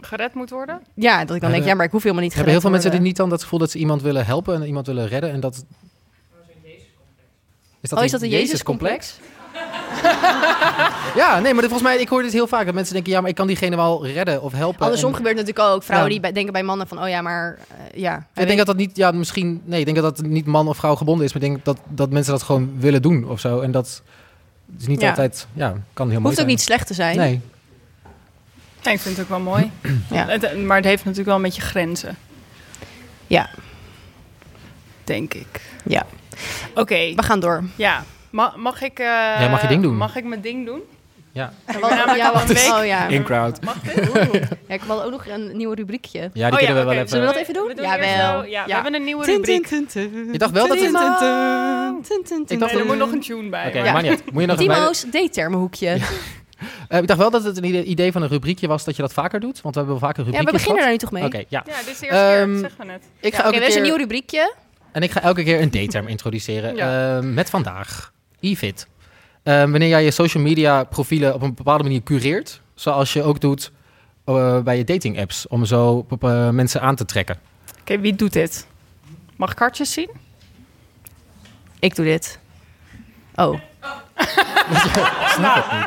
C: Gered moet worden?
A: Ja, dat ik dan denk, ja, maar ik hoef helemaal niet.
B: Hebben heel veel mensen dit
A: die
B: niet dan dat gevoel dat ze iemand willen helpen en iemand willen redden en dat. Is
A: Oh, is dat een
B: Jezus-complex?
A: Jezus-complex?
B: Ja, nee, maar dit, volgens mij, ik hoor dit heel vaak. Dat mensen denken, ja, maar ik kan diegene wel redden of helpen.
A: Andersom
B: En-
A: gebeurt het natuurlijk ook. Vrouwen
B: Ja.
A: die bij- denken bij mannen van, oh ja, maar eh, ja.
B: Ik denk dat dat niet, ja, misschien, nee, ik denk dat dat niet man of vrouw gebonden is. Maar ik denk dat, dat mensen dat gewoon willen doen of zo. En dat is niet
A: Ja.
B: altijd, ja, kan heel mooi
A: Hoeft ook
B: zijn.
A: niet slecht te zijn.
B: Nee.
C: Ja, ik vind het ook wel mooi. Het- maar het heeft natuurlijk wel een beetje grenzen.
A: Ja.
C: Denk ik.
A: Ja.
C: Oké.
A: We gaan door.
C: Ja. Ma- mag ik... eh,
B: Ja, mag je ding doen.
C: Mag ik mijn ding doen?
B: Ja.
C: Ik ben namelijk al een week-
A: Oh, ja.
B: In crowd.
C: Mag dit?
A: Ja, ik wil ook nog een nieuw rubriekje.
B: Ja, die kunnen we wel
A: oké.
B: even-
A: Zullen we dat even doen?
C: Oh We doen
A: ja,
C: eerst
A: wel.
C: wel- ja, we hebben een nieuwe rubriek.
B: Ik dacht wel dat het-
A: Ik
C: Nee, er moet nog een tune bij.
B: Oké, maar niet. Moet je nog een-
A: Timo's D-termenhoekje. Ja,
B: Eh, ik dacht wel dat het een idee- idee van een rubriekje was dat je dat vaker doet. Want we hebben wel vaker
A: we
B: rubriekjes
A: beginnen daar nu
B: gehad.
A: toch mee?
B: Oké, ja.
A: dus
C: Ja, dit is de eerste keer,
B: Ehm,
C: dat zeggen we net.
B: Ik
A: Ja,
B: ga
A: oké,
B: elke
A: er is een
B: keer-
A: nieuw rubriekje.
B: En ik ga elke keer een dayterm introduceren.
A: Ja.
B: Ehm, met vandaag, e-fit. Ehm, wanneer jij je social media profielen op een bepaalde manier cureert. Zoals je ook doet eh, bij je dating apps. Om zo op, eh, mensen aan te trekken.
C: Oké, wie doet dit? Mag ik hartjes zien?
A: Ik doe dit. Oh.
C: Ah.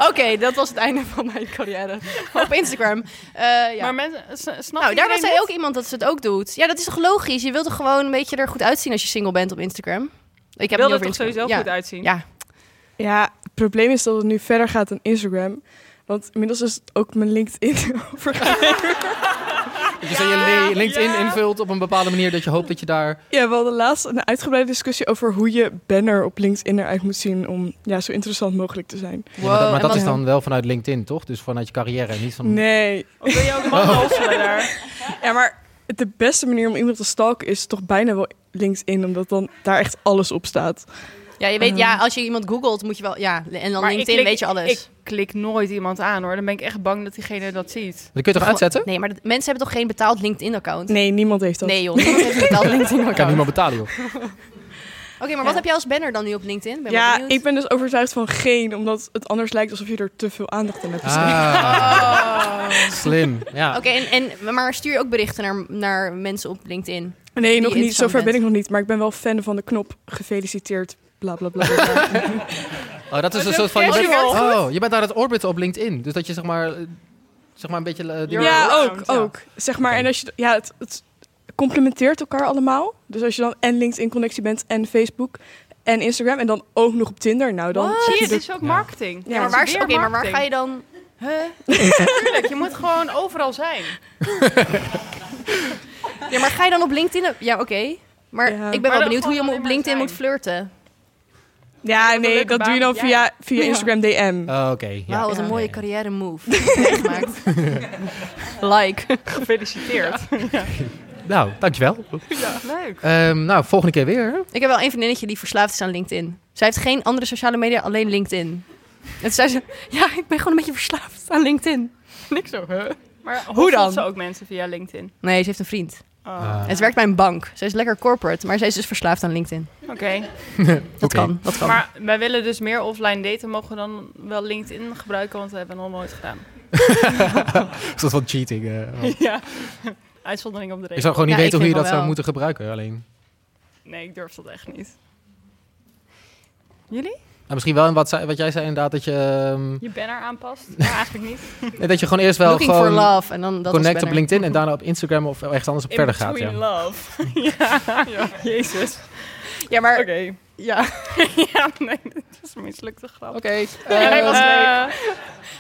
A: Oké, dat was het einde van mijn carrière. Op Instagram. Eh, ja.
C: Maar mensen, s- snapt
A: nou, daar was
C: iedereen
A: er
C: dit?
A: ook iemand dat ze het ook doet. Ja, dat is toch logisch? Je wilt toch gewoon een beetje er goed uitzien als je single bent op Instagram? Ik het niet
C: Wil er
A: over
C: toch
A: Instagram.
C: sowieso
A: Ja.
C: goed uitzien?
A: Ja.
T: Ja, het probleem is dat het nu verder gaat dan Instagram. Want inmiddels is het ook mijn LinkedIn overgegaan.
B: Dus dat je li- LinkedIn invult op een bepaalde manier. Dat je hoopt dat je daar...
T: ja, we hadden laatst een uitgebreide discussie over hoe je banner op LinkedIn eruit moet zien om ja, zo interessant mogelijk te zijn.
B: Ja, maar dat, maar dat is dan wel vanuit LinkedIn, toch? Dus vanuit je carrière en niet van...
T: Nee.
C: Of wil je ook
B: mannen Oh.
C: hoofdstellen daar?
T: Ja, maar de beste manier om iemand te stalken is toch bijna wel LinkedIn, omdat dan daar echt alles op staat. Ehm,
A: Ja, je weet, ja, als je iemand googelt, moet je wel... Ja, en dan
C: Ehm. Maar ik
A: LinkedIn
C: klik-
A: weet je alles.
C: Ik klik nooit iemand aan hoor. Dan ben ik echt bang dat diegene dat ziet.
B: Dat kun je toch uitzetten?
A: Nee, maar dat- mensen hebben toch geen betaald LinkedIn-account?
T: Nee, niemand heeft dat.
A: Nee joh, niemand heeft een betaald LinkedIn-account.
B: Ik kan niemand betalen, joh.
A: Oké, maar wat heb jij als banner dan nu op LinkedIn? Ben wel
T: ja,
A: benieuwd.
T: ik ben dus overtuigd van geen, omdat het anders lijkt alsof je er te veel aandacht aan hebt besteed.
B: Ah. Slim, ja.
A: Oké, en, en, maar stuur je ook berichten naar, naar mensen op LinkedIn?
T: Nee,
A: die
T: nog
A: je
T: niet. Zover
A: interessant
T: ben
A: bent?
T: ik nog niet. Maar ik ben wel fan van de knop. Gefeliciteerd. Bla bla bla. bla.
B: Oh, dat is
T: Oh,
B: een
T: zo
B: soort van... Je bent,
T: casual.
B: oh, je bent aan het orbiten op LinkedIn. Dus dat je zeg maar... eh, Zeg maar een beetje... eh, dingen-
T: ja, oh. ook, ook. Zeg maar, en als je, ja, het, het complementeert elkaar allemaal. Dus als je dan en LinkedIn-connectie bent en Facebook en Instagram en dan ook nog op Tinder. Nou, dan
C: Wat? Zie
T: zit
C: je,
T: er-
C: dit is ook marketing.
T: Ja.
C: Ja,
A: maar
C: maar
A: waar,
C: weer
A: oké, maar waar
C: marketing.
A: ga je dan... Huh?
C: Tuurlijk, je moet gewoon overal zijn.
A: Ja, maar ga je dan op LinkedIn... op- Ja, oké. Maar ik ben
C: Maar
A: wel
C: dan
A: benieuwd hoe je
C: gewoon
A: hem op LinkedIn moet flirten.
T: Ja, nee, dat doe je dan
A: Ja.
T: via, via
A: Ja.
T: Instagram DM.
B: Oh, Oké, ja.
A: Wauw, wat een mooie carrière move. die je hebt gemaakt. like.
C: Gefeliciteerd. Ja.
B: Nou, dankjewel.
C: leuk.
B: Ehm, nou, volgende keer weer. hè?
A: Ik heb wel een vriendinnetje die verslaafd is aan LinkedIn. Zij heeft geen andere sociale media, alleen LinkedIn. En toen zei ze, ja, ik ben gewoon een beetje verslaafd aan Linkedin.
C: Niks zo. hè? Maar hoe,
A: Hoe dan?
C: volgt ze ook mensen via LinkedIn?
A: Nee, ze heeft een vriend.
C: Ah.
A: En ze werkt bij een bank. Ze is lekker corporate, maar ze is dus verslaafd aan LinkedIn.
C: Oké.
A: Dat kan, dat kan.
C: Maar wij willen dus meer offline daten. Mogen we dan wel LinkedIn gebruiken? Want dat hebben we nog nooit gedaan.
B: Een soort van cheating. eh.
C: ja. Uitzondering op de regel.
B: Ik zou gewoon niet
C: Ja,
B: weten
C: ik
B: hoe je
C: denk
B: dat
C: van
B: zou
C: wel.
B: moeten gebruiken. Alleen.
C: Nee, ik durf dat echt niet. Jullie?
B: Nou, misschien wel in wat, zei- wat jij zei inderdaad, dat je... ehm,
C: Je banner aanpast? Maar eigenlijk niet.
B: nee, dat je gewoon eerst wel
A: Looking
B: gewoon
A: for love en dan dat als
B: connect op
A: banner.
B: LinkedIn en daarna op Instagram of ergens anders op
C: In
B: verder gaat.
C: between
B: Ja.
C: love. ja. Jezus.
A: Ja, maar...
C: Oké. Ja. ja, nee, dit is een mislukte grap.
A: Oké. eh,
C: Ja, hij was leuk.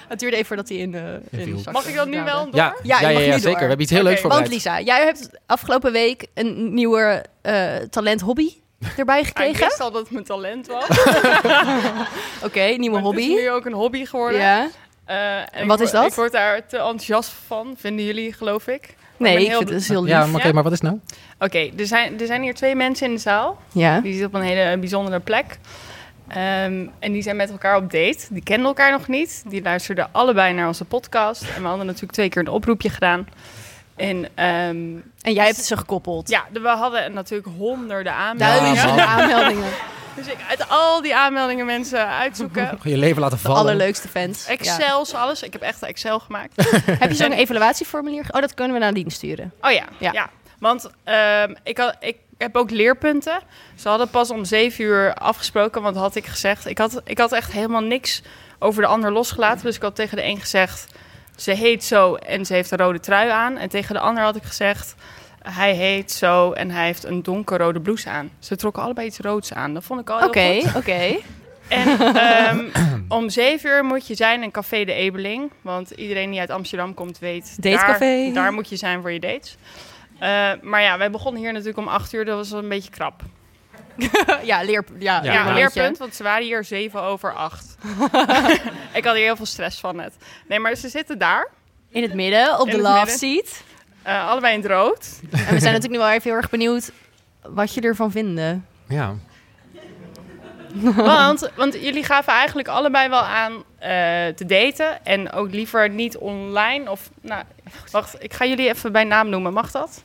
A: Het duurde even voordat hij in, eh, in
B: viel.
A: zak
C: Mag ik dat nu
A: daalde.
C: wel door?
B: Ja,
A: Ja,
B: ja,
A: je
B: ja,
A: mag
B: ja,
A: nu
B: zeker.
A: door.
B: We hebben iets heel leuks
A: Want
B: voorbereid.
A: Lisa, jij hebt afgelopen week een nieuwe eh, talent hobby erbij
C: Ik
A: gekregen.
C: wist al dat het mijn talent was.
A: Oké, nieuwe
C: Het is
A: hobby.
C: nu ook een hobby geworden.
A: Ja.
C: Eh, en ik
A: Wat is
C: word-
A: dat?
C: Ik word daar te enthousiast van, vinden jullie, geloof ik.
A: Nee,
C: ben
A: ik vind het is heel lief.
B: Ja, maar, oké, maar wat is het nou?
C: Oké, er, zijn, er zijn hier twee mensen in de zaal.
A: Ja.
C: Die zitten op een hele bijzondere plek. Ehm, en die zijn met elkaar op date. Die kennen elkaar nog niet. Die luisterden allebei naar onze podcast. En we hadden natuurlijk twee keer een oproepje gedaan. En, ehm,
A: en jij hebt ze gekoppeld.
C: Ja, de- we hadden natuurlijk honderden aanmeldingen.
A: Duizenden aanmeldingen.
C: Dus ik uit al die aanmeldingen mensen uitzoeken.
B: Gewoon je leven laten
A: De
B: vallen.
A: allerleukste fans. Ja.
C: Excels, alles. Ik heb echt Excel gemaakt.
A: Heb je zo'n evaluatieformulier? ge- Oh, dat kunnen we nadien sturen.
C: Oh ja, ja. Want ehm, ik, had, ik heb ook leerpunten. Ze hadden pas om zeven uur afgesproken, want had ik gezegd... Ik had, ik had echt helemaal niks over de ander losgelaten. Dus ik had tegen de een gezegd, ze heet zo en ze heeft een rode trui aan. En tegen de ander had ik gezegd, hij heet zo en hij heeft een donkerrode blouse aan. Ze trokken allebei iets roods aan. Dat vond ik al heel
A: Oké,
C: goed.
A: oké.
C: En ehm, om zeven uur moet je zijn in Café de Ebeling. Want iedereen die uit Amsterdam komt weet...
A: Datecafé.
C: Daar, daar moet je zijn voor je dates. Eh, maar ja, wij begonnen hier natuurlijk om acht uur. Dat was wel een beetje krap.
A: ja, leer, ja,
C: Ja,
A: leermomentje.
C: leerpunt, want ze waren hier zeven over acht. ik had hier heel veel stress van net. Nee, maar ze zitten daar.
A: In
C: eh,
A: het midden, op de love seat.
C: allebei in het rood.
A: En we zijn natuurlijk nu wel even heel erg benieuwd wat je ervan vinden.
B: Ja.
C: Want, want jullie gaven eigenlijk allebei wel aan eh, te daten. En ook liever niet online. Of, nou, wacht, ik ga jullie even bij naam noemen. Mag dat?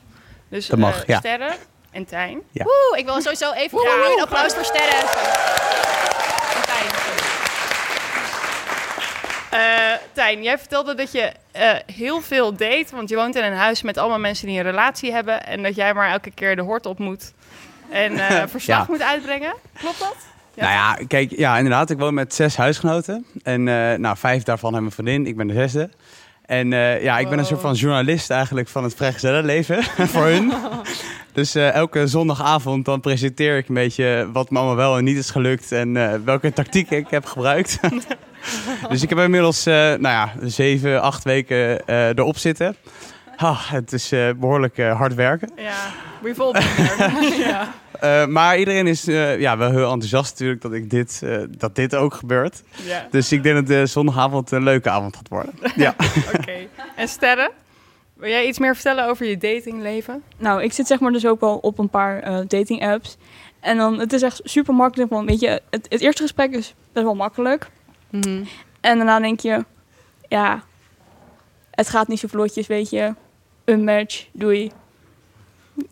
C: Dus,
S: Dat mag,
C: eh,
S: ja.
C: Sterren en Tijn.
S: Ja.
A: Woe, ik wil sowieso even ja, een applaus voor Sterren.
C: Eh, Tijn, jij vertelde dat je eh, heel veel date. Want je woont in een huis met allemaal mensen die een relatie hebben. En dat jij maar elke keer de hort op moet. En eh, verslag
U: Ja.
C: moet uitbrengen. Klopt dat?
U: Nou ja, kijk, ja, inderdaad. Ik woon met zes huisgenoten. En eh, nou, vijf daarvan hebben een vriendin. Ik ben de zesde. En eh, ja, ik ben een soort van journalist eigenlijk van het vrijgezellenleven voor hun. Dus eh, elke zondagavond dan presenteer ik een beetje wat me allemaal wel en niet is gelukt. En eh, welke tactiek ik heb gebruikt. dus ik heb inmiddels, eh, nou ja, zeven, acht weken eh, erop zitten. Ah, het is eh, behoorlijk eh, hard werken.
C: Ja, we've all been there. ja.
U: Eh, maar iedereen is eh, ja, wel heel enthousiast natuurlijk dat, ik dit, eh, dat dit ook gebeurt.
C: Ja.
U: Dus ik denk dat de zondagavond een leuke avond gaat worden. Ja.
C: Oké. En Sterren, wil jij iets meer vertellen over je datingleven?
F: Nou, ik zit zeg maar dus ook wel op een paar eh, dating apps. En dan, het is echt super makkelijk, want weet je, het, het eerste gesprek is best wel makkelijk. Mhm. En daarna denk je, ja, het gaat niet zo vlotjes, weet je. Een match, doei.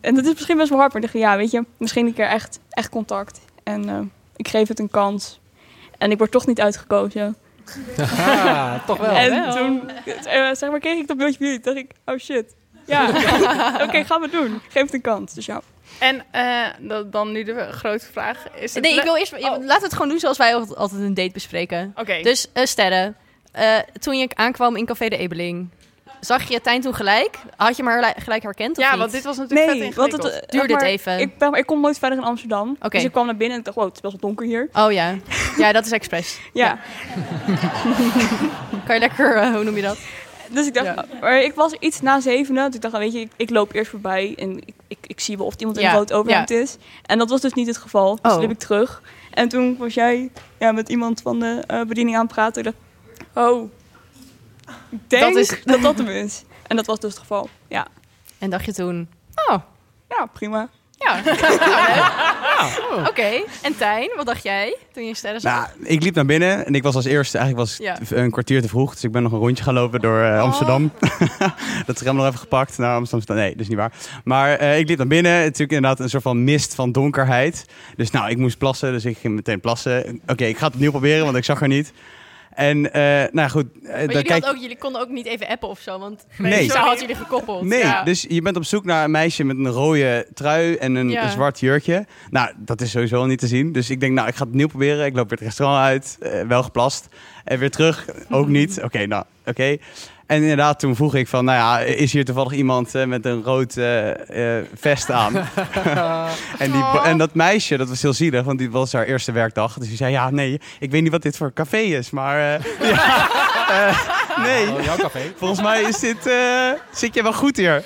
F: En dat is misschien best wel hard, maar dan denk je, ja, weet je, misschien een keer echt, echt contact. En eh, ik geef het een kans. En ik word toch niet uitgekozen.
B: Ah, toch wel.
F: En
B: Wel.
F: toen, eh, zeg maar, kreeg ik dat beeldje van jullie. Toen dacht ik, oh shit. Ja, oké, gaan we doen. Geef het een kans. Dus ja.
C: En eh, dat- dan nu de grote vraag. Is het
A: Nee, ik
C: le-
A: wil eerst... ja, Laten we het gewoon doen zoals wij al- altijd een date bespreken.
C: Oké.
A: Dus eh, Sterren, eh, toen je aankwam in Café de Ebeling... Zag je Tijn toen gelijk? Had je hem herle- gelijk herkend of
C: Ja,
A: niet?
C: want dit was natuurlijk
F: Nee,
C: vet
F: want
C: ingewikkeld.
F: het, eh,
A: Duurde
F: zeg
A: het
F: maar,
A: even.
F: Ik, ben- ik kom nooit verder in Amsterdam. Dus ik kwam naar binnen en ik dacht, wow, het is best wel donker hier.
A: Oh ja. Ja, dat is expres.
F: Ja.
A: kan je lekker, eh, hoe noem je dat?
F: Dus ik dacht, maar ik was iets na zevenen. Dus ik dacht, weet je, ik, ik loop eerst voorbij en ik, ik, ik zie wel of iemand in
A: Ja,
F: een rood overhemd
A: ja.
F: is. En dat was dus niet het geval. Dus
A: Oh.
F: liep ik terug. En toen was jij ja, met iemand van de eh, bediening aan het praten. Ik dacht, oh, ik denk dat
A: is-
F: dat, dat hem is. En dat was dus het geval, ja.
A: En dacht je toen, oh.
F: Ja, prima.
A: Ja. Nou, leuk. Oké. En Tijn, wat dacht jij toen je Sterren zag?
U: Nou, ik liep naar binnen en ik was als eerste, eigenlijk was
A: Ja. Oh.
U: ik een kwartier te vroeg. Dus ik ben nog een rondje gaan lopen door eh, Amsterdam. dat is helemaal nog even gepakt. Nou, Amsterdam, nee, dat is niet waar. Maar eh, ik liep naar binnen. Natuurlijk inderdaad een soort van mist van donkerheid. Dus nou, ik moest plassen, dus ik ging meteen plassen. Oké, ik ga het opnieuw proberen, want ik zag haar niet. En, eh nou ja, goed. eh,
A: maar
U: dan
A: jullie,
U: kijk...
A: hadden ook, jullie konden ook niet even appen of zo, want
U: Nee.
A: zo had jullie gekoppeld.
U: Nee,
A: Ja.
U: dus je bent op zoek naar een meisje met een rode trui en een
A: Ja.
U: zwart jurkje. Nou, dat is sowieso al niet te zien. Dus ik denk, nou, ik ga het nieuw proberen. Ik loop weer het restaurant uit, eh, wel geplast. En weer terug, ook niet. Oké, nou, oké. En inderdaad, toen vroeg ik van, nou ja, is hier toevallig iemand eh, met een rood eh, eh, vest aan? en, die,
A: Oh.
U: en dat meisje, dat was heel zielig, want die was haar eerste werkdag. Dus die zei, ja, nee, ik weet niet wat dit voor café is, maar... eh, ja, eh, nee.
B: Oh,
U: Volgens mij is dit, eh, zit je wel goed hier.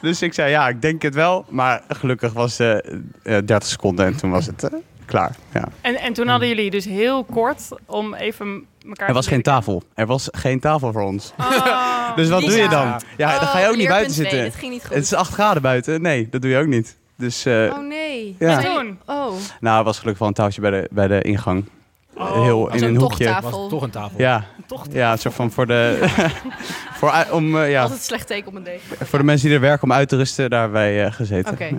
U: Dus ik zei, ja, ik denk het wel. Maar gelukkig was het 30 seconden en toen was het eh, klaar. Ja.
C: En, en toen hadden jullie dus heel kort om even elkaar
U: Hmm. Er was
C: te
U: geen tafel. Er was geen tafel voor ons. dus wat
C: niet
U: doe je
C: zo.
U: dan? Ja, dan ga je
C: Oh,
U: ook niet
C: leerpunt
U: buiten zitten.
C: twee, dit ging niet goed.
U: Het is 8 graden buiten. Nee, dat doe je ook niet. Dus, eh,
A: Oh nee.
U: Ja.
A: Dus jullie- Oh.
U: Nou, er was gelukkig wel een tafeltje bij de, bij de ingang. Heel in
A: zo'n
U: een hoekje.
A: tochttafel. Was toch een tafel.
U: Ja,
A: Een tochttafel.
U: ja een soort van voor de. voor, u- om, eh, ja,
A: Altijd slecht teken op een date.
U: voor de mensen die er werken om uit te rusten, daar hebben wij eh, gezeten.
C: Oké.
U: Ja.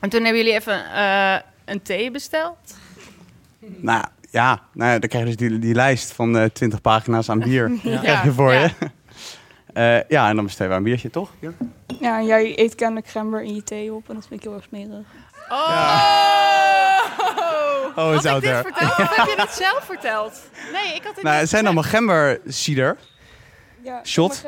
C: En toen hebben jullie even eh, een thee besteld.
U: Nou ja, nou, ja, dan krijg je dus die, die lijst van eh 20 pagina's aan bier.
F: Ja.
U: Ja. krijg je voor
F: Ja.
U: je. Eh, ja, en dan besteden we een biertje, toch? Oh, Ja.
F: Ja, en jij eet kennelijk gember in je thee op en dat vind ik heel erg smerig.
C: Oh! had
U: it's
C: ik
U: out
C: dit
U: there.
C: verteld? Of heb je dit zelf verteld? Nee, ik had dit
U: Nou,
C: niet
U: het zijn allemaal
C: gezegd.
U: gembercider.
C: Ja,
U: Shot.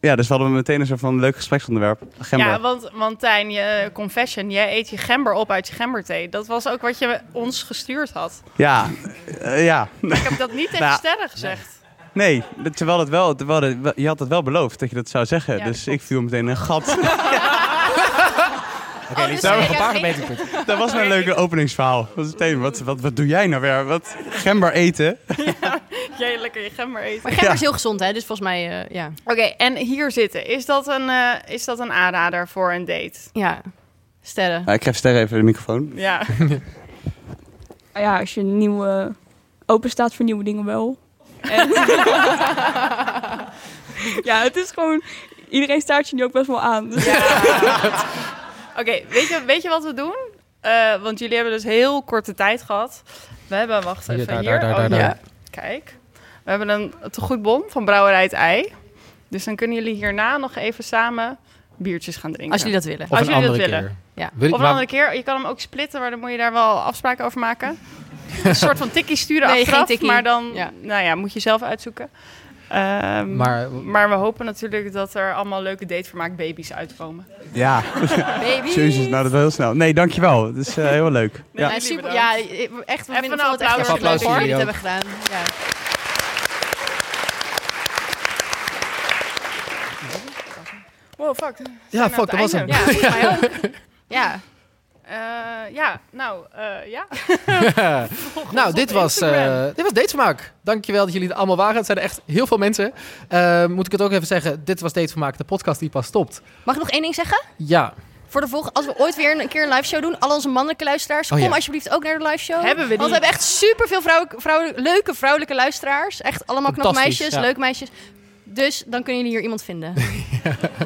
U: Ja, dus we hadden meteen een soort van leuk gespreksonderwerp. Gember.
C: Ja, want, want Tijn, je confession, jij eet je gember op uit je gemberthee. Dat was ook wat je ons gestuurd had.
U: Ja, eh, ja.
C: Ik heb dat niet tegen
U: Nou,
C: Sterren gezegd.
U: Nee, terwijl, het wel, terwijl het wel- je had het wel beloofd dat je dat zou zeggen.
C: Ja,
U: dus ik viel meteen in een gat.
C: Oké,
U: Lisa, we hebben een paar Dat was mijn leuke openingsverhaal. Dat was meteen, wat, wat, wat doe jij nou weer? Wat? Gember eten?
C: Jij lekker je gember eten.
A: Maar gember is heel gezond, hè? Dus volgens mij, eh, ja.
C: Oké, en hier zitten. Is dat, een, eh, is dat een aanrader voor een date?
A: Ja. Sterren.
U: Nou, ik geef Sterre even de microfoon.
C: Ja.
F: ja, als je nieuwe open staat voor nieuwe dingen wel. En- ja, het is gewoon iedereen staart je nu ook best wel aan. Dus
C: Oké, weet, je, weet je wat we doen? Eh, want jullie hebben dus heel korte tijd gehad. We hebben, wacht
B: Hier,
C: even,
B: daar,
C: hier.
B: daar, daar,
C: Oh,
B: daar,
C: ja.
B: daar.
C: Kijk, we hebben een te goed bon van Brouwerij het Ei. Dus dan kunnen jullie hierna nog even samen biertjes gaan drinken.
A: Als jullie dat willen.
B: Of
C: Als
B: een
C: jullie dat
B: andere
C: willen.
B: keer.
A: Ja.
B: Wil-
C: of een
B: maar-
C: andere keer. Je kan hem ook splitten, maar dan moet je daar wel afspraken over maken. Een soort van tikkie sturen
A: Nee,
C: achteraf,
A: geen tikkie.
C: maar dan nou ja, moet je zelf uitzoeken. Ehm,
B: Maar-
C: maar, we hopen natuurlijk dat er allemaal leuke datevermaak baby's uitkomen.
U: Ja.
C: Baby.
U: Jezus, nou dat was heel snel. Nee, dankjewel. Het is eh, heel leuk.
A: Ja,
U: Ja.
A: super, ja echt. We
C: Even
A: vinden
C: een
A: het echt
C: applaus
A: heel erg leuk dat
U: voor
A: jullie dit
U: jullie
A: hebben gedaan. Ja.
C: Wow, fuck.
B: Ja, fuck, dat was hem.
C: Ja, volgens mij ook.
A: Ja.
C: Eh, ja, nou, eh, ja. Volg ons
B: nou,
C: op
B: dit was, eh
C: Instagram.
B: dit was Datevermaak. Dankjewel dat jullie het allemaal waren. Het zijn er echt heel veel mensen. Eh, moet ik het ook even zeggen, dit was Datevermaak, de podcast die pas stopt.
A: Mag ik nog één ding zeggen?
B: Ja,
A: Voor de volgende, als we ooit weer een keer een live show doen, al onze mannelijke luisteraars,
B: Oh,
A: kom
B: ja.
A: alsjeblieft ook naar de live show.
C: Hebben we die?
A: Want we hebben echt superveel vrouw, vrouw, leuke vrouwelijke luisteraars. Echt allemaal knappe
C: Fantastisch,
A: meisjes,
C: ja.
A: leuke meisjes. Dus dan kunnen jullie hier iemand vinden. Hoef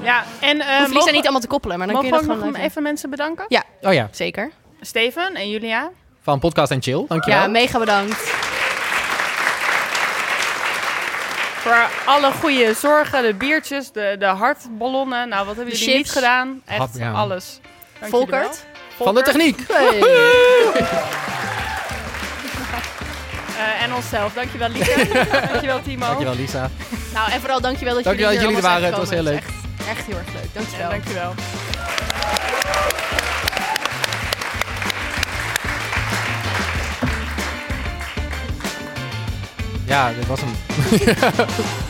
C: Ja, en... eh,
A: Hoef Lisa
C: mogen-
A: niet allemaal te koppelen, maar dan kun
C: mogen
A: je
C: we
A: dat
C: ook
A: gewoon
C: nog
A: live
C: even mensen bedanken?
A: Ja.
B: Oh ja.
A: Zeker.
C: Steven en Julia.
B: van Podcast en Chill. Dankjewel.
A: Ja, mega bedankt.
C: Voor alle goede zorgen, de biertjes, de, de hartballonnen. Nou, wat hebben
A: De
C: jullie niet
A: chips.
C: gedaan? Echt
B: Hap, ja.
C: alles. Dank jullie wel.
A: Volkert.
B: Van de techniek.
A: Hey.
C: Eh, en onszelf. Dankjewel, Lieke. dankjewel, Timo.
B: Dankjewel, Lisa.
A: Nou, en vooral dankjewel dat
B: Dankjewel dat
A: jullie,
B: jullie er waren.
A: allemaal
B: Het was heel
A: zijn
B: leuk.
A: gekomen. Het is Echt, echt heel erg leuk. Dankjewel.
C: Ja, dankjewel.
B: Ja, dit was hem.